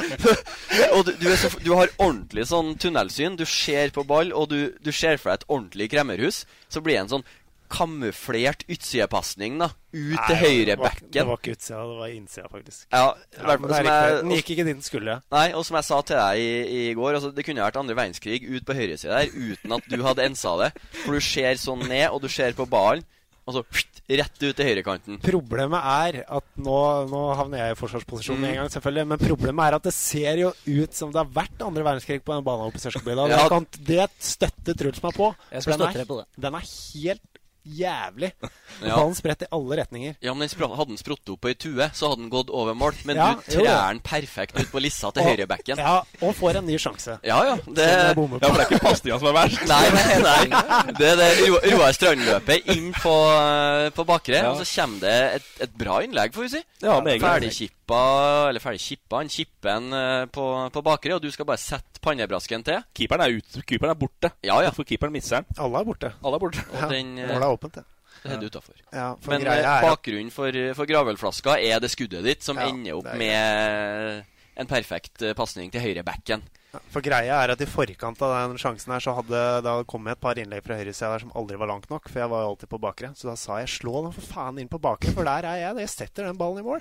[SPEAKER 1] og du, du, er så, f- du har ordentlig sånn tunnelsyn. Du ser på ball, og du, du ser for deg et ordentlig kremmerhus. Så blir det en sånn kamuflert utsidepasning, da. Ut
[SPEAKER 4] Nei,
[SPEAKER 1] til høyre
[SPEAKER 4] det var-
[SPEAKER 1] bekken.
[SPEAKER 4] Det var ikke utsida, det var innsida, faktisk.
[SPEAKER 1] Ja,
[SPEAKER 4] Ja,
[SPEAKER 1] hvert
[SPEAKER 4] men
[SPEAKER 1] fall
[SPEAKER 4] det er
[SPEAKER 1] som
[SPEAKER 4] riktig.
[SPEAKER 1] jeg-
[SPEAKER 4] Den gikk ikke dit den skulle.
[SPEAKER 1] Nei, og som jeg sa til deg i, i går, altså, det kunne vært andre verdenskrig ut på høyresida der uten at du hadde ensa det. For du ser sånn ned, og du ser på ballen, og så pst, rett ut til høyrekanten.
[SPEAKER 4] Problemet er at nå, nå havner jeg i forsvarsposisjon med en gang,
[SPEAKER 1] Mm.
[SPEAKER 4] selvfølgelig. Men problemet er at det ser jo ut som det har vært andre verdenskrig på den banen oppe i Sørskobygda.
[SPEAKER 1] Ja.
[SPEAKER 4] Det kan- Det støtter Truls meg på.
[SPEAKER 3] Jeg skal
[SPEAKER 4] for den
[SPEAKER 3] støtte
[SPEAKER 4] er-
[SPEAKER 3] deg på
[SPEAKER 4] Den er helt jævlig.
[SPEAKER 1] Ja.
[SPEAKER 4] Ballen spredt i alle retninger.
[SPEAKER 1] Ja, men den spra- Hadde den sprutt opp på ei tue, så hadde den gått over mål. Men
[SPEAKER 4] Ja,
[SPEAKER 1] du
[SPEAKER 4] jo da.
[SPEAKER 1] trær den perfekt ut på lissa til
[SPEAKER 4] Og-
[SPEAKER 1] høyrebekken.
[SPEAKER 4] Ja, og får en ny sjanse.
[SPEAKER 1] Ja, Eh, ja. Det,
[SPEAKER 4] Som jeg bommer på. Ja, for det er ikke pasninga som er verst.
[SPEAKER 1] Nei, nei, nei. Det er det Ro- Roar Strandløpet inn på, eh, på bakre,
[SPEAKER 2] Ja.
[SPEAKER 1] og så kommer det et, et bra innlegg, får vi si.
[SPEAKER 2] Ja, meget bra innlegg.
[SPEAKER 1] Ferdigkippa, eller ferdigkippa, han kipper den eh, på, på bakre, og du skal bare sette pannebrasken til.
[SPEAKER 2] Keeperen er, ut, keeperen er borte.
[SPEAKER 1] Ja, ja.
[SPEAKER 2] For keeperen misser den.
[SPEAKER 4] Alle er borte.
[SPEAKER 2] Alle er borte.
[SPEAKER 1] Og den eh,
[SPEAKER 4] Målet er åpent, det.
[SPEAKER 1] det er du utenfor.
[SPEAKER 4] Ja, for
[SPEAKER 1] Men
[SPEAKER 4] greia
[SPEAKER 1] eh,
[SPEAKER 4] er at-
[SPEAKER 1] bakgrunnen for, for gravelflaska er det skuddet ditt som
[SPEAKER 4] Ja,
[SPEAKER 1] ender opp
[SPEAKER 4] det er
[SPEAKER 1] med eh, en perfekt eh, pasning til høyre backen.
[SPEAKER 4] For greia er at i forkant av den sjansen her, så hadde det hadde kommet et par innlegg fra høyresida der som aldri var langt nok, for jeg var jo alltid på bakre. Så da sa jeg 'slå den for faen inn på bakre', for der er jeg. Jeg setter den ballen i mål.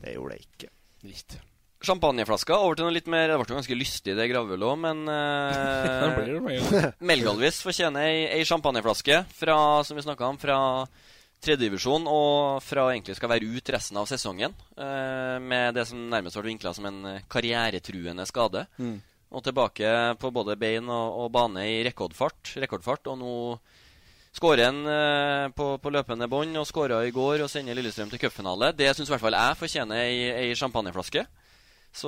[SPEAKER 4] Det gjorde jeg ikke.
[SPEAKER 1] Champagneflaska over til noe litt mer Det ble jo ganske lystig, det gravølet òg, men
[SPEAKER 2] Det blir det,
[SPEAKER 1] uh,
[SPEAKER 2] men-
[SPEAKER 1] Melgalvis fortjener ei, ei champagneflaske fra, som vi snakka om, fra tredjedivisjon og fra egentlig skal være ut resten av sesongen eh, med det som nærmest ble vinkla som en eh, karrieretruende skade.
[SPEAKER 2] Mm.
[SPEAKER 1] Og tilbake på både bein og, og bane i rekordfart, rekordfart og nå Skårer en eh, på, på løpende bånd og skåra i går og sender Lillestrøm til cupfinale. Det syns i hvert fall jeg fortjener ei, ei champagneflaske. Så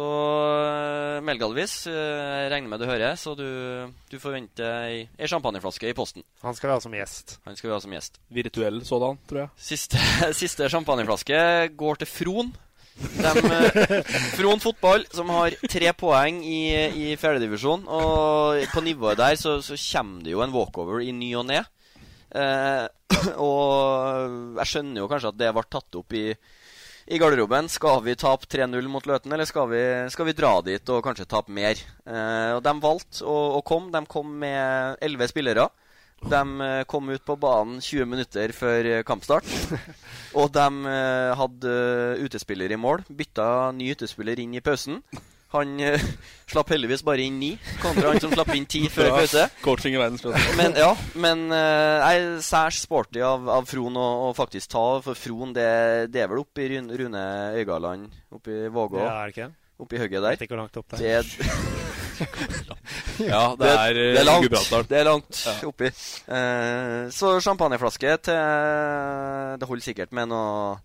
[SPEAKER 1] eh, Melgalvis, eh, regner med du hører, så du, du forventer ei, ei champagneflaske i posten.
[SPEAKER 4] Han skal vi ha som gjest.
[SPEAKER 1] Han skal vi ha som gjest.
[SPEAKER 2] Virtuell sådan, tror jeg.
[SPEAKER 1] Siste, siste champagneflaske går til Fron. Dem, eh, Fron fotball, som har tre poeng i, i fjerdedivisjon. Og på nivået der så, så kommer det jo en walkover i ny og ne. Eh, og jeg skjønner jo kanskje at det ble tatt opp i, i garderoben. Skal vi tape 3-0 mot Løten, eller skal vi, skal vi dra dit og kanskje tape mer? Eh, og de valgte å, å komme. De kom med elleve spillere. De eh, kom ut på banen 20 minutter før eh, kampstart. Og de eh, hadde eh, utespiller i mål. Bytta ny utespiller inn i pausen. Han eh, slapp heldigvis bare inn ni, kontra han som slapp inn ti før
[SPEAKER 2] Ja,
[SPEAKER 1] pause.
[SPEAKER 2] Coaching i verdensklasse.
[SPEAKER 1] Men ja, men eh, jeg er særs sporty av, av Fron å å faktisk ta, for Fron det, det er vel oppe i Rune- Rune Øygarland, oppe i Vågå?
[SPEAKER 4] Ja, er det ikke det?
[SPEAKER 1] Oppe i høgget der.
[SPEAKER 4] Vet ikke hvor langt opp det
[SPEAKER 1] det
[SPEAKER 4] er.
[SPEAKER 1] er.
[SPEAKER 2] Ja, det er, eh,
[SPEAKER 1] det er langt.
[SPEAKER 2] Gudbrandsdalen.
[SPEAKER 1] Det er langt
[SPEAKER 2] Ja.
[SPEAKER 1] oppi. Eh, så champagneflaske til Det holder sikkert med noe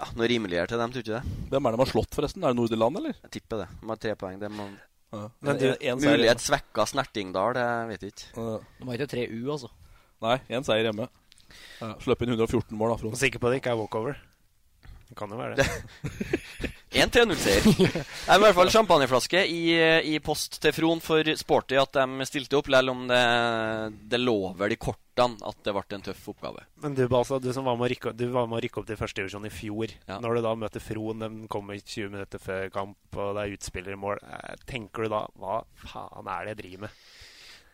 [SPEAKER 1] ja, noe rimeligere til dem, tror du ikke det?
[SPEAKER 2] Hvem er det man har slått, forresten? Er det Nordirland, eller?
[SPEAKER 1] Jeg tipper det. De har tre poeng. Det må... Eh,
[SPEAKER 2] Men du, en seier
[SPEAKER 1] Mulig
[SPEAKER 2] hjemme.
[SPEAKER 1] et svekka Snertingdal, jeg vet ikke.
[SPEAKER 3] De har ikke tre U, altså.
[SPEAKER 2] Nei, én seier hjemme. Ja. Slipper inn 114 mål, da. Frode.
[SPEAKER 4] Sikker på det ikke er walkover? Det kan jo være det.
[SPEAKER 1] En 3-0-seier. Nei, men i hvert fall champagneflaske i, eh, i post til Fron for sporty at de stilte opp, selv om det, det lå vel i kortene at det ble en tøff oppgave.
[SPEAKER 4] Men du, Balsa, du som var med å rykke, du var med å rykke opp til førstedivisjon i fjor.
[SPEAKER 1] Ja.
[SPEAKER 4] Når du da møter Fron, den kommer 20 minutter før kamp, og det er utspillermål. eh, Tenker du da Hva faen er det jeg driver med?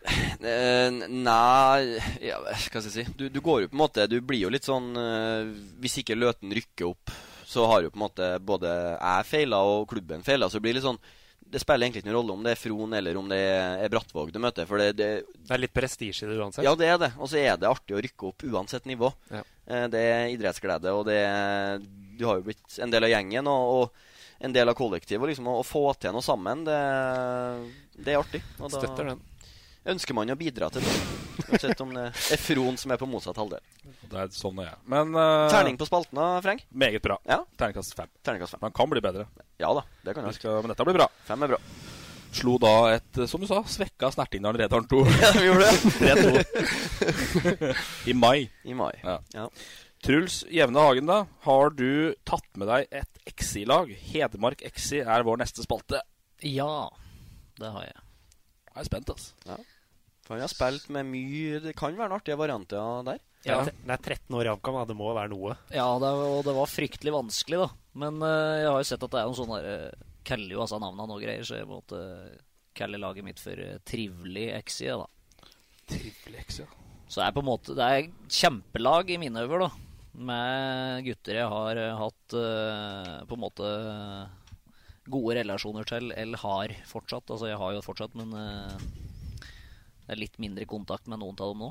[SPEAKER 1] Eh, Nei ja, Hva skal jeg si? Du, du går jo på en måte Du blir jo litt sånn eh, Hvis ikke Løten rykker opp, så har jo på en måte både jeg feila og klubben feila. Så det blir litt sånn Det spiller egentlig ikke noen rolle om det er Fron eller om det er Brattvåg du møter. For det, det,
[SPEAKER 4] Det er litt prestisje i det uansett.
[SPEAKER 1] ja, det er det. Og så er det artig å rykke opp uansett nivå.
[SPEAKER 4] Ja.
[SPEAKER 1] Eh, Det er idrettsglede, og det er, du har jo blitt en del av gjengen og, og en del av kollektivet. og Liksom, å, å få til noe sammen, det, det er artig. Og da
[SPEAKER 4] Støtter den.
[SPEAKER 1] ønsker man å bidra til det. Uansett om det er Fron som er på motsatt halvdel.
[SPEAKER 2] Det er sånn det er. Men eh,
[SPEAKER 1] Terning på spalten da, Freng?
[SPEAKER 2] Meget bra.
[SPEAKER 1] Ja.
[SPEAKER 2] Terningkast fem.
[SPEAKER 1] Terningkast fem.
[SPEAKER 2] Man kan bli bedre.
[SPEAKER 1] Ja da, det kan
[SPEAKER 2] Vi
[SPEAKER 1] jeg.
[SPEAKER 2] skal, men dette blir bra.
[SPEAKER 1] Fem er bra.
[SPEAKER 2] Slo da et, eh, som du sa, svekka Snertingdalen Redarn 2.
[SPEAKER 1] Ja, vi gjorde det.
[SPEAKER 2] 3-2. I mai.
[SPEAKER 1] I mai.
[SPEAKER 2] Ja.
[SPEAKER 1] Ja.
[SPEAKER 2] Truls Jevne Hagen, da. Har du tatt med deg et XI-lag? Hedmark XI er vår neste spalte.
[SPEAKER 3] Ja, det har jeg.
[SPEAKER 2] Jeg er spent, altså.
[SPEAKER 1] Ja. For han har spilt med mye Det kan være noen artige varianter der.
[SPEAKER 3] Ja.
[SPEAKER 4] Det er 13 år i HamKam, da. det må være noe.
[SPEAKER 3] Ja, det, og det var fryktelig vanskelig, da. Men eh, jeg har jo sett at det er noen sånne der, eh, Kaller jo altså navnene og greier, så jeg måtte kalle laget mitt for eh, Trivelig XI, da.
[SPEAKER 2] Trivelig XI, ja.
[SPEAKER 3] Så det er på en måte Det er kjempelag i mine øver, da. Med gutter jeg har eh, hatt eh, på en måte gode relasjoner til, eller har fortsatt. Altså, jeg har jo fortsatt, men eh, det er litt mindre kontakt med noen av dem nå.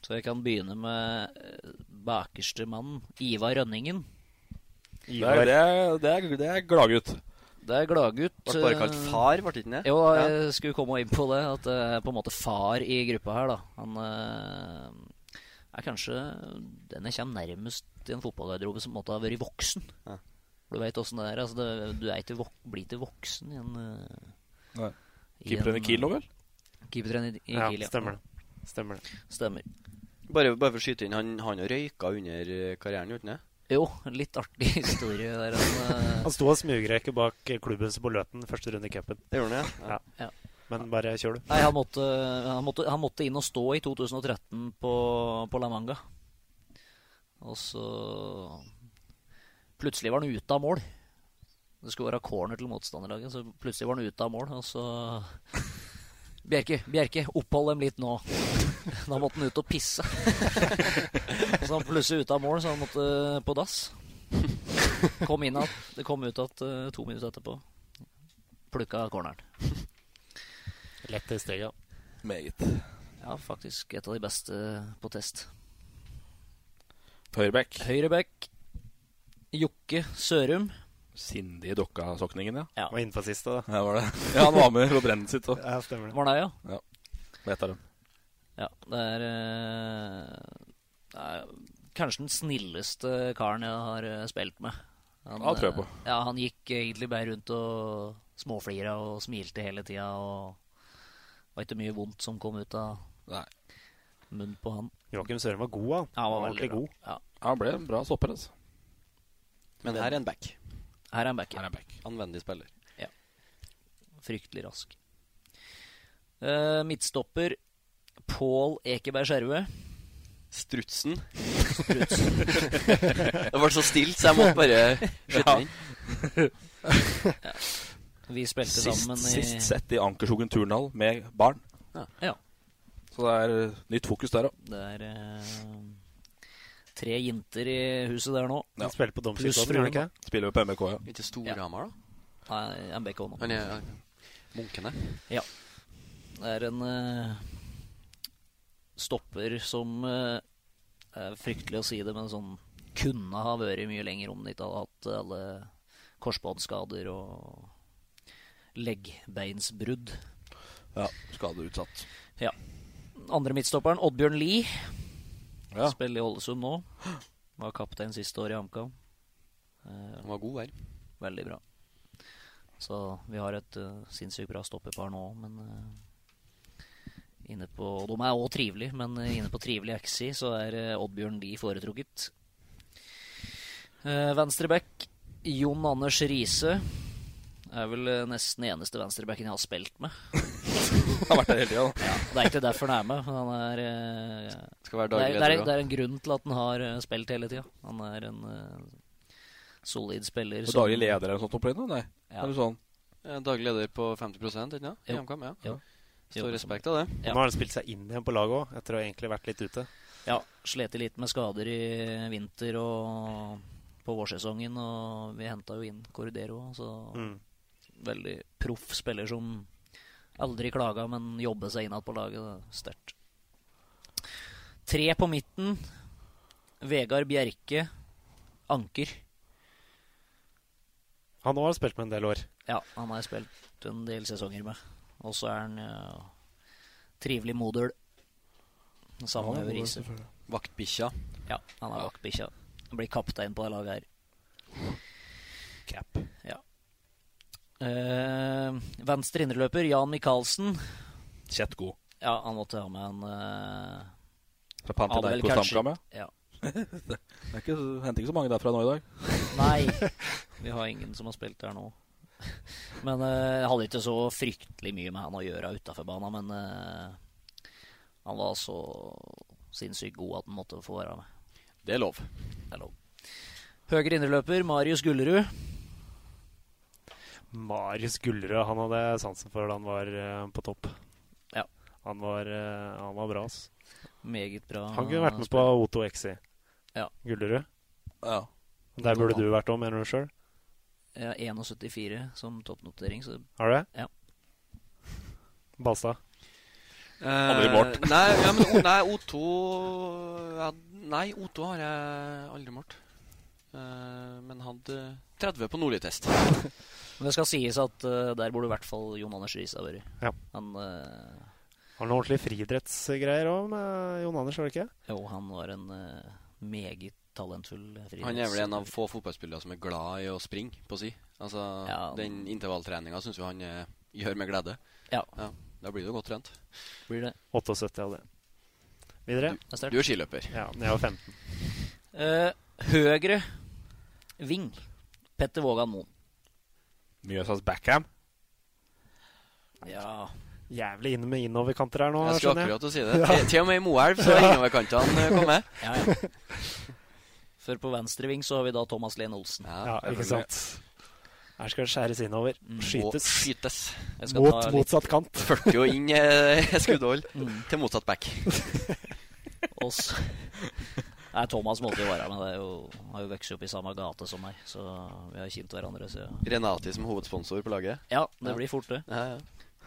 [SPEAKER 3] Så jeg kan begynne med eh, bakerste mannen, Ivar Rønningen.
[SPEAKER 2] Det er, det er, det er, det er gladgutt.
[SPEAKER 3] Det er gladgutt.
[SPEAKER 1] Ble bare kalt
[SPEAKER 3] eh,
[SPEAKER 1] far, ble det ikke det?
[SPEAKER 3] Jo,
[SPEAKER 1] Ja.
[SPEAKER 3] jeg skulle komme inn på det. At det er på en måte far i gruppa her, da. Han eh, er kanskje den jeg kommer nærmest i en fotballgarderobe som måtte ha vært voksen. For du veit åssen det er. Altså, det, du er ikke vok blir ikke voksen i en eh,
[SPEAKER 2] Nei.
[SPEAKER 3] i
[SPEAKER 2] Keepertrener
[SPEAKER 3] en-
[SPEAKER 2] Kiel nå, vel?
[SPEAKER 3] Keepertrener i i
[SPEAKER 1] Ja,
[SPEAKER 3] Kiel, ja.
[SPEAKER 1] stemmer det.
[SPEAKER 4] Stemmer
[SPEAKER 3] Stemmer.
[SPEAKER 1] Bare, bare for å skyte inn, han, han har røyka under eh, karrieren, gjorde han det?
[SPEAKER 3] Jo, litt artig historie der. Han, eh,
[SPEAKER 4] Han sto og smugrøyka bak klubben sin på Løten første runde i cupen.
[SPEAKER 1] Det gjorde han,
[SPEAKER 4] ja. Men bare kjør, du.
[SPEAKER 3] Nei, han måtte, han, måtte, han måtte inn og stå i 2013 på, på La Manga. Og så Plutselig var han ute av mål. Det skulle være corner til motstanderlaget, så plutselig var han ute av mål. Og så Bjerke, Bjerke, opphold dem litt nå. Da måtte han ut og pisse. Så han plutselig ute av mål, så han måtte på dass. Kom inn igjen. Det kom ut igjen to minutter etterpå. Plukka corneren.
[SPEAKER 4] Lett i steget.
[SPEAKER 2] Meget.
[SPEAKER 3] Ja, faktisk et av de beste på test.
[SPEAKER 2] Høyrebekk.
[SPEAKER 3] Høyrebekk. Jokke Sørum.
[SPEAKER 2] Sindige Dokka-sokningen, ja.
[SPEAKER 3] ja.
[SPEAKER 4] Var innenfor siste, da.
[SPEAKER 2] Ja, var det. ja, han var med på brennet sitt òg.
[SPEAKER 4] Ja, stemmer det.
[SPEAKER 3] Var det, ja?
[SPEAKER 2] ja. Vet jeg det.
[SPEAKER 3] Ja, det er, eh, det er kanskje den snilleste karen jeg har eh, spilt med. Han,
[SPEAKER 2] Ja, det tror jeg
[SPEAKER 3] eh,
[SPEAKER 2] på.
[SPEAKER 3] Ja, han gikk egentlig bare rundt og småflira og smilte hele tida. Og det var ikke mye vondt som kom ut av munnen på han.
[SPEAKER 4] Joakim Søren var god, han.
[SPEAKER 3] han var
[SPEAKER 4] Han var
[SPEAKER 3] veldig
[SPEAKER 4] ordentlig god.
[SPEAKER 3] bra. Ja.
[SPEAKER 2] Han ble en bra stopper, altså.
[SPEAKER 1] Men her er en back.
[SPEAKER 3] Her er en back.
[SPEAKER 2] Her er en back.
[SPEAKER 1] Anvendig spiller.
[SPEAKER 3] Ja. Fryktelig rask. Eh, midtstopper Pål Ekeberg Skjervø.
[SPEAKER 1] Strutsen.
[SPEAKER 3] Strutsen.
[SPEAKER 1] Det ble så stilt, så jeg måtte bare skyte den inn.
[SPEAKER 3] Ja. Vi spilte
[SPEAKER 2] Sist,
[SPEAKER 3] sammen i
[SPEAKER 2] sist sett i Ankerskogen turnhall med barn.
[SPEAKER 3] Ja. Ja.
[SPEAKER 2] Så det er eh, nytt fokus der òg.
[SPEAKER 3] Det er eh, tre jenter i huset der nå.
[SPEAKER 2] Ja. Han spiller på Domkirken også, tror jeg ikke? Spiller jo på MBK, ja.
[SPEAKER 1] Ikke Storhamar,
[SPEAKER 3] da? Nei, MBK nå.
[SPEAKER 1] Han er Munkene.
[SPEAKER 3] Ja. Det er en eh, stopper som eh, er Fryktelig å si det, men sånn kunne ha vært mye lenger om det ikke hadde hatt alle korsbåndskader og leggbeinsbrudd.
[SPEAKER 2] Ja, skadeutsatt.
[SPEAKER 3] Ja. Andre midtstopperen, Oddbjørn Lie,
[SPEAKER 2] Ja.
[SPEAKER 3] spiller i Ålesund nå. Var kaptein siste år i HamKam. Eh,
[SPEAKER 1] Han var god her.
[SPEAKER 3] Veldig bra. Så vi har et eh, sinnssykt bra stoppepar nå, men eh, inne på, og De er òg trivelige, men eh, inne på trivelig XI så er eh, Oddbjørn Lie foretrukket. Uh, Venstreback Jon Anders Riise. Er vel eh, nesten eneste venstrebacken jeg har spilt med.
[SPEAKER 2] har vært der hele tida, da.
[SPEAKER 3] Ja, det er ikke derfor han er med. Han er, eh,
[SPEAKER 1] Skal være
[SPEAKER 3] det,
[SPEAKER 1] daglig
[SPEAKER 3] er, det,
[SPEAKER 1] leder,
[SPEAKER 3] er, det er en grunn til at han har eh, spilt hele tida. Han er en eh, solid spiller.
[SPEAKER 2] Og
[SPEAKER 3] som-
[SPEAKER 2] Daglig leder eller noe sånt oppløyd nå? Nei.
[SPEAKER 3] sånn- Ja.
[SPEAKER 2] Er det sånn?
[SPEAKER 1] Eh, Daglig leder på 50 ikke sant? I
[SPEAKER 3] Jo.
[SPEAKER 1] HamKam, ja.
[SPEAKER 3] Jo.
[SPEAKER 1] Stor
[SPEAKER 3] Jo.
[SPEAKER 1] respekt av det.
[SPEAKER 4] Og Nå har han spilt seg inn igjen på laget òg, etter å ha egentlig vært litt ute.
[SPEAKER 3] Ja, slet litt med skader i vinter og på vårsesongen, og vi henta jo inn Cordero, så
[SPEAKER 4] Mm.
[SPEAKER 3] veldig proff spiller som aldri klaga, men jobber seg innad på laget. det er Sterkt. Tre på midten. Vegard Bjerke. Anker.
[SPEAKER 4] Han òg har spilt med en del år.
[SPEAKER 3] Ja, han har jeg spilt en del sesonger med. Og så er han ja, trivelig modul. Sammen
[SPEAKER 1] Ja,
[SPEAKER 3] med
[SPEAKER 1] modul,
[SPEAKER 3] Riise.
[SPEAKER 1] selvfølgelig. Vaktbikkja.
[SPEAKER 3] Ja, han er vaktbikkja. Han Blir kaptein på det laget her.
[SPEAKER 4] Cap.
[SPEAKER 3] Ja. Eh, venstre indreløper Jan Michaelsen.
[SPEAKER 2] Kjett god.
[SPEAKER 3] Ja, han måtte ha med en eh,
[SPEAKER 2] Fra Panathinaikos
[SPEAKER 3] hadde vel
[SPEAKER 2] HamKam,
[SPEAKER 3] kanskje- ja.
[SPEAKER 2] det er ikke, henter ikke så mange derfra nå i dag.
[SPEAKER 3] Nei, vi har ingen som har spilt der nå. Men eh, jeg hadde ikke så fryktelig mye med han å gjøre utafor banen, men eh, han var så sinnssykt god at han måtte få være med.
[SPEAKER 1] Det er lov.
[SPEAKER 3] Det er lov. Høyre indreløper Marius Gullerud.
[SPEAKER 4] Marius Gullerød, han hadde jeg sansen for da han var eh, på topp.
[SPEAKER 3] Ja.
[SPEAKER 4] Han var, eh, han var bra, ass.
[SPEAKER 3] Meget bra.
[SPEAKER 4] Han kunne vært med på Otto XI.
[SPEAKER 3] Ja.
[SPEAKER 4] Gullerud.
[SPEAKER 2] Ja.
[SPEAKER 4] Der burde du vært òg, mener du sjøl?
[SPEAKER 3] Ja, 1,74 som toppnotering. Så...
[SPEAKER 4] Har du det?
[SPEAKER 3] Ja.
[SPEAKER 4] Balstad.
[SPEAKER 2] Aldri målt.
[SPEAKER 1] Eh, Nei, ja, men, O- nei O2 ja, Nei, O2 har jeg aldri målt. Eh, men hadde 30 på Nordli-test.
[SPEAKER 3] Men det skal sies at eh, der burde i hvert fall Jon Anders Riise ha vært.
[SPEAKER 4] Ja.
[SPEAKER 3] Han eh,
[SPEAKER 4] Har noen ordentlige friidrettsgreier òg med Jon Anders, var det ikke?
[SPEAKER 3] Jo, han var en eh, meget talentfull friidretts...
[SPEAKER 7] Han er vel en av få fotballspillere som er glad i å springe på si. Altså, Den intervalltreninga syns jo han eh, gjør med glede.
[SPEAKER 3] Ja.
[SPEAKER 7] Da blir du godt trent.
[SPEAKER 3] Blir det.
[SPEAKER 4] 78 hadde jeg. Videre.
[SPEAKER 3] er sterkt.
[SPEAKER 7] Du er skiløper.
[SPEAKER 4] Ja, men jeg var 15.
[SPEAKER 3] Eh, høyre ving. Petter Vågan Moen.
[SPEAKER 2] Mjøsas backham.
[SPEAKER 3] Ja
[SPEAKER 4] Jævlig inn med innoverkanter her nå,
[SPEAKER 1] Jeg skulle
[SPEAKER 4] skjønner
[SPEAKER 1] akkurat til å si det. Til- til og med i Moelv så er innoverkantene, eh, kommet.
[SPEAKER 3] Ja, ja. For på venstre ving så har vi da Thomas Lehn Olsen.
[SPEAKER 4] Ja, ikke sant. Her skal det skjæres innover. Skytes.
[SPEAKER 1] Skytes.
[SPEAKER 3] Mm, Jeg skal
[SPEAKER 4] Mot
[SPEAKER 3] ta mm, litt-
[SPEAKER 4] motsatt kant.
[SPEAKER 1] 40 og inn eh, skuddhold til motsatt back.
[SPEAKER 3] Og så Nei, Thomas måtte jo være her, men det er jo, han har jo vokst opp i samme gate som meg. Så vi har kjent hverandre. Så
[SPEAKER 1] Renati som hovedsponsor på laget.
[SPEAKER 3] ja, det blir fort det.
[SPEAKER 1] Ja, ja.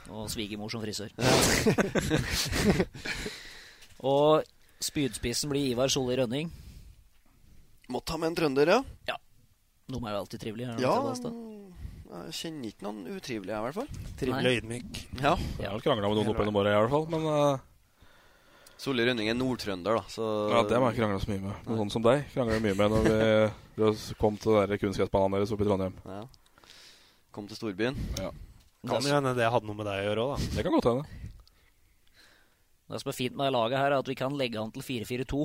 [SPEAKER 3] Og svigermor som frisør.
[SPEAKER 1] Ja.
[SPEAKER 3] og spydspissen blir Ivar Solli Rønning.
[SPEAKER 1] Må ta med en trønder, ja.
[SPEAKER 3] De er jo alltid trivelige. er de
[SPEAKER 1] Ja,
[SPEAKER 3] ikke det, Asta?
[SPEAKER 1] Jeg kjenner ikke noen utrivelige, i hvert fall.
[SPEAKER 4] Trivelig og ydmyk.
[SPEAKER 1] Ja.
[SPEAKER 2] Jeg har vel krangla med noen opp gjennom åra, i hvert fall. Men eh,
[SPEAKER 1] Solli Rønning er nordtrønder, da. Så
[SPEAKER 2] ja, det må jeg krangle så mye med. Noen sånn som deg krangler jeg mye med når vi, vi kom til den der kunstgressbanen deres oppe i Trondheim.
[SPEAKER 1] Ja. Kom til storbyen.
[SPEAKER 2] Ja.
[SPEAKER 4] Kan jo hende det hadde noe med deg å gjøre òg, da.
[SPEAKER 2] Det kan godt hende.
[SPEAKER 3] Det som er fint med det laget her, er at vi kan legge han til 4-4-2.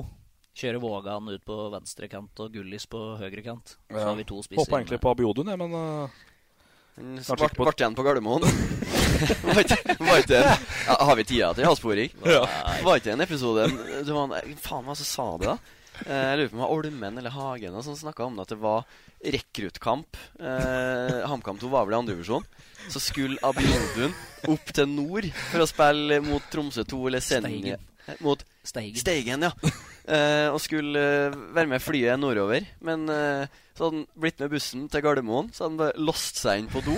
[SPEAKER 3] Kjøre Vågan ut på venstre kant og Gullis på høyre kant. Så har vi to spisser.
[SPEAKER 2] Håpa egentlig på Abiodun, jeg, men eh,
[SPEAKER 1] Ble
[SPEAKER 2] kanskje ikke på
[SPEAKER 1] igjen på Gardermoen. Var ikke- var ikke en- Ja, Har vi tida til avsporing?
[SPEAKER 2] Ja.
[SPEAKER 1] Var ikke en episode det var en, Faen, hva så sa det, da? Eh, Jeg lurer på om det var Olmen eller Hagen og sånn snakka om at det var rekruttkamp. Eh, HamKam 2 var vel i andredivisjon. Så skulle Abiodun opp til nord for å spille mot Tromsø 2 eller Senja
[SPEAKER 3] Steigen.
[SPEAKER 1] Eh, Mot
[SPEAKER 3] Steigen.
[SPEAKER 1] ja. Eh, og skulle eh, være med flyet nordover. Men eh, så hadde han blitt med bussen til Gardermoen, så hadde han bare låst seg inn på do.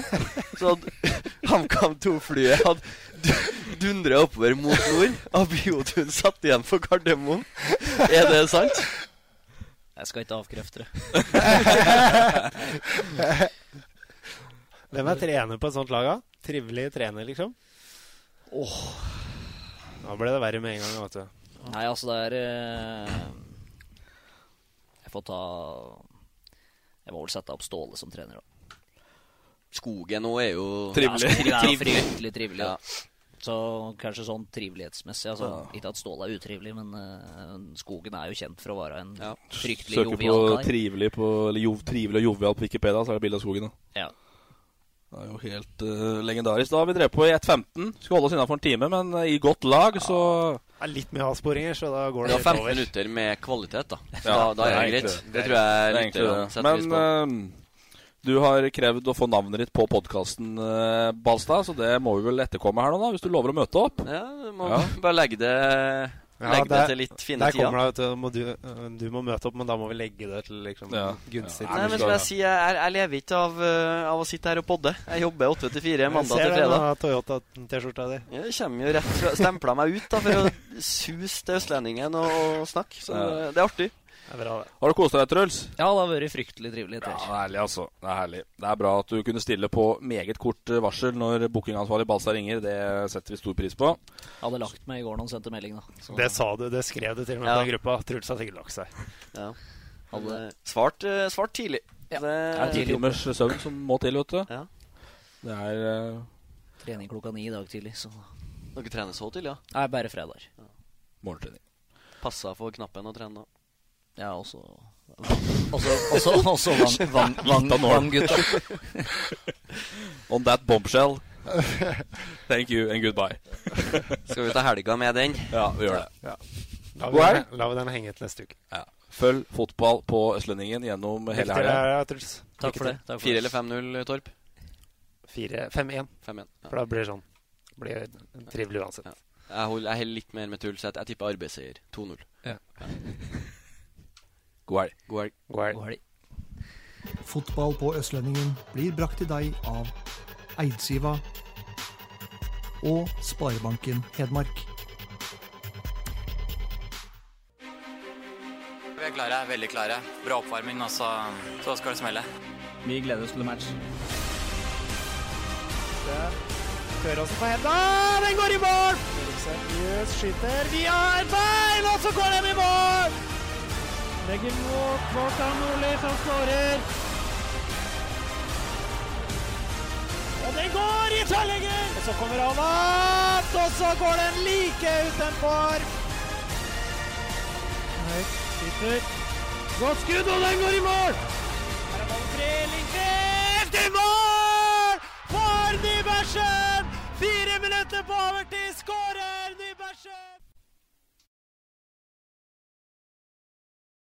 [SPEAKER 1] Så hadde HamKam 2-flyet hadde dundra oppover mot nord. Abiodun satt igjen på Gardermoen. Er det sant?
[SPEAKER 3] Jeg skal ikke avkrefte det.
[SPEAKER 4] Hvem er trener på et sånt lag, da? Trivelig trener, liksom? Åh. Da ble det verre med en gang, vet du.
[SPEAKER 3] Nei, altså, det er eh, Jeg får ta Jeg må vel sette opp Ståle som trener, da.
[SPEAKER 1] Skogen òg er jo
[SPEAKER 3] Ja, Ståle er jo
[SPEAKER 1] trivelig.
[SPEAKER 3] fryktelig trivelig. da. Så kanskje sånn trivelighetsmessig. Altså, Ikke at Ståle er utrivelig, men eh, Skogen er jo kjent for å være en fryktelig
[SPEAKER 2] søker på
[SPEAKER 3] jovial kar.
[SPEAKER 2] trivelig, på, eller jov, trivelig og jovial på Wikipedia, så er det bilde av skogen.
[SPEAKER 3] Ja.
[SPEAKER 2] Da. Det er jo helt eh, legendarisk. Da har vi drevet på i 1.15. Skulle holde oss innafor en time, men eh, i godt lag, så
[SPEAKER 4] Det er litt mye avsporinger, så da går
[SPEAKER 1] Det var
[SPEAKER 4] det litt
[SPEAKER 1] 15
[SPEAKER 4] over.
[SPEAKER 1] minutter med kvalitet, da. Så da, da er det
[SPEAKER 2] egentlig
[SPEAKER 1] greit. Det tror jeg
[SPEAKER 2] Det er egentlig
[SPEAKER 1] lytterne
[SPEAKER 2] det.
[SPEAKER 1] setter pris på.
[SPEAKER 2] Men eh, du har krevd å få navnet ditt på podkasten, Balstad, så det må vi vel etterkomme her nå, da, hvis du lover å møte opp.
[SPEAKER 1] eh, Ja, du må
[SPEAKER 2] Ja.
[SPEAKER 1] bare legge det Legge det, til litt fine
[SPEAKER 4] der
[SPEAKER 1] tider.
[SPEAKER 4] kommer det, vet du, må du, øh, du må møte opp, men da må vi legge det til liksom,
[SPEAKER 2] Ja.
[SPEAKER 4] gunstig.
[SPEAKER 1] Nei, men som jeg sier, jeg, jeg lever ikke av, eh, av å sitte her og podde. Jeg jobber 8 til 4 mandag til fredag.
[SPEAKER 4] eh, Toyota-T-skjorta di.
[SPEAKER 1] Jeg kommer jo rett fra Stempla meg ut da for å suse til Østlendingen og snakke. Så eh,
[SPEAKER 2] Ja.
[SPEAKER 1] det er artig.
[SPEAKER 4] Det er bra, det.
[SPEAKER 2] Har du kost deg, Truls?
[SPEAKER 3] Ja, det har vært fryktelig trivelig. Ter.
[SPEAKER 2] Ja, det er herlig, altså. Det er herlig. Det er bra at du kunne stille på meget kort eh, varsel når bookingansvarlig Balstad ringer. Det setter vi stor pris på.
[SPEAKER 3] Jeg hadde lagt meg i går da han sendte melding, da. Så
[SPEAKER 4] Det sa du, det skrev du til og med
[SPEAKER 1] Ja.
[SPEAKER 4] på den gruppa. Truls har sikkert lagt seg.
[SPEAKER 1] Ja.
[SPEAKER 3] hadde
[SPEAKER 1] Svart, eh, svart tidlig. Ja. Det,
[SPEAKER 2] Det er ti timers eh, søvn som må til, vet du.
[SPEAKER 1] Ja.
[SPEAKER 2] Det er eh,
[SPEAKER 3] trening klokka ni i dag tidlig, så
[SPEAKER 1] Dere trener så tidlig, ja?
[SPEAKER 3] Nei, bare fredager.
[SPEAKER 2] morgentrening.
[SPEAKER 1] Passa for knappen å trene da.
[SPEAKER 3] Ja, også Også, også, også Vang- Vang- Vang-
[SPEAKER 2] Litt av nål.
[SPEAKER 3] Vang-gutta.
[SPEAKER 2] On that bombshell. Thank you and goodbye.
[SPEAKER 1] Skal vi ta helga med den?
[SPEAKER 2] Ja, vi gjør det.
[SPEAKER 4] La
[SPEAKER 2] God helg.
[SPEAKER 4] vi, la vi den henge til neste uke.
[SPEAKER 2] Ja. Følg fotball på Østlendingen gjennom hele
[SPEAKER 4] Lykke til,
[SPEAKER 2] helga.
[SPEAKER 4] ja, Truls.
[SPEAKER 3] Takk for det.
[SPEAKER 4] Lykke
[SPEAKER 3] Takk for
[SPEAKER 1] 4
[SPEAKER 3] det.
[SPEAKER 1] eller 5-0, Torp?
[SPEAKER 4] til. Fire- 5-1.
[SPEAKER 1] 5-1. Ja.
[SPEAKER 4] For da blir det sånn. Det blir trivelig uansett.
[SPEAKER 1] Jeg holder jeg holder litt mer med Truls. Jeg jeg tipper arbeidsseier. 2-0.
[SPEAKER 2] God helg.
[SPEAKER 1] God helg.
[SPEAKER 4] God helg.
[SPEAKER 3] God helg.
[SPEAKER 8] Fotball på Østlendingen blir brakt til deg av Eidsiva og Sparebanken Hedmark.
[SPEAKER 7] Vi er klare, veldig klare. Bra oppvarming, og så, så skal det smelle.
[SPEAKER 6] Vi gleder oss til match.
[SPEAKER 4] Føråsen på Hedda, den går i mål! Alvarez skyter. Vi har bein, og så går de i mål! Legger mot Morten Nordli, som skårer. Og den går i tverrlegger! Og så kommer han opp, og så går den like utenfor. Høyt, sitter. Godt skudd, og den går i mål! Her er ballen fri, Lindqvist i mål! For Nybergsen! Fire minutter på overtid, skårer!